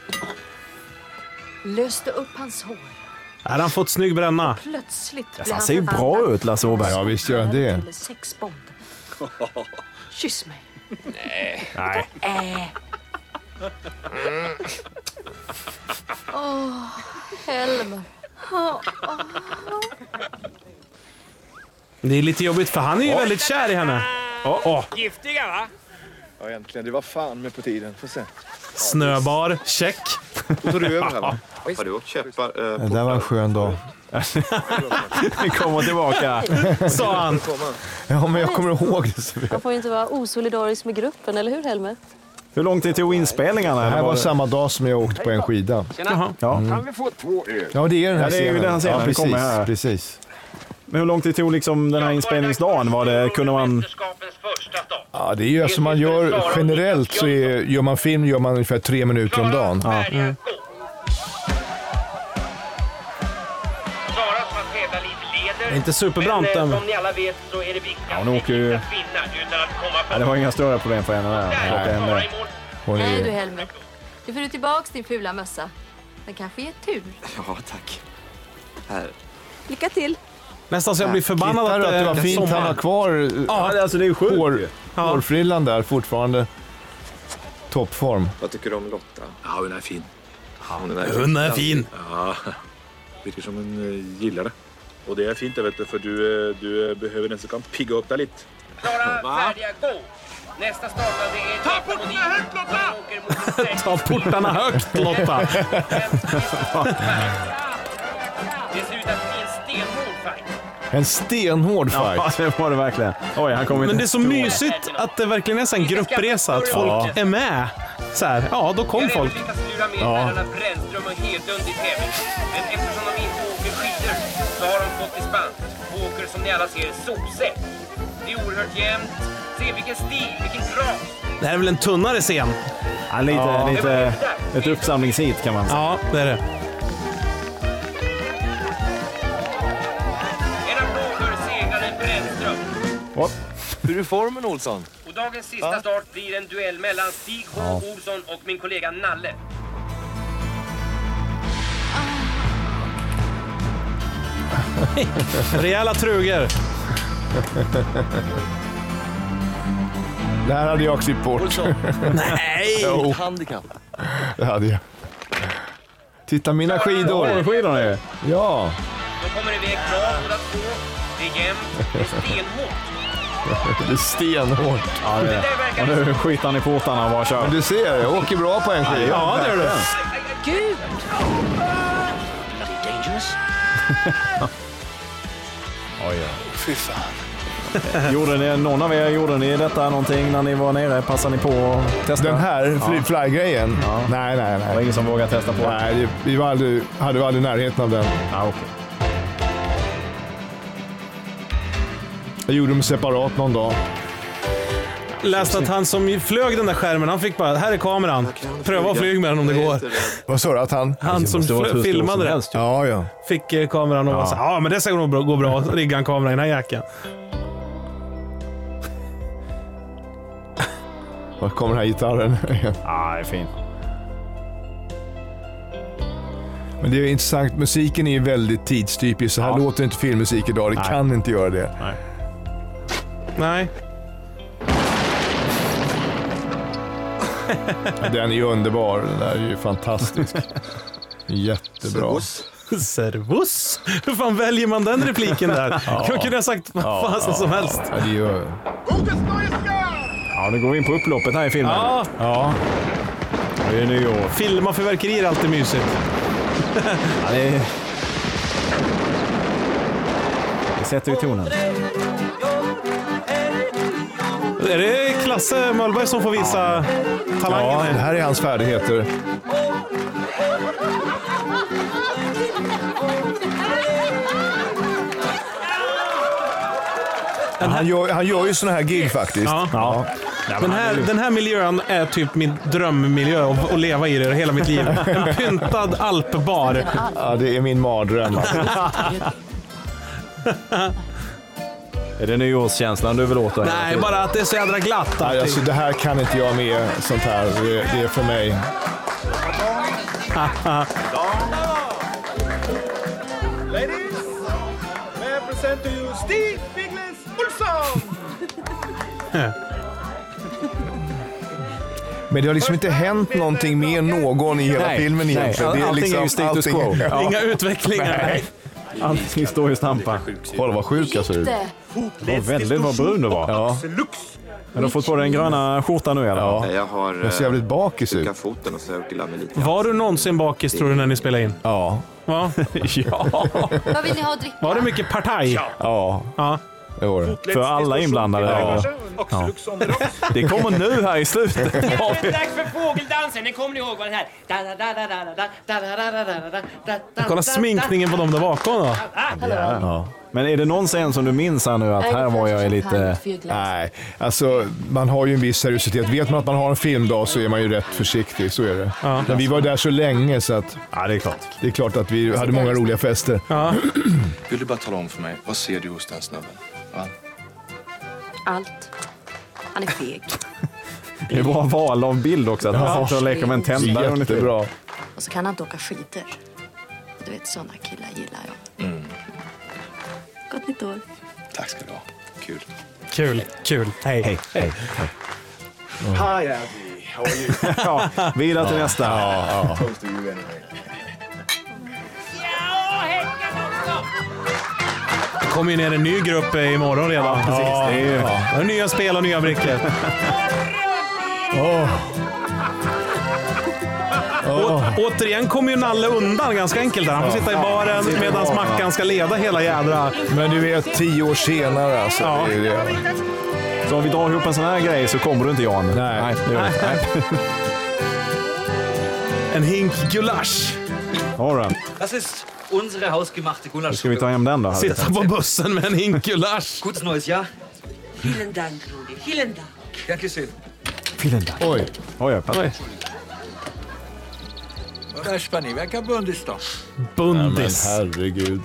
P: Löste upp hans hår.
A: Här har han fått snygg bränna.
P: Plötsligt blev
C: Alltså, han ser ju bra ut, Lasse Åberg. Ja,
B: visst gör han
P: till sexbomb. Kyss mig.
C: Nej. Mm. Nej.
P: Äh. Åh, Helmer. Åh, åh.
A: Det är lite jobbigt för han är ju väldigt kär i henne. Oh, oh.
E: Giftiga va?
L: Ja, egentligen. Det var fan med på tiden. Får se.
A: Snöbar, check.
L: Då tar du över här, va?
S: Har du åkt köpar... eh,
B: Det där var en skön dag.
C: Vi kommer tillbaka,
A: sa han.
B: Ja, men jag kommer ihåg det. så väl.
Z: Man får ju inte vara osolidarisk med gruppen, eller hur Helmer?
C: Hur lång tid tog inspelningarna?
B: Det här
C: Eller
B: var samma dag som jag åkte på en skida.
C: Jaha. Ja.
W: Kan vi få två öl?
B: Ja, det är den här
C: Ja, det är ju
B: scenen.
C: den här scenen.
B: Ja,
C: Vi kommer här.
B: precis, precis.
C: Men hur lång tid tog liksom den här inspelningsdagen? Var det, kunde man...
B: Ja, det är ju som man gör generellt så är, gör man film gör man ungefär tre minuter om dagen.
C: Ja.
B: Mm.
E: Sara Svartvedalid leder.
A: Det är inte superbrant,
E: men, eh,
A: den.
E: Som ni alla vet så är det viktigt
C: Ja, hon åker ju...
E: att vinna utan att komma
C: Ja, det var inga större problem för henne där. Hon åkte hem där. Hon
Z: Nej du
C: är...
Z: Helmer. Nu får du tillbaks din fula mössa. Den kanske ger tur.
S: Ja, tack. Här.
Z: Lycka till.
A: Nästan så jag blir förbannad
B: Hittar du att det var
A: eh,
B: fint
A: sommar.
B: han har kvar
A: Ja,
C: alltså det är sjukt
B: hår, hårfrillan där fortfarande. Toppform.
L: Vad tycker du om Lotta? Ja, hon är fin. hon
A: Hon är fin.
W: Ja. Virker som hun eh, gillar det. Och det är fint det, vet du, för du, eh, du eh, behöver den som kan pigga upp dig lite.
E: Klara, färdiga, gå! Nästa startande är... Ta
A: Ta
E: portarna högt Lotta!
A: portarna högt Lotta.
E: Det ser ut att bli en stenhård fight.
B: En stenhård fight.
C: Ja, det var det verkligen. Oj, han kom inte
A: Men det är så
C: ifrån.
A: mysigt att det verkligen är så en gruppresa, att folk
C: Ja.
A: är med. Så här, ja, då kom folk.
E: Sura med
A: Ja.
E: herrarna Brännström och Hedlund i tävling. Men eftersom de inte åker skidor så har de fått dispens och åker som ni alla ser sose. Det är oerhört jämnt. Se vilken stil, vilken krav.
A: Det här är väl en tunnare scen?
C: Ja, lite, lite ett uppsamlingshit kan man säga.
A: Ja, det är det.
E: En applåd för segraren Brännström.
S: Hur är formen, Olsson?
E: Och dagens sista start blir en duell mellan Stig H.
S: Ja.
E: Olsson och min kollega Nalle.
A: Rejäla truger.
B: Det här hade jag klippt bort.
A: Nej!
B: Jo,
S: Handikapp.
B: det hade jag. Titta mina skidor.
C: Åh, skidorna är
B: Ja.
E: De kommer iväg bra båda två. Det är jämnt, det är stenhårt.
B: Det är stenhårt.
C: Ja, det är det. Och nu skiter han i portarna och bara kör.
B: Men du ser, jag åker bra på en skida.
C: Ja, det gör du.
E: Gud!
S: Dangerous?
C: Oj,
S: Fy fan.
C: ja. Gjorde ni, någon av er, gjorde ni detta någonting när ni var nere? Passade ni på att testa?
B: Den här
C: Ja.
B: fly, fly-grejen? Nej, nej, nej. Det var
C: ingen som vågade testa på
B: Nej, det- vi var aldrig, hade vi aldrig närheten av den.
C: Ja, okay.
B: Jag gjorde dem separat någon dag.
A: Läste att han som ju flög den där skärmen, han fick bara, här är kameran. Pröva att flyga med den om det går.
B: Vad sa du? Att han...
A: Han som
B: måste vara
A: fl-
B: hur stor
A: filmade
B: som
A: det.
B: helst, typ. Ja, ja.
A: Fick eh, kameran och
B: Ja.
A: var så här, ja men det ska nog bra- gå bra. Så Riggade han kameran i den här jackan.
B: Var kommer den här gitarren?
C: Ja, det är fin.
B: Men det är intressant, musiken är ju väldigt tidstypisk. Så här låter inte filmmusik idag, det
A: Nej.
B: kan inte göra det.
C: Nej.
A: Nej.
B: Den är ju underbar, den där är ju fantastisk. Jättebra.
A: Servus! Hur fan väljer man den repliken där?
B: Ja.
A: Jag kunde ha sagt vad
B: Ja.
A: fasen som helst.
B: Ja, det gör
C: Ja, nu går vi in på upploppet här i filmen.
A: Ja.
C: ja. Det är nyår.
A: Filma fyrverkerier är alltid mysigt.
C: Ja, det, är... det sätter ju tonen.
A: Är det Klasse Möllberg som får visa talangen?
B: Ja, det här är hans färdigheter. Han gör, han gör ju såna här gig faktiskt.
A: Ja.
C: Ja.
A: Den här, den här miljön är typ min drömmiljö att att leva i det hela mitt liv. En pyntad alpbar.
B: Ja, det är min mardröm.
C: Är det nyårskänslan du vill åt? då?
A: Nej, bara att det är så jädra glatt
B: Nej, alltså,
A: allting.
B: det här kan inte jag med sånt här. Det, det är för mig.
H: Ladies, may I present to you Steve Biglis Olsson!
B: Men det har liksom inte hänt någonting med någon i hela
C: Nej,
B: filmen
C: nej.
B: egentligen. Det liksom
C: Allting är ju status quo.
B: Ja.
A: Inga utvecklingar.
B: Nej.
C: Allting står ju och stampar.
B: Kolla vad sjuk jag ser ut.
C: Vad väldigt vad brun du var. Ja. Men du har fått på dig den gröna skjortan nu i alla fall.
S: Nej, jag har...
A: Jag ser jävligt
B: bakis
S: ut. foten och så har jag glömt mig lite.
A: Var du någonsin bakis tror du när ni spelade in?
B: Ja.
A: Va? ja.
Z: Vad vill ni ha att dricka?
A: Var det mycket partaj?
B: Ja.
A: ja.
B: Det var
C: det. För alla inblandade.
A: Ja.
C: Ja. Det kommer nu här i slutet.
E: Nu är det dags för fågeldansen. Ni kommer ihåg vad den här... Da, da, da, da, da, da, da, da, da, da, da, da, da, da,
A: Kolla sminkningen på dem där bakom då.
C: Ja. Men är det någon scen som du minns här nu att här var jag i lite...
B: Nej, alltså man har ju en viss seriositet. Vet man att man har en filmdag så är man ju rätt försiktig, så är det. Men vi var där så länge så att...
C: Ja, det är klart.
B: Det är klart att vi hade många roliga fester.
L: Vill du bara tala om för mig, vad ser du hos den snubben? Va?
Z: Allt. Han är feg.
C: Det är bra val av bild också. Att han
Z: Ja.
C: sitter och leker med en tändare. under tiden.
B: Jättebra.
Z: Och så kan han inte åka skidor. Du vet, sådana killar gillar jag.
K: Mm.
Z: Gott nytt år.
L: Tack ska du ha. Kul.
A: Kul, kul. Hej. Hej.
C: Hej.
H: Hi, Abby. How are you?
C: Ja, vidare till
H: Ja.
C: nästa.
H: Close to you anyway.
A: Det kommer ju ner en ny grupp eh, imorgon redan.
C: Ja, det är ju-
A: Och Nya spel och nya brickor.
B: Åh.
A: Å- Återigen kommer ju Nalle undan ganska enkelt där. Han får sitta i baren medan Mackan ska leda hela jädra...
B: Men du vet, tio år senare alltså.
A: Ja.
B: Det är ju det.
C: Så om vi drar ihop en sån här grej så kommer du inte Jan. Nej. Nej, det gör jag inte. Nej.
A: En hink gulasch.
C: All right.
F: Das ist unsere hausgemachte
C: Då
F: Gulasch.
C: ska vi ta hem den då.
A: Sitta på bussen med en hink gulasch.
F: Gutes neues Jahr.
X: Vielen Dank, Rudi. Vielen Dank.
F: Dankeschön.
C: Vielen Dank. Oj. Oj, oj. Oj.
F: Räspa ni verkar bundis då.
A: Bundis.
C: Nej, men herregud.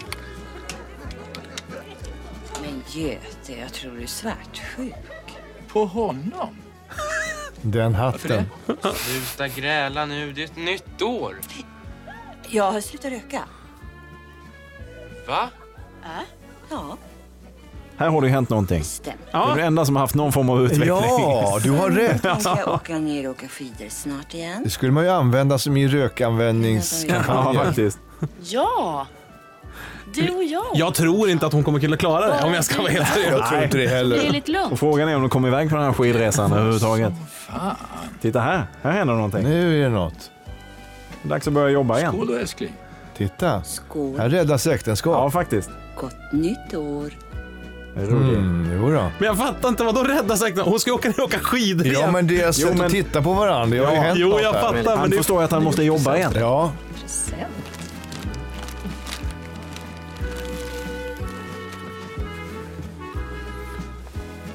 X: Men Göte, jag tror du är svartsjuk.
F: På honom?
B: Den hatten.
V: Sluta gräla nu, det är ett nytt år.
X: Jag har slutat röka.
V: Va?
X: Äh? Ja.
C: Här har det ju hänt någonting. Du är den enda som har haft någon form av utveckling.
B: Ja, du har rätt.
X: Jag ska åka ner och åka skidor snart igen.
B: Det skulle man ju använda som i rökanvändningskampanjer.
A: Ja,
B: faktiskt.
X: Ja!
K: Du och jag.
A: Jag tror inte att hon kommer kunna klara det om jag ska vara helt seriös.
C: Jag tror inte det heller.
K: Det är lite lugnt.
C: Och frågan är om de kommer iväg på den här skidresan överhuvudtaget.
F: Fan.
C: Titta här, här händer någonting.
B: Nu är det något.
C: Dags att börja jobba igen.
F: Skål då älskling.
B: Titta, här räddas äktenskap.
C: Ja, faktiskt.
X: Gott nytt år.
B: Mm, jo då.
A: Men jag fattar inte, vadå rädda säkert? Hon ska åka ner och åka skidor
B: Ja,
A: igen.
B: men deras sätt att titta på varandra. Det har ju
A: Ja.
B: hänt
A: Jo,
B: något
A: jag
B: här.
A: fattar, men Han det- förstår ju att han måste jobba igen.
B: Ja.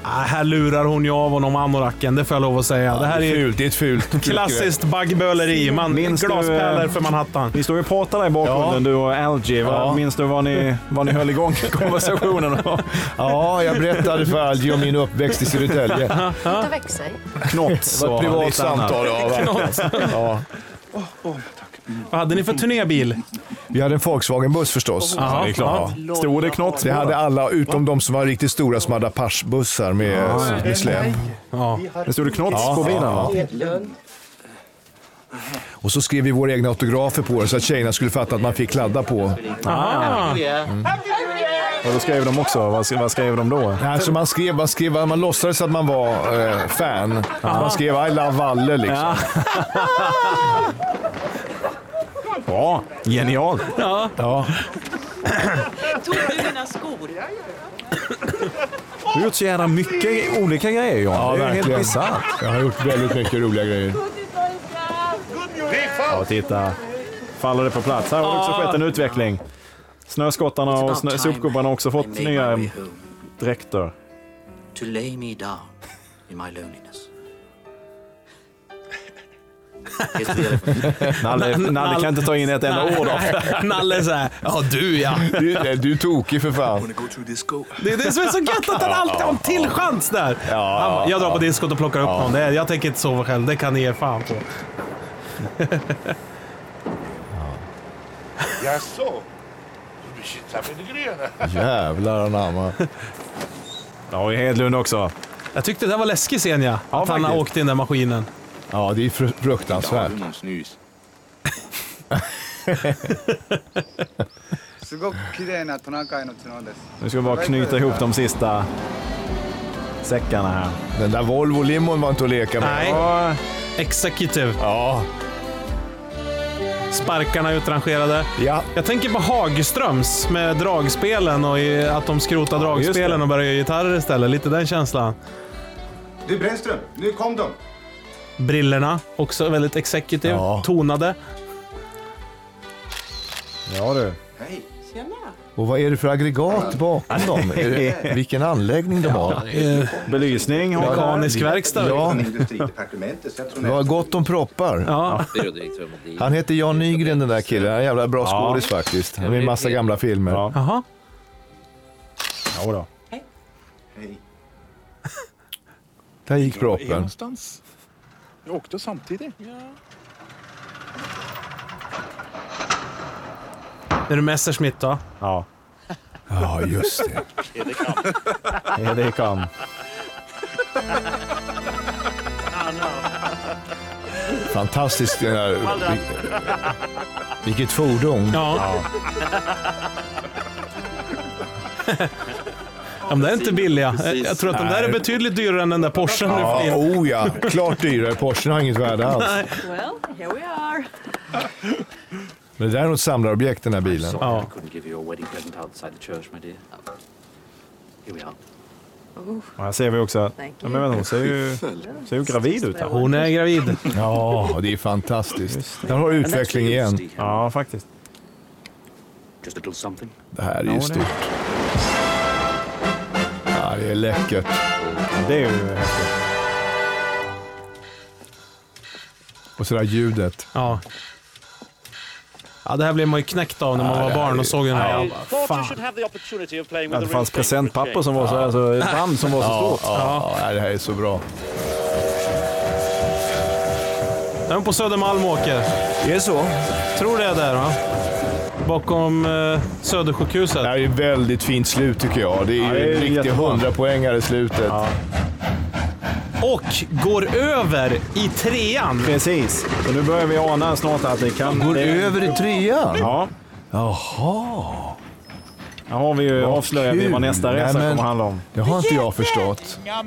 A: Ah, här lurar hon ju av honom anoraken, det får jag lov att säga. det här
B: det är
A: är
B: fult, det är ett fult
A: Klassiskt baggböleri. Man,
C: Minns du, eh,
A: glaspärlor för Manhattan.
C: Vi står ju och pratar där i bakgrunden, du och Algie.
A: Ja.
C: Ja. Minns du vad ni, vad ni höll igång konversationen om?
B: Ja, jag berättade för Algie om min uppväxt i Södertälje.
Z: Sluta växa i.
C: Knots
B: Det var ett
C: och
B: privat
C: lite annat.
B: samtal, ja, verkligen.
A: Knots.
B: Ja.
A: Vad hade ni för turnébil?
B: Vi hade en Volkswagen-buss förstås.
A: Ja, det är klart. Ja. Stod det knott på
B: Det hade
A: den?
B: alla, utom de som var riktigt stora som hade Apache-bussar med,
A: Ja, ja.
B: med släp.
A: Ja.
B: Det stod det knots på bilen, va?
F: Lönn.
B: Och så skrev vi våra egna autografer på det så att tjejerna skulle fatta att man fick kladda på.
C: Ah. Och då skrev de också, vad, vad skrev de då?
B: Alltså man skrev, man skrev, man låtsades att man var eh, fan. Man skrev I love Valle liksom.
C: Bra, genial.
A: Ja.
B: ja.
K: Tog du mina skor?
C: Du har gjort så jävla mycket olika grejer John.
B: Ja,
C: det är helt
B: verkligen.
C: bisarrt.
B: Jag har gjort väldigt mycket roliga grejer.
C: Ja, titta. Faller det på plats. Här har det också
F: Ah.
C: skett en utveckling. Snöskottarna och snö, sopgubbarna har också fått nya dräkter.
F: To lay me down in my loneliness. Helt fel.
C: Nalle, Nalle kan inte ta in ett enda ord av det.
A: Nalle är såhär, ja du ja.
B: Du, eh, du är tokig för fan.
A: Det är det som är så gött att han alltid har en till chans där. Han bara, jag drar på diskot och plockar upp någon. Det är, jag tänker inte sova själv, det kan ni ge fan på.
H: Jaså? Du kittar med det gröna.
B: Jävlar anamma.
C: Där har vi Hedlund också.
A: Jag tyckte det där var läskig scen ja. Att han
B: faktiskt.
A: åkte in den maskinen.
B: Ja, det är fru- fruktansvärt.
C: Nu ska vi bara knyta ihop de sista säckarna här.
B: Den där Volvo-limon var inte att leka med.
A: Nej. Executive.
B: Ja.
A: Sparkarna utrangerade.
B: Ja.
A: Jag tänker på Hagströms med dragspelen och i- att de skrotar
M: just
A: dragspelen
M: det.
A: och börjar göra gitarrer istället. Lite den känslan.
M: Du Brännström, nu kom de.
A: Brillorna också väldigt executive. Tonade.
B: Ja du.
M: Hej. Tjena.
B: Och vad är det för aggregat bakom dem? Är det, vilken anläggning de har?
C: Belysning
B: och-
M: Mekanisk
B: verkstad.
M: Ja.
B: Ja.
M: Industridepartementet, så jag tror
B: Det var
M: nästan-
B: gott om proppar.
A: Ja.
B: Han heter Jan Nygren den där killen. Han är en jävla bra
M: Ja.
B: skådis faktiskt. Han är med i massa gamla filmer.
A: Jaha.
C: Ja, då.
M: Hej.
B: Där
W: Var
B: gick
W: är jag
B: proppen.
W: någonstans? Jag åkte samtidigt.
A: Är du Messerschmitt då?
C: Ja.
B: Ja, just det.
C: Ja, det kan.
B: Fantastiskt. Den här, vilket fordon.
A: Ja. Ja, men det är inte billiga.
B: Precis.
A: Jag tror att de där är
B: Nej.
A: betydligt dyrare än den där Porschen nu för
B: Ja,
A: tiden.
B: oh ja. Klart dyrare. Porschen har inget värde alls.
A: Nej.
X: Well, here we are.
Z: car.
B: Men det där är något samlarobjekt den här bilen.
G: Sorry, I couldn't give you your wedding present outside the church, my dear. Here we are.
Z: Oh.
C: Och här ser vi också att
Z: Thank
C: ja, men vänta, hon ser ju, ser ju gravid ut. Här.
B: Hon är
A: gravid.
B: Ja, det är fantastiskt. Där har du utveckling igen.
C: Ja, faktiskt.
G: Just a little something.
B: Det här är ju stort. Ja, det är läckert.
C: Det är ju häftigt.
B: Och så det här ljudet.
A: Ja. Ja, det här blev man ju knäckt av när man
B: Ja, det
A: var
B: här
A: barn
B: är-
A: och såg den
B: Ja,
A: här.
B: vad
A: Fan.
C: Att det fanns presentpapper som var så här, så ett band som var så
B: Ja,
C: stort.
B: ja, ja, det här är så bra.
A: Den är på Södermalm åker.
B: Det är så?
A: Tror det är där va? Bakom eh, Södersjukhuset.
B: Det här är ett väldigt fint slut tycker jag. Det är ju
A: Ja, det är
B: en riktig
A: jättebra.
B: hundrapoängare i slutet.
A: Och går över i trean.
C: Precis. Och nu börjar vi ana snart att det kan... Går
B: över i trean?
C: Ja.
B: Jaha.
C: Här har vi ju avslöjat vi vad nästa
B: Nej,
C: resa
B: men-
C: kommer handla om.
B: Det har inte jag förstått.
A: Ja,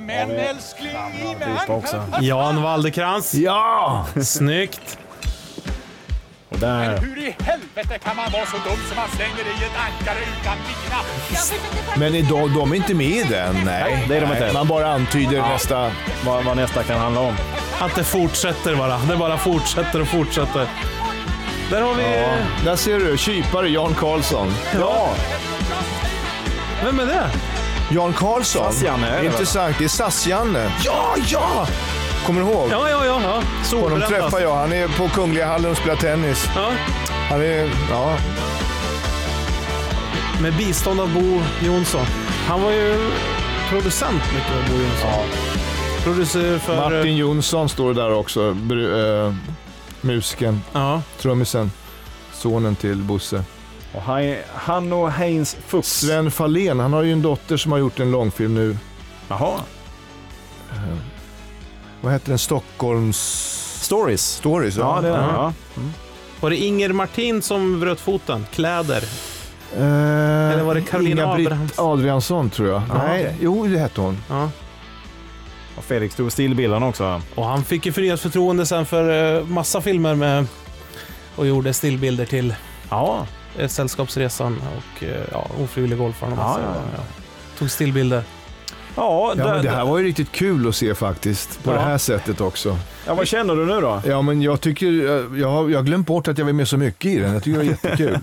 A: Jan Walderkrans.
B: Ja!
A: Snyggt.
C: Och där.
H: Hur i helvete kan man vara så dum som man slänger i ett ankare utan lina?
B: Men idag, de är inte med i den. Nej,
C: det är de
B: Nej,
C: inte.
B: Man bara antyder nästa...
C: Vad, vad nästa kan handla om.
A: Att det fortsätter bara. Det bara fortsätter och fortsätter. Där har vi...
B: Där ser du, kypare Jan Karlsson. Ja!
A: Vem är det?
B: Jan Karlsson.
C: SAS-Janne är det, va?
B: Intressant, det är SAS-Janne. Ja, ja! Kommer du ihåg?
A: Ja, ja, ja. ja.
B: Honom
A: Solbränd,
B: träffar
A: alltså.
B: jag. Han är på Kungliga hallen och spelar tennis.
A: Ja.
B: Han är... Ja.
A: Med bistånd av Bo Jonsson. Han var ju producent mycket, Bo Jonsson. Producer
C: eh,
A: för...
B: Martin Jonsson står där också. Br- eh, musiken.
A: Ja.
B: Trummisen. Sonen till Bosse.
C: Och han, han och Heinz Fuchs.
B: Sven Fahlén, han har ju en dotter som har gjort en långfilm nu.
C: Jaha.
B: Vad heter den? Stockholms...
C: Stories.
B: Stories, ja.
C: Ja, det är den.
B: Ja.
C: Ja.
A: Var det Inger Martin som bröt foten? Kläder?
B: Eller
A: var det Carolina Abrahamsson?
B: Abrahamsson? Eh, Adriansson tror jag.
A: Ja,
B: Nej,
A: okej.
B: jo det hette hon.
A: Ja.
C: Och Felix tog stillbilden också.
A: Och han fick ju förnyat förtroende sen för eh, massa filmer med och gjorde stillbilder till
C: Ja.
A: eh, Sällskapsresan och eh, ja, Ofrivillig golfaren. och massa-
C: Ja, ja, ja.
A: Tog stillbilder.
C: Ja,
B: Ja,
C: där,
B: men det här var ju riktigt kul att se faktiskt, på
C: Ja.
B: det här sättet också.
C: ja, vad känner du nu då?
B: Ja, men jag tycker, eh, jag, jag har jag har glömt bort att jag var med så mycket i den. Jag tycker det var jättekul.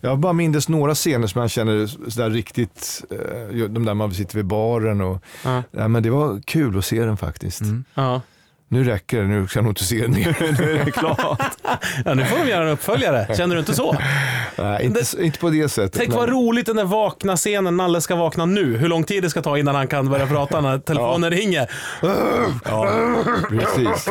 B: Jag bara mindes några scener som jag känner sådär riktigt, eh, de där man sitter vid baren och,
A: Ja. Mm.
B: ja, men det var kul att se den faktiskt.
A: Ja.
B: Nu räcker det, nu ska jag nog inte se den mer.
C: Nu är det klart.
A: ja, nu får de göra en uppföljare. Känner du inte så?
B: Nej, inte, inte på det sättet.
A: Tänk
B: men-
A: vad roligt den där vakna scenen, Nalle ska vakna nu. Hur lång tid det ska ta innan han kan börja prata när telefonen ringer.
B: Precis.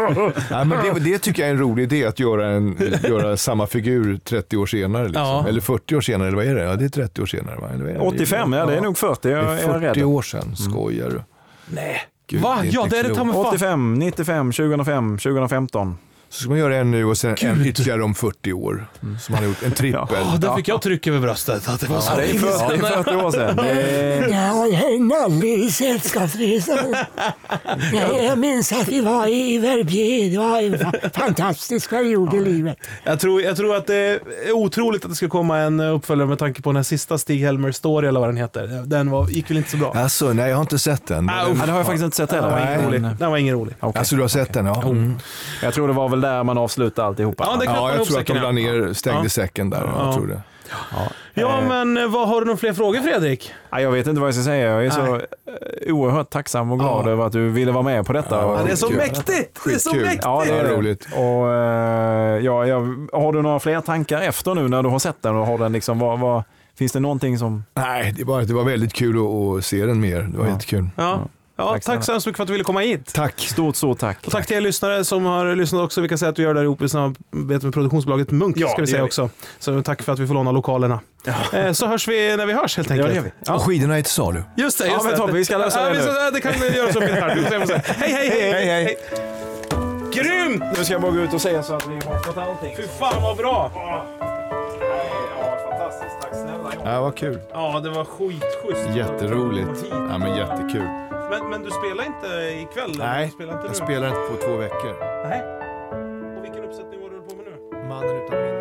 B: Ja, men det, det tycker jag är en rolig idé, att göra, en, göra samma figur 30 år senare. Liksom.
A: Ja.
B: Eller 40 år senare, eller vad är det? Ja, det är 30 år senare. Va? Eller vad är det?
C: 85, ja det är nog 40.
B: Det
C: Jag,
B: är
C: jag är
B: 40
C: rädd. Mm.
B: år sedan, skojar du?
A: Nej.
B: Gud,
A: Va?
B: det är
A: ja,
B: inte
A: det är det ta mig fan.
C: 85, 95, 2005, 2015.
B: Så ska man göra en nu och sen en ytterligare om 40 år. Som han har gjort, en trippel.
A: Mm. Ja, Ah, där fick jag tryck över bröstet. Att det var så
C: Det är 40, det är 40 år sedan. Det är...
I: Ja, hej Nalle i Sällskapsresan. Ja, jag minns att vi var i Verbier. Det var en fa- fantastisk period i livet.
A: Jag tror, jag tror att det är otroligt att det ska komma en uppföljare med tanke på den här sista Stig-Helmer Story eller vad den heter. Den var, gick väl inte så bra.
B: Alltså, nej jag har inte sett den.
A: Ah, uff.
C: Ja, det har jag faktiskt inte sett
A: Den var ingen
C: heller.
A: rolig.
C: Men-
A: Den var ingen rolig.
C: Okej.
B: Alltså du har sett den? Ja, mm.
C: Jag tror det var väl där man avslutade alltihopa.
A: Ja, det knöt man
B: ja jag
A: ihop
B: tror att de
A: säcken,
B: la
A: ja.
B: ner, stängde
A: Ja.
B: säcken där. Ja,
A: Ja.
B: jag tror det.
A: Ja, men eh, vad, har du några fler frågor Fredrik?
C: Ja, jag vet inte vad jag ska säga. Jag är så eh, oerhört tacksam och glad över att du ville vara med på detta.
A: Ja,
C: Och-
A: det är så
B: skitkul.
A: mäktigt! Det är så
B: Skitkul.
A: mäktigt!
C: Ja, det är
B: Ja,
C: det.
B: roligt.
C: Och, eh, ja, jag, har du några fler tankar efter nu när du har sett den? Och har den liksom, vad, vad, finns det någonting som...
B: Nej, det var, det var väldigt kul att, att se den mer. Det var jättekul.
A: Ja. Ja,
C: Tack
A: tack så hemskt mycket för att du ville komma hit.
B: Tack!
C: Stort, stort tack.
A: Och tack till er lyssnare som har lyssnat också. Vi kan säga att vi gör det här ihop i samarbete med produktionsbolaget Munk.
C: Ja,
A: ska vi
C: det
A: säga
C: gör vi.
A: också. Så tack för att vi får låna lokalerna. Eh, Så hörs vi när vi hörs helt enkelt.
C: Ja, det gör vi.
B: Och skidorna är till salu.
A: Just det,
C: Ja,
A: just
C: men
A: det.
C: Tobbe, vi ska lösa
A: ja,
C: det
A: vi
C: nu.
A: ska- Det kan vi göra som vi här. Vi får se, vi får se. Hej, hej, hej!
B: Hej, hej.
A: Grymt!
C: Nu ska jag bara gå ut och säga så att vi har fått allting.
A: Fy fan vad bra!
C: Ja, fantastiskt. Tack snälla.
B: Ja, vad kul.
A: Ja, det var skitschysst.
B: Jätteroligt. Ja, men jättekul.
A: Men, men du spelar inte ikväll? eller?
B: Nej,
A: du spelar inte
B: jag
A: nu.
B: spelar inte på två veckor.
A: Nej. Och vilken uppsättning var du på med nu? Mannen utan minne.